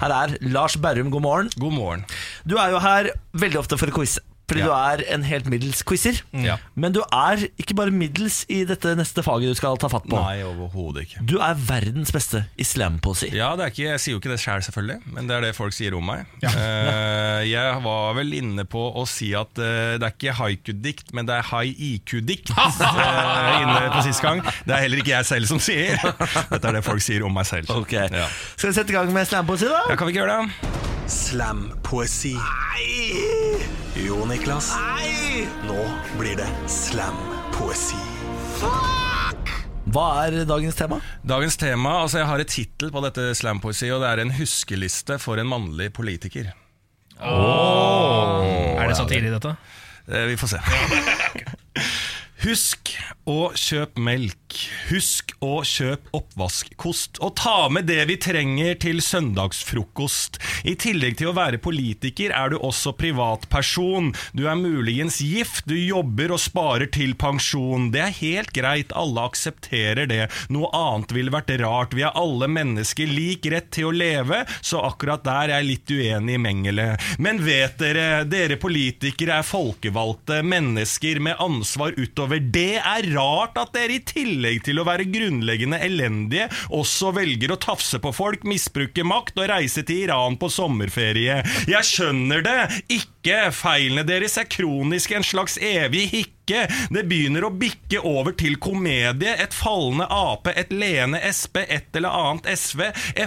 Her er Lars Berrum, god morgen. Mm. God morgen. Du er jo her veldig ofte for å quize. Fordi du er en helt middels quizer. Mm. Ja. Men du er ikke bare middels i dette neste faget du skal ta fatt på. Nei, overhodet ikke. Du er verdens beste i slampoesi. Ja, det er ikke, Jeg sier jo ikke det sjøl, selv, selvfølgelig, men det er det folk sier om meg. Eh, jeg var vel inne på å si at eh, det er ikke haiku-dikt, men det er high IQ-dikt. eh, inne på sist gang Det er heller ikke jeg selv som sier. Dette er det folk sier om meg selv. Ok. Ja. Skal vi sette i gang med slampoesi, da? Ja, kan vi ikke gjøre det? Slampoesi. Jo, Niklas. Nå blir det slampoesi. Hva er dagens tema? Dagens tema, altså Jeg har et tittel på dette slampoesi, og det er en huskeliste for en mannlig politiker. Er det satire i dette? Eh, Vi får se. Husk å kjøp melk. Husk å kjøp oppvaskkost. Og ta med det vi trenger til søndagsfrokost. I tillegg til å være politiker er du også privatperson. Du er muligens gift, du jobber og sparer til pensjon. Det er helt greit, alle aksepterer det. Noe annet ville vært rart. Vi har alle mennesker lik rett til å leve, så akkurat der er jeg litt uenig i Mengele. Men vet dere, dere politikere er folkevalgte mennesker med ansvar utover. Det er rart at dere i tillegg til å være grunnleggende elendige, også velger å tafse på folk, misbruke makt og reise til Iran på sommerferie. Jeg skjønner det ikke. Feilene deres er kronisk en slags evig hikke. Det begynner å bikke over til komedie. Et fallende Ap, et leende Sp, et eller annet SV,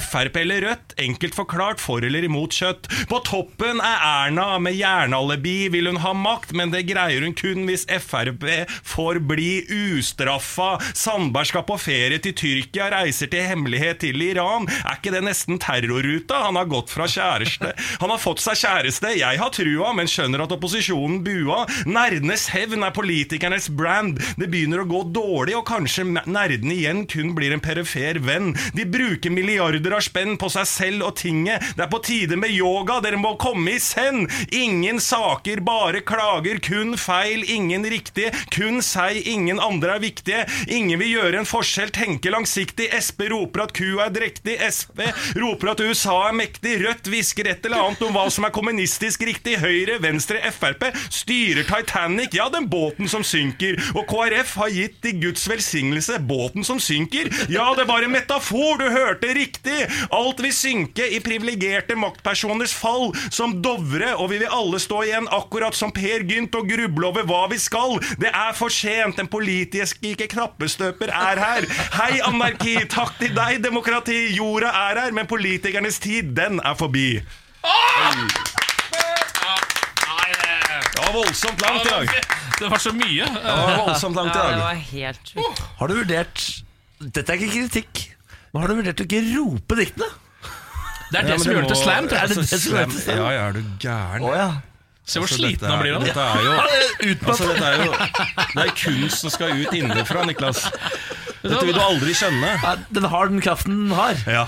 Frp eller Rødt. Enkelt forklart for eller imot kjøtt. På toppen er Erna med jernalibi. Vil hun ha makt, men det greier hun kun hvis Frp får bli ustraffa. Sandberg skal på ferie til Tyrkia, reiser til hemmelighet til Iran. Er ikke det nesten terrorruta? Han har gått fra kjæreste Han har fått seg kjæreste. Jeg har trua, men skjønner at opposisjonen bua. Nerdenes hevn er politikernes brand. Det begynner å gå dårlig, og kanskje me- nerdene igjen kun blir en perifer venn. De bruker milliarder av spenn på seg selv og tinget. Det er på tide med yoga, dere må komme i send! Ingen saker, bare klager. Kun feil, ingen riktig. Kun seg, ingen andre er viktige. Ingen vil gjøre en forskjell, tenke langsiktig. Sp roper at kua er drektig. Sp roper at USA er mektig. Rødt hvisker et eller annet om hva som er kommunistisk riktig. Høyre Høyre, Venstre, Frp styrer Titanic, ja, den båten som synker. Og KrF har gitt i Guds velsignelse båten som synker. Ja, det var en metafor, du hørte riktig! Alt vil synke i privilegerte maktpersoners fall, som Dovre, og vi vil alle stå igjen akkurat som Per Gynt og gruble over hva vi skal. Det er for sent, den politiske knappestøper er her. Hei, anarki, takk til deg, demokrati, jorda er her, men politikernes tid, den er forbi. Det var voldsomt langt i dag. Det var så mye. Det var voldsomt langt i dag. Ja, det var helt sjukt. Har du vurdert Dette er ikke kritikk, men har du vurdert å ikke rope diktene? Det er det som gjør det til slam. tror jeg. Er det det som gjør det til slam? Ja, ja, er du gæren? Å, ja. Se hvor Altså, sliten dette han er- blir av det. Dette er jo, Utmatt. altså, dette er jo Det er kunst som skal ut innenfra, Niklas. Dette vil du aldri skjønne. Ja, Den har den kraften den har. Ja.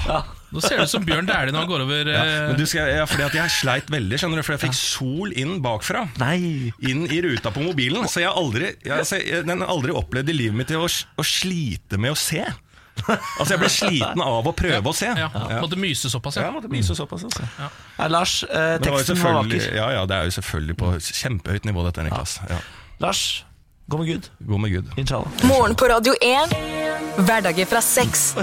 Nå ser det ut som Bjørn Dæhlie når han går over Men eh, du skal, ja, fordi at jeg sleit veldig, skjønner du, for jeg fikk sol inn bakfra. Nei. Inn i ruta på mobilen. Så jeg har aldri, jeg, altså, jeg- den har aldri opplevd i livet mitt til å, s- å slite med å se. Altså, jeg ble sliten av å prøve å se. ja, Ja. Måtte myse såpass, Ja, ja. måtte myse såpass, altså. Ja, Lars, eh, Men det var jo teksten var vakker. selvfølgelig- Ja, ja, det er jo selvfølgelig på kjempehøyt nivå, dette, Niklas. Ja. Lars, gå med Gud. Gå med Gud. Inshallah. Morgen på Radio 1. Hverdager fra seks.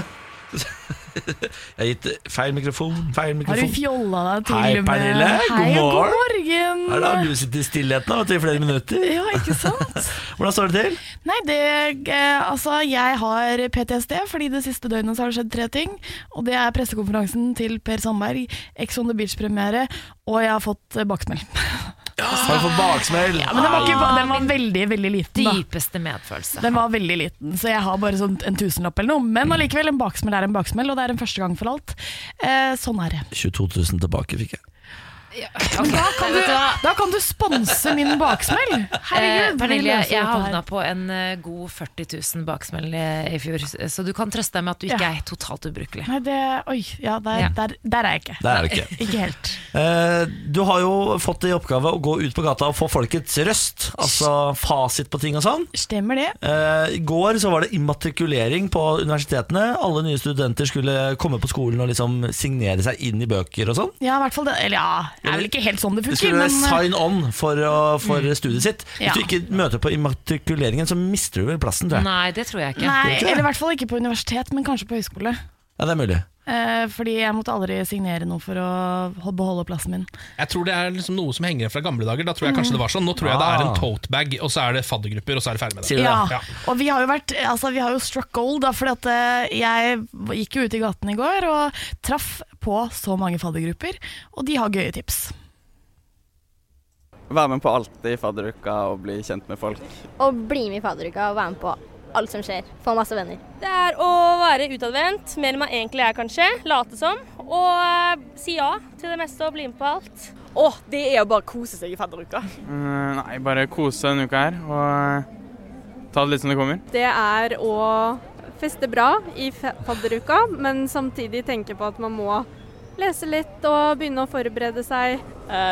Jeg har gitt eh, feil mikrofon, feil Har du mikrofon. fjolla deg til Hei, med Pernille. God Hei, morgen. morgen. Her har du sittet i stillheten da, vet du, i flere minutter. Ja, ikke sant? Hvordan står det til? Nei, det, eh, altså, jeg har PTSD, fordi det siste døgnet så har det skjedd tre ting. Og det er pressekonferansen til Per Sandberg, Ex on the Beach-premiere, og jeg har fått eh, baksmell. Har du fått baksmell? Ja, men den var, ikke, den var veldig, veldig liten, da. Dypeste medfølelse. Den var veldig liten, så jeg har bare sånn en tusenlapp eller noe. Men allikevel, en baksmell er en baksmell, og det er en første gang for alt. Eh, sånn er det. 22 000 tilbake fikk jeg. Da kan du, Vet du hva? da kan du sponse min baksmell! Eh, Herregud, vi Pernille, løser jeg dette her. havna på en eh, god 40 000 baksmell eh, i fjor, så du kan trøste deg med at du ikke Ja. er totalt ubrukelig. Nei, det Oi, ja, der, Ja. Der, der er jeg ikke. Der er det ikke. Ikke helt. Eh, Du har jo fått i oppgave å gå ut på gata og få folkets røst, altså fasit på ting og sånn. Stemmer det. Eh, I går så var det immatrikulering på universitetene. Alle nye studenter skulle komme på skolen og liksom signere seg inn i bøker og sånn. Ja, i hvert fall det. Eller ja, det er vel ikke helt sånn det Det funker, skulle være men sign on for, å, for Mm. studiet sitt. Hvis Ja. du ikke møter på immatrikuleringen, så mister du vel plassen, tror jeg. Nei, det tror jeg ikke. Nei, ikke det. eller i hvert fall ikke på universitet, men kanskje på høyskole. Ja, det er mulig. Eh, fordi jeg måtte aldri signere noe for å hol- beholde plassen min. Jeg tror det er liksom noe som henger igjen fra gamle dager. Da tror jeg kanskje det var sånn Nå tror jeg det er en totebag, og så er det faddergrupper, og så er det ferdig med det. Sier du Ja, det? Ja. og vi har jo vært Altså, vi har jo struck gold, da, fordi at eh, jeg gikk jo ut i gaten i går og traff på så mange faddergrupper, og de har gøye tips. Være med på alt i fadderuka og bli kjent med folk. og bli med i fadderuka og være med på alt som skjer. Få masse venner. Det er å være utadvendt, mer enn man egentlig er kanskje, late som, og eh, si ja til det meste og bli med på alt. Å, det er å bare kose seg i fadderuka. Nei, bare kose denne uka her, og ta det litt som det kommer. Det er å feste bra i fe- fadderuka, men samtidig tenke på at man må lese litt og begynne å forberede seg.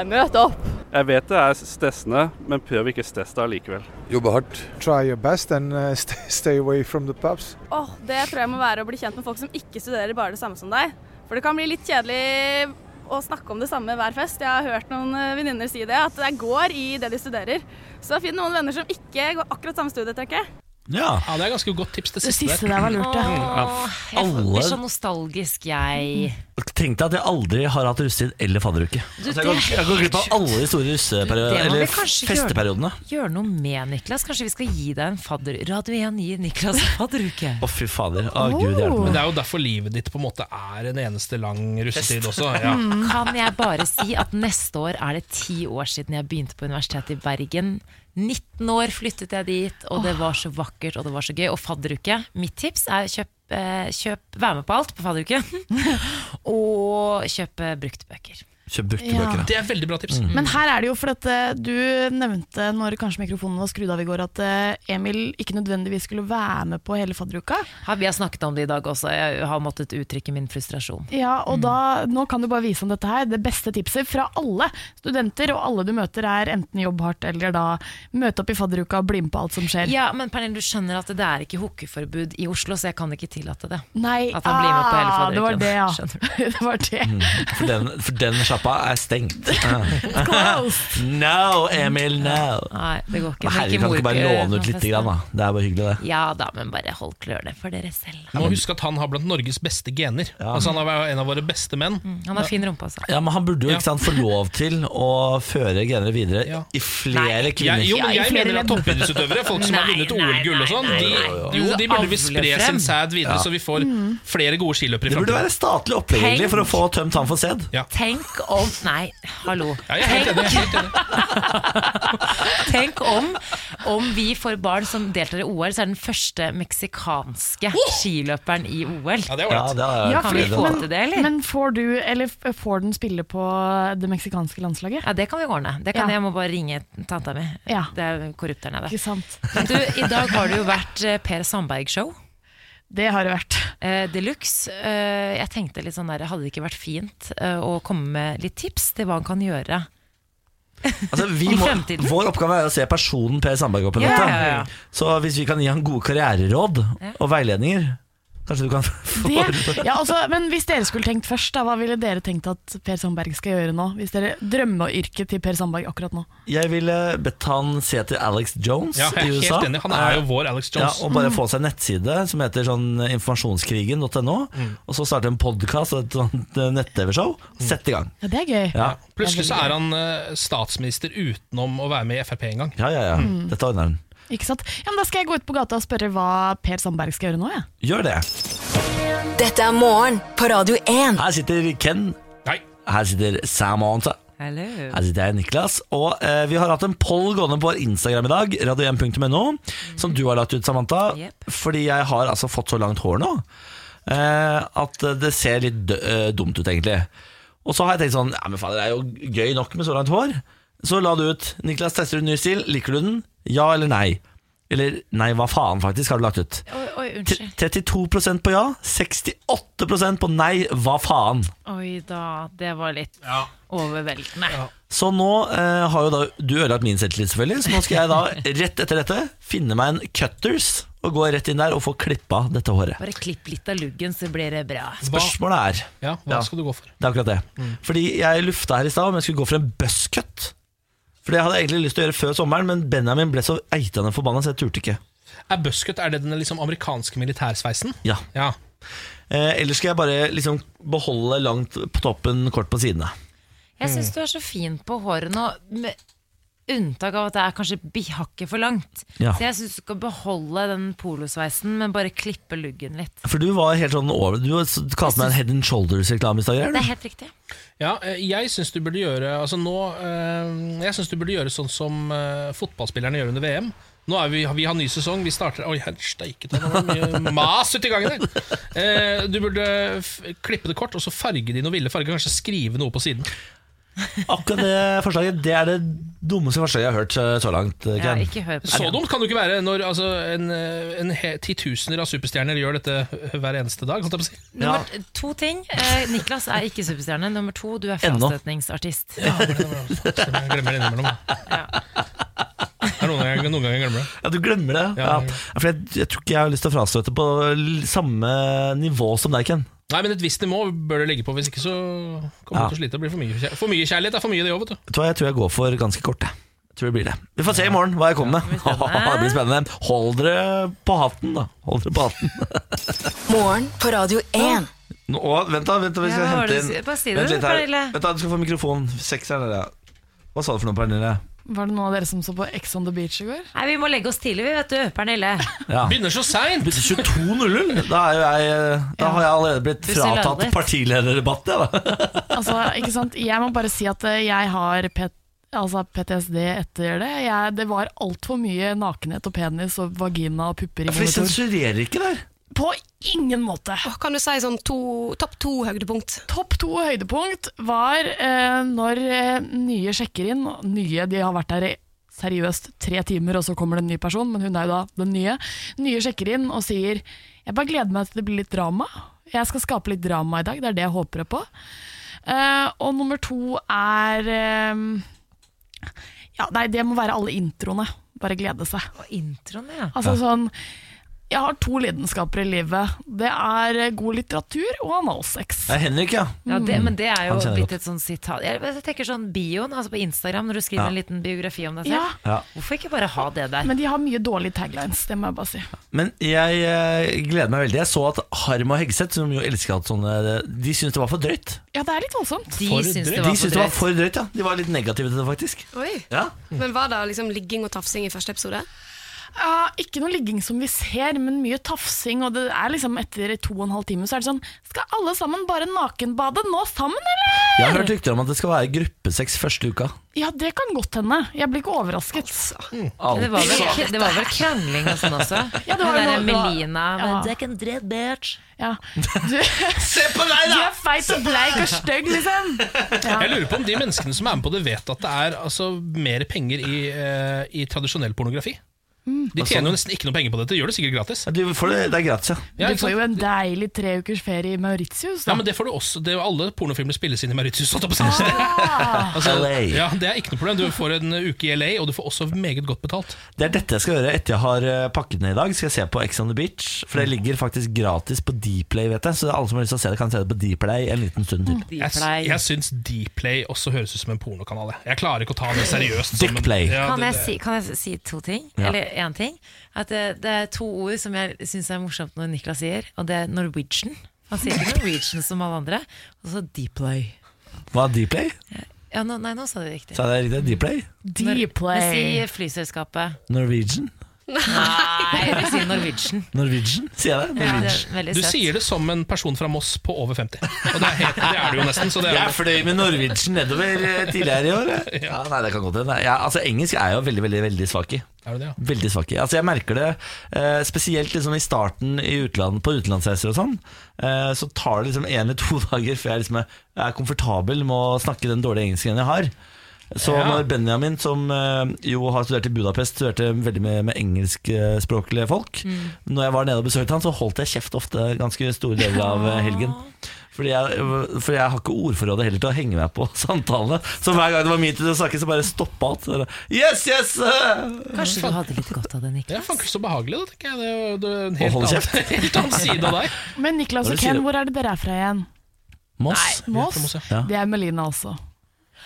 møte Eh, opp. Jeg vet det er stressende, men prøv ikke stress deg likevel. Jobbe hardt. Try your best and uh, stay, stay away from the pubs. Åh, det tror jeg må være å bli kjent med folk som ikke studerer bare det samme som deg. For det kan bli litt kjedelig å snakke om det samme hver fest. Jeg har hørt noen eh, venninner si det, at det går i det de studerer. Så finn noen venner som ikke går akkurat samme studie, tenker jeg. Ja. Ja, det er ganske godt tips, det Det siste. siste der var lurt, ja. Åh, jeg Alle- blir så nostalgisk, jeg. Tenkte at jeg aldri har hatt russetid eller fadderuke. Du, Altså, jeg, går, det er jeg går glipp av helt alle de store russeperiodene, Det må vi eller kanskje festeperiodene. Gjøre, gjøre noe med, Niklas. Kanskje vi skal gi deg en fadder... Radio 1 gir Niklas en fadderuke. Å, fy fader. Å, Gud hjelpe Men meg. det er jo derfor livet ditt på en måte er en eneste lang russetid også. Ja. Mm. Kan jeg bare si at neste år er det ti år siden jeg begynte på Universitetet i Bergen. 19 år flyttet jeg dit, og det var så vakkert og det var så gøy. Og fadderuke. Mitt tips er kjøp, eh, kjøp Vær med på alt på fadderuke. og kjøp eh, brukte bøker. Kjøp brukte Ja. bøker. da. Det er veldig bra tips. Men her er det jo for at eh, du nevnte når kanskje mikrofonen var skrudd av i går, at eh, Emil ikke nødvendigvis skulle være med på hele fadderuka. Ja, Vi har snakket om det i dag også. Jeg har måttet uttrykke min frustrasjon. Ja, og da, nå kan du bare vise om dette her. Det beste tipset fra alle studenter og alle du møter, er enten jobb hardt eller da møte opp i fadderuka og bli med på alt som skjer. Ja, men Pernille, du skjønner at det er ikke hookieforbud i Oslo, så jeg kan ikke tillate det. Nei, At han blir med på hele ah, det var fadderuken. det, ja. Skjønner det var det. For den, for den Sjappa er stengt. no, Emil, no. Nei, det går ikke. Men herregud, Drikke kan du ikke bare morkøl låne ut på litt, festen. grann, da? Det er bare hyggelig, det. Ja da, men bare hold klørne for dere selv. Må huske at han har blant Norges beste gener. Altså Han er en av våre beste menn. Han har fin rumpe, altså. Ja, men Han burde jo ikke sant, få lov til å føre genere videre i flere kvinner. Jeg, jo, men jeg mener at toppidrettsutøvere, folk som har Nei, vunnet nei, OL-gull og sånn, nei, de, nei. jo, de burde vi Avle spre frem. sin sæd videre, Ja. så vi får Mm. flere gode skiløpere i Det burde fremtiden. være statlig opplegg egentlig, for å få tømt han for sæd. Tenk om Nei, hallo. jeg er helt enig, Tenk om, om vi får barn som deltar i OL, så er den første meksikanske skiløperen i OL. Ja, det er ålreit. Ja, kan fordi- vi få men, til det, eller? Men får du, eller f- får den spille på det meksikanske landslaget? Ja, det kan vi ordne. Det kan Ja. Jeg må bare ringe tanta mi. Det er korrupt der nede. Ikke sant. Men du, I dag har det jo vært eh, Per Sandberg-show. Det har det vært. Eh, Deluxe. Eh, jeg tenkte litt sånn der, hadde det ikke vært fint eh, å komme med litt tips til hva han kan gjøre? Altså, vi I må, fremtiden. vår oppgave er å se personen Per Sandberg opp i Ja, dette. ja, ja. Så hvis vi kan gi han gode karriereråd og veiledninger Kanskje du kan få Det, ja, altså, men hvis dere skulle tenkt først, da, hva ville dere tenkt at Per Sandberg skal gjøre nå? Hvis dere drømmeyrket til Per Sandberg akkurat nå? Jeg ville bedt han se til Alex Jones Ja, jeg er i helt USA. enig. Han er jo vår Alex Jones. Ja, og bare Mm. få seg en nettside som heter sånn informasjonskrigen.no, og så starte en podkast og et sånt eh, nett-TV-show. Sett i gang. Ja, det er gøy. Ja. Plutselig så er han eh, statsminister utenom å være med i Frp en gang. Ja, ja, ja. Mm. Dette ordner han. Ikke sant? Ja, men da skal jeg gå ut på gata og spørre hva Per Sandberg skal gjøre nå, jeg. Gjør det. Dette er morgen på Radio 1. Her sitter Ken. Her sitter Samantha. Her sitter jeg, Niklas. Og eh, vi har hatt en poll gående på vår Instagram i dag, radio1.no, som du har lagt ut, Samantha. Fordi jeg har altså fått så langt hår nå eh, at det ser litt dø- eh, dumt ut, egentlig. Og så har jeg tenkt sånn Ja, men faen, det er jo gøy nok med så langt hår. Så la det ut. Niklas, tester du en ny stil? Liker du den? Ja eller nei? Eller nei, hva faen, faktisk, har du lagt ut. Oi, oi, unnskyld. 32 på ja, 68 på nei, hva faen. Oi da, det var litt overveldende. Så nå eh, har jo da du ødelagt min selvtillit, selvfølgelig. Så nå skal jeg da rett etter dette finne meg en cutters og gå rett inn der og få klippa dette håret. Bare klipp litt av luggen, så blir det bra. Spørsmålet er Ja, hva skal du gå for? Det er akkurat det. Fordi jeg lufta her i stad om jeg skulle gå for en buzzcut. For det hadde jeg egentlig lyst til å gjøre før sommeren, men Benjamin ble så eitende forbanna, så jeg turte ikke. Er buscut er det den liksom amerikanske militærsveisen? Ja. ja. Eh, eller skal jeg bare liksom beholde langt på toppen, kort på sidene. Jeg Mm. syns du er så fin på håret nå, med unntak av at det er kanskje bi- hakket for langt. Ja. Så jeg syns du skal beholde den polosveisen, men bare klippe luggen litt. For du var helt sånn over Du kalte meg en Head and Shoulders-reklame i stad. gjør du? Det er helt riktig. Ja, eh, jeg syns du burde gjøre Altså nå eh, Jeg synes du burde gjøre sånn som eh, fotballspillerne gjør under VM. Nå er vi, vi har ny sesong, vi starter Oi, her steiket det var mye mas uti gangen der! Eh, du burde f klippe det kort, og så farge det i noen ville farger. Kanskje skrive noe på siden. Akkurat det forslaget Det er det dummeste forslaget jeg har hørt eh, så langt. eh, Ken. Så dumt kan det jo ikke være når altså, en, eh, en he- titusener av superstjerner gjør dette hver eneste dag. Holdt jeg på å si. Nummer t- to ting. Eh, Niklas er ikke superstjerne. Nummer to, du er Ennå. frastøtningsartist. Jeg glemmer det innimellom. da. Det er noen ganger, noen ganger jeg glemmer det. Ja, du glemmer det. Ja, for jeg, jeg tror ikke jeg har lyst til å frastøte på l- samme nivå som deg, Ken. Nei, men et visst nivå bør det ligge på, hvis ikke så kommer Ja. du til å slite. Det blir for mye, kjær- for mye kjærlighet. er for mye det også, vet du. Vet du hva, jeg tror jeg går for ganske kort. jeg. Jeg tror det blir det. Vi får se i morgen hva jeg kommer med. det blir spennende. Hold dere på hatten, da. Hold dere på hatten. Morgen på Radio 1. Nå, å, vent, da. Vent, da vi skal Ja, hva var hente det inn du sier? Bare si det Vent du, litt her. Pernille. Vent da, Du skal få mikrofon. Sekseren der, ja. Hva sa du for noe, Pernille? Var det noen av dere som så på Ex on the Beach i går? Nei, vi må legge oss tidlig, vi, vet du. Pernille. Ja. Begynner så seint! 22.00. Da, er jo jeg, eh, da har jeg allerede blitt Du sier fratatt laddet. partilederdebatt, jeg, da. Altså, ikke sant? Jeg må bare si at eh, jeg har P altså PTSD etter det. Jeg, det var altfor mye nakenhet og penis og vagina og pupper i For de monitor. sensurerer ikke der. På ingen måte. Kan du si sånn to, topp to høydepunkt? Topp to høydepunkt var eh, når eh, nye sjekker inn. Nye, de har vært der i seriøst tre timer, og så kommer det en ny person, men hun er jo da den nye. Nye sjekker inn og sier Jeg bare gleder meg til det blir litt drama. Jeg skal skape litt drama i dag, det er det jeg håper på. Eh, og nummer to er eh, Ja, nei, det må være alle introene. Bare glede seg. Introen, ja. Altså sånn Jeg har to lidenskaper i livet. Det er eh, god litteratur og analsex. Det er Henrik, ja. Mm. Ja, det, men det er jo Han kjenner blitt godt. et sånn sitat Jeg, jeg tenker sånn bioen, altså på Instagram Når du skriver Ja. en liten biografi om deg Ja. selv Hvorfor ikke bare ha det der? Men de har mye dårlige taglines, det må jeg bare si. Men jeg eh, gleder meg veldig. Jeg så at Harm og Hegseth, som jo elsker at sånne De syntes det var for drøyt. Ja, det er litt voldsomt. For drøyt. De syntes det var for drøyt, ja. De var litt negative til det, faktisk. Oi. Ja. Men var det liksom ligging og tafsing i første episode? Ja, ikke noe ligging som vi ser, men mye tafsing. Og det er liksom etter to og en halv time så er det sånn Skal alle sammen bare nakenbade nå sammen, eller? Jeg har hørt rykter om at det skal være gruppesex første uka. Ja, det kan godt hende. Jeg blir ikke overrasket. Men det var vel- det var vel krangling og sånn også? Ja, det Hun var der noe- det var- Melina, ja. men det er ikke en dread bitch. Ja. Du, Se på deg, da! Du er feit og bleik og stygg, liksom. Ja. Jeg lurer på om de menneskene som er med på det, vet at det er altså, mer penger i, eh, i tradisjonell pornografi. De tjener jo nesten ikke noe penger på dette. Gjør det sikkert gratis. Du får det, det er gratis, ja. Ja, du får jo en deilig tre ukers ferie i Mauritius. Ja, Da. men det får du også det er jo Alle pornofilmer spilles inn i Mauritius. holdt jeg på å si. Ah. Altså, ja, det er ikke noe problem. Du får en uke i LA, og du får også meget godt betalt. Det er dette jeg skal gjøre etter jeg har eh, pakket ned i dag. Skal jeg se på Ex on the Beach. For det ligger faktisk gratis på Dplay, vet jeg. Så alle som har lyst til å se det, kan se det på Dplay en liten stund til. Jeg, jeg syns Dplay også høres ut som en pornokanal. jeg. Jeg klarer ikke å ta det seriøst. som en- Dickplay. Ja, Kan det- jeg, si, kan jeg si to ting? Ja. Eller én ting? At eh, det, det er to ord som jeg syns er morsomt når Niklas sier, og det er Norwegian. Han sier ikke Norwegian som alle andre. Og så Dplay. Eh, Hva er Dplay? Ja, nå, nei, nå sa du det riktig. Sa jeg det riktig? Dplay? Dplay. Men si flyselskapet. Norwegian? Nei, jeg sier Norwegian. Norwegian, sier jeg det? Ja, det er Norwegian. veldig Du søtt. sier det som en person fra Moss på over 50. Og det er, helt, det er du jo nesten. Så det er jeg fløy med Norwegian nedover eh, tidligere i år. jeg. Ja, nei, det kan godt hende. Ja, altså, engelsk er jeg jo veldig, veldig, veldig svak i. Er du det, ja? Veldig svak i. Altså, jeg merker det eh, spesielt liksom i starten i utlandet, på utenlandsreiser og sånn. Eh, så tar det liksom en eller to dager før jeg liksom er, er komfortabel med å snakke den dårlige engelsken jeg har. Så Ja. når Benjamin, som eh, jo har studert i Budapest, studerte veldig med, med engelskspråklige folk Når jeg var nede og besøkte han, så holdt jeg kjeft ofte ganske store deler av eh, helgen. Fordi jeg, for jeg har ikke ordforrådet heller til å henge meg på samtalene. Så hver gang det var min tid til å snakke, så bare stoppa alt. Så bare, Yes, yes! Kanskje du hadde litt godt av det, Niklas? Det er faktisk så behagelig, da, tenker jeg. Det er jo det er en Å helt, holde annen, kjeft. helt annen side av deg. Men Niklas Hva og sier Ken, du? hvor er det dere er fra igjen? Moss. Nei, Moss. Ja. Det er Melina også.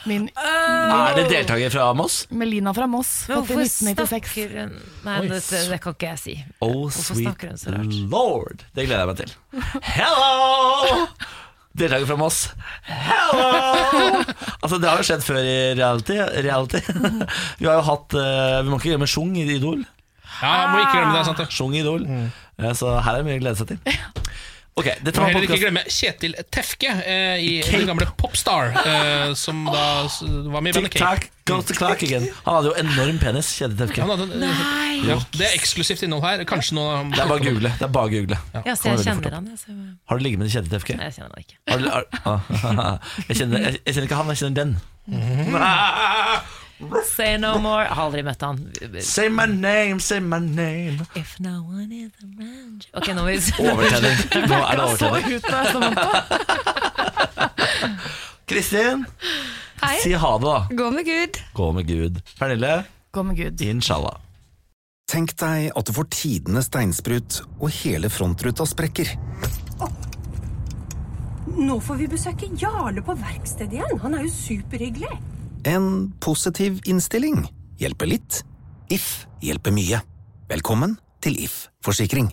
Min, Er det deltaker fra Moss? Melina fra Moss, Men født i hvorfor 1996. snakker hun Nei, Oi, det, det, så- det kan ikke jeg si. Oh, Hvorfor sweet snakker hun så rart? lord. Det gleder jeg meg til. Hello! Deltaker fra Moss. Hello! Altså, det har jo skjedd før i reality. reality. Vi har jo hatt eh, Vi må ikke glemme Sjung i Idol. Ja, må ikke glemme det, sant det? Sjung i Idol. Eh, Så her er det mye å glede seg til. Ok, dette Må var heller ikke podcasten. glemme Kjetil Tefke eh, i den gamle Popstar, eh, som da s- var med i bandet Cake. Tick-tack goes the clock again. Han hadde jo enorm penis, Kjetil Tefke. Han hadde en- Nei. Ja, det er eksklusivt innhold her. Kanskje noen Det er bare å google. Det er bare å google. Ja, så Kommer jeg veldig fort kjenner opp. han. Jeg, så... Nei, Har du ligget med Kjetil Tefke? jeg kjenner han ikke. Har du, har, ah, jeg, kjenner, jeg, jeg kjenner ikke han, jeg kjenner den. Say no more. Jeg har aldri møtt han. Say my name, say my name. If no one is around you. Ok, nå må vi Oh, Overtenning. Nå er det Så overtenning. ut da, Samantha. Kristin, Hei. si ha det, da. Gå med Gud. Gå med Gud. Pernille, Gå med Gud. inshallah. Tenk deg at du får tidenes steinsprut, og hele frontruta sprekker. Nå får vi besøke Jarle på verkstedet igjen. Han er jo superhyggelig. En positiv innstilling hjelper litt. If hjelper mye. Velkommen til If forsikring.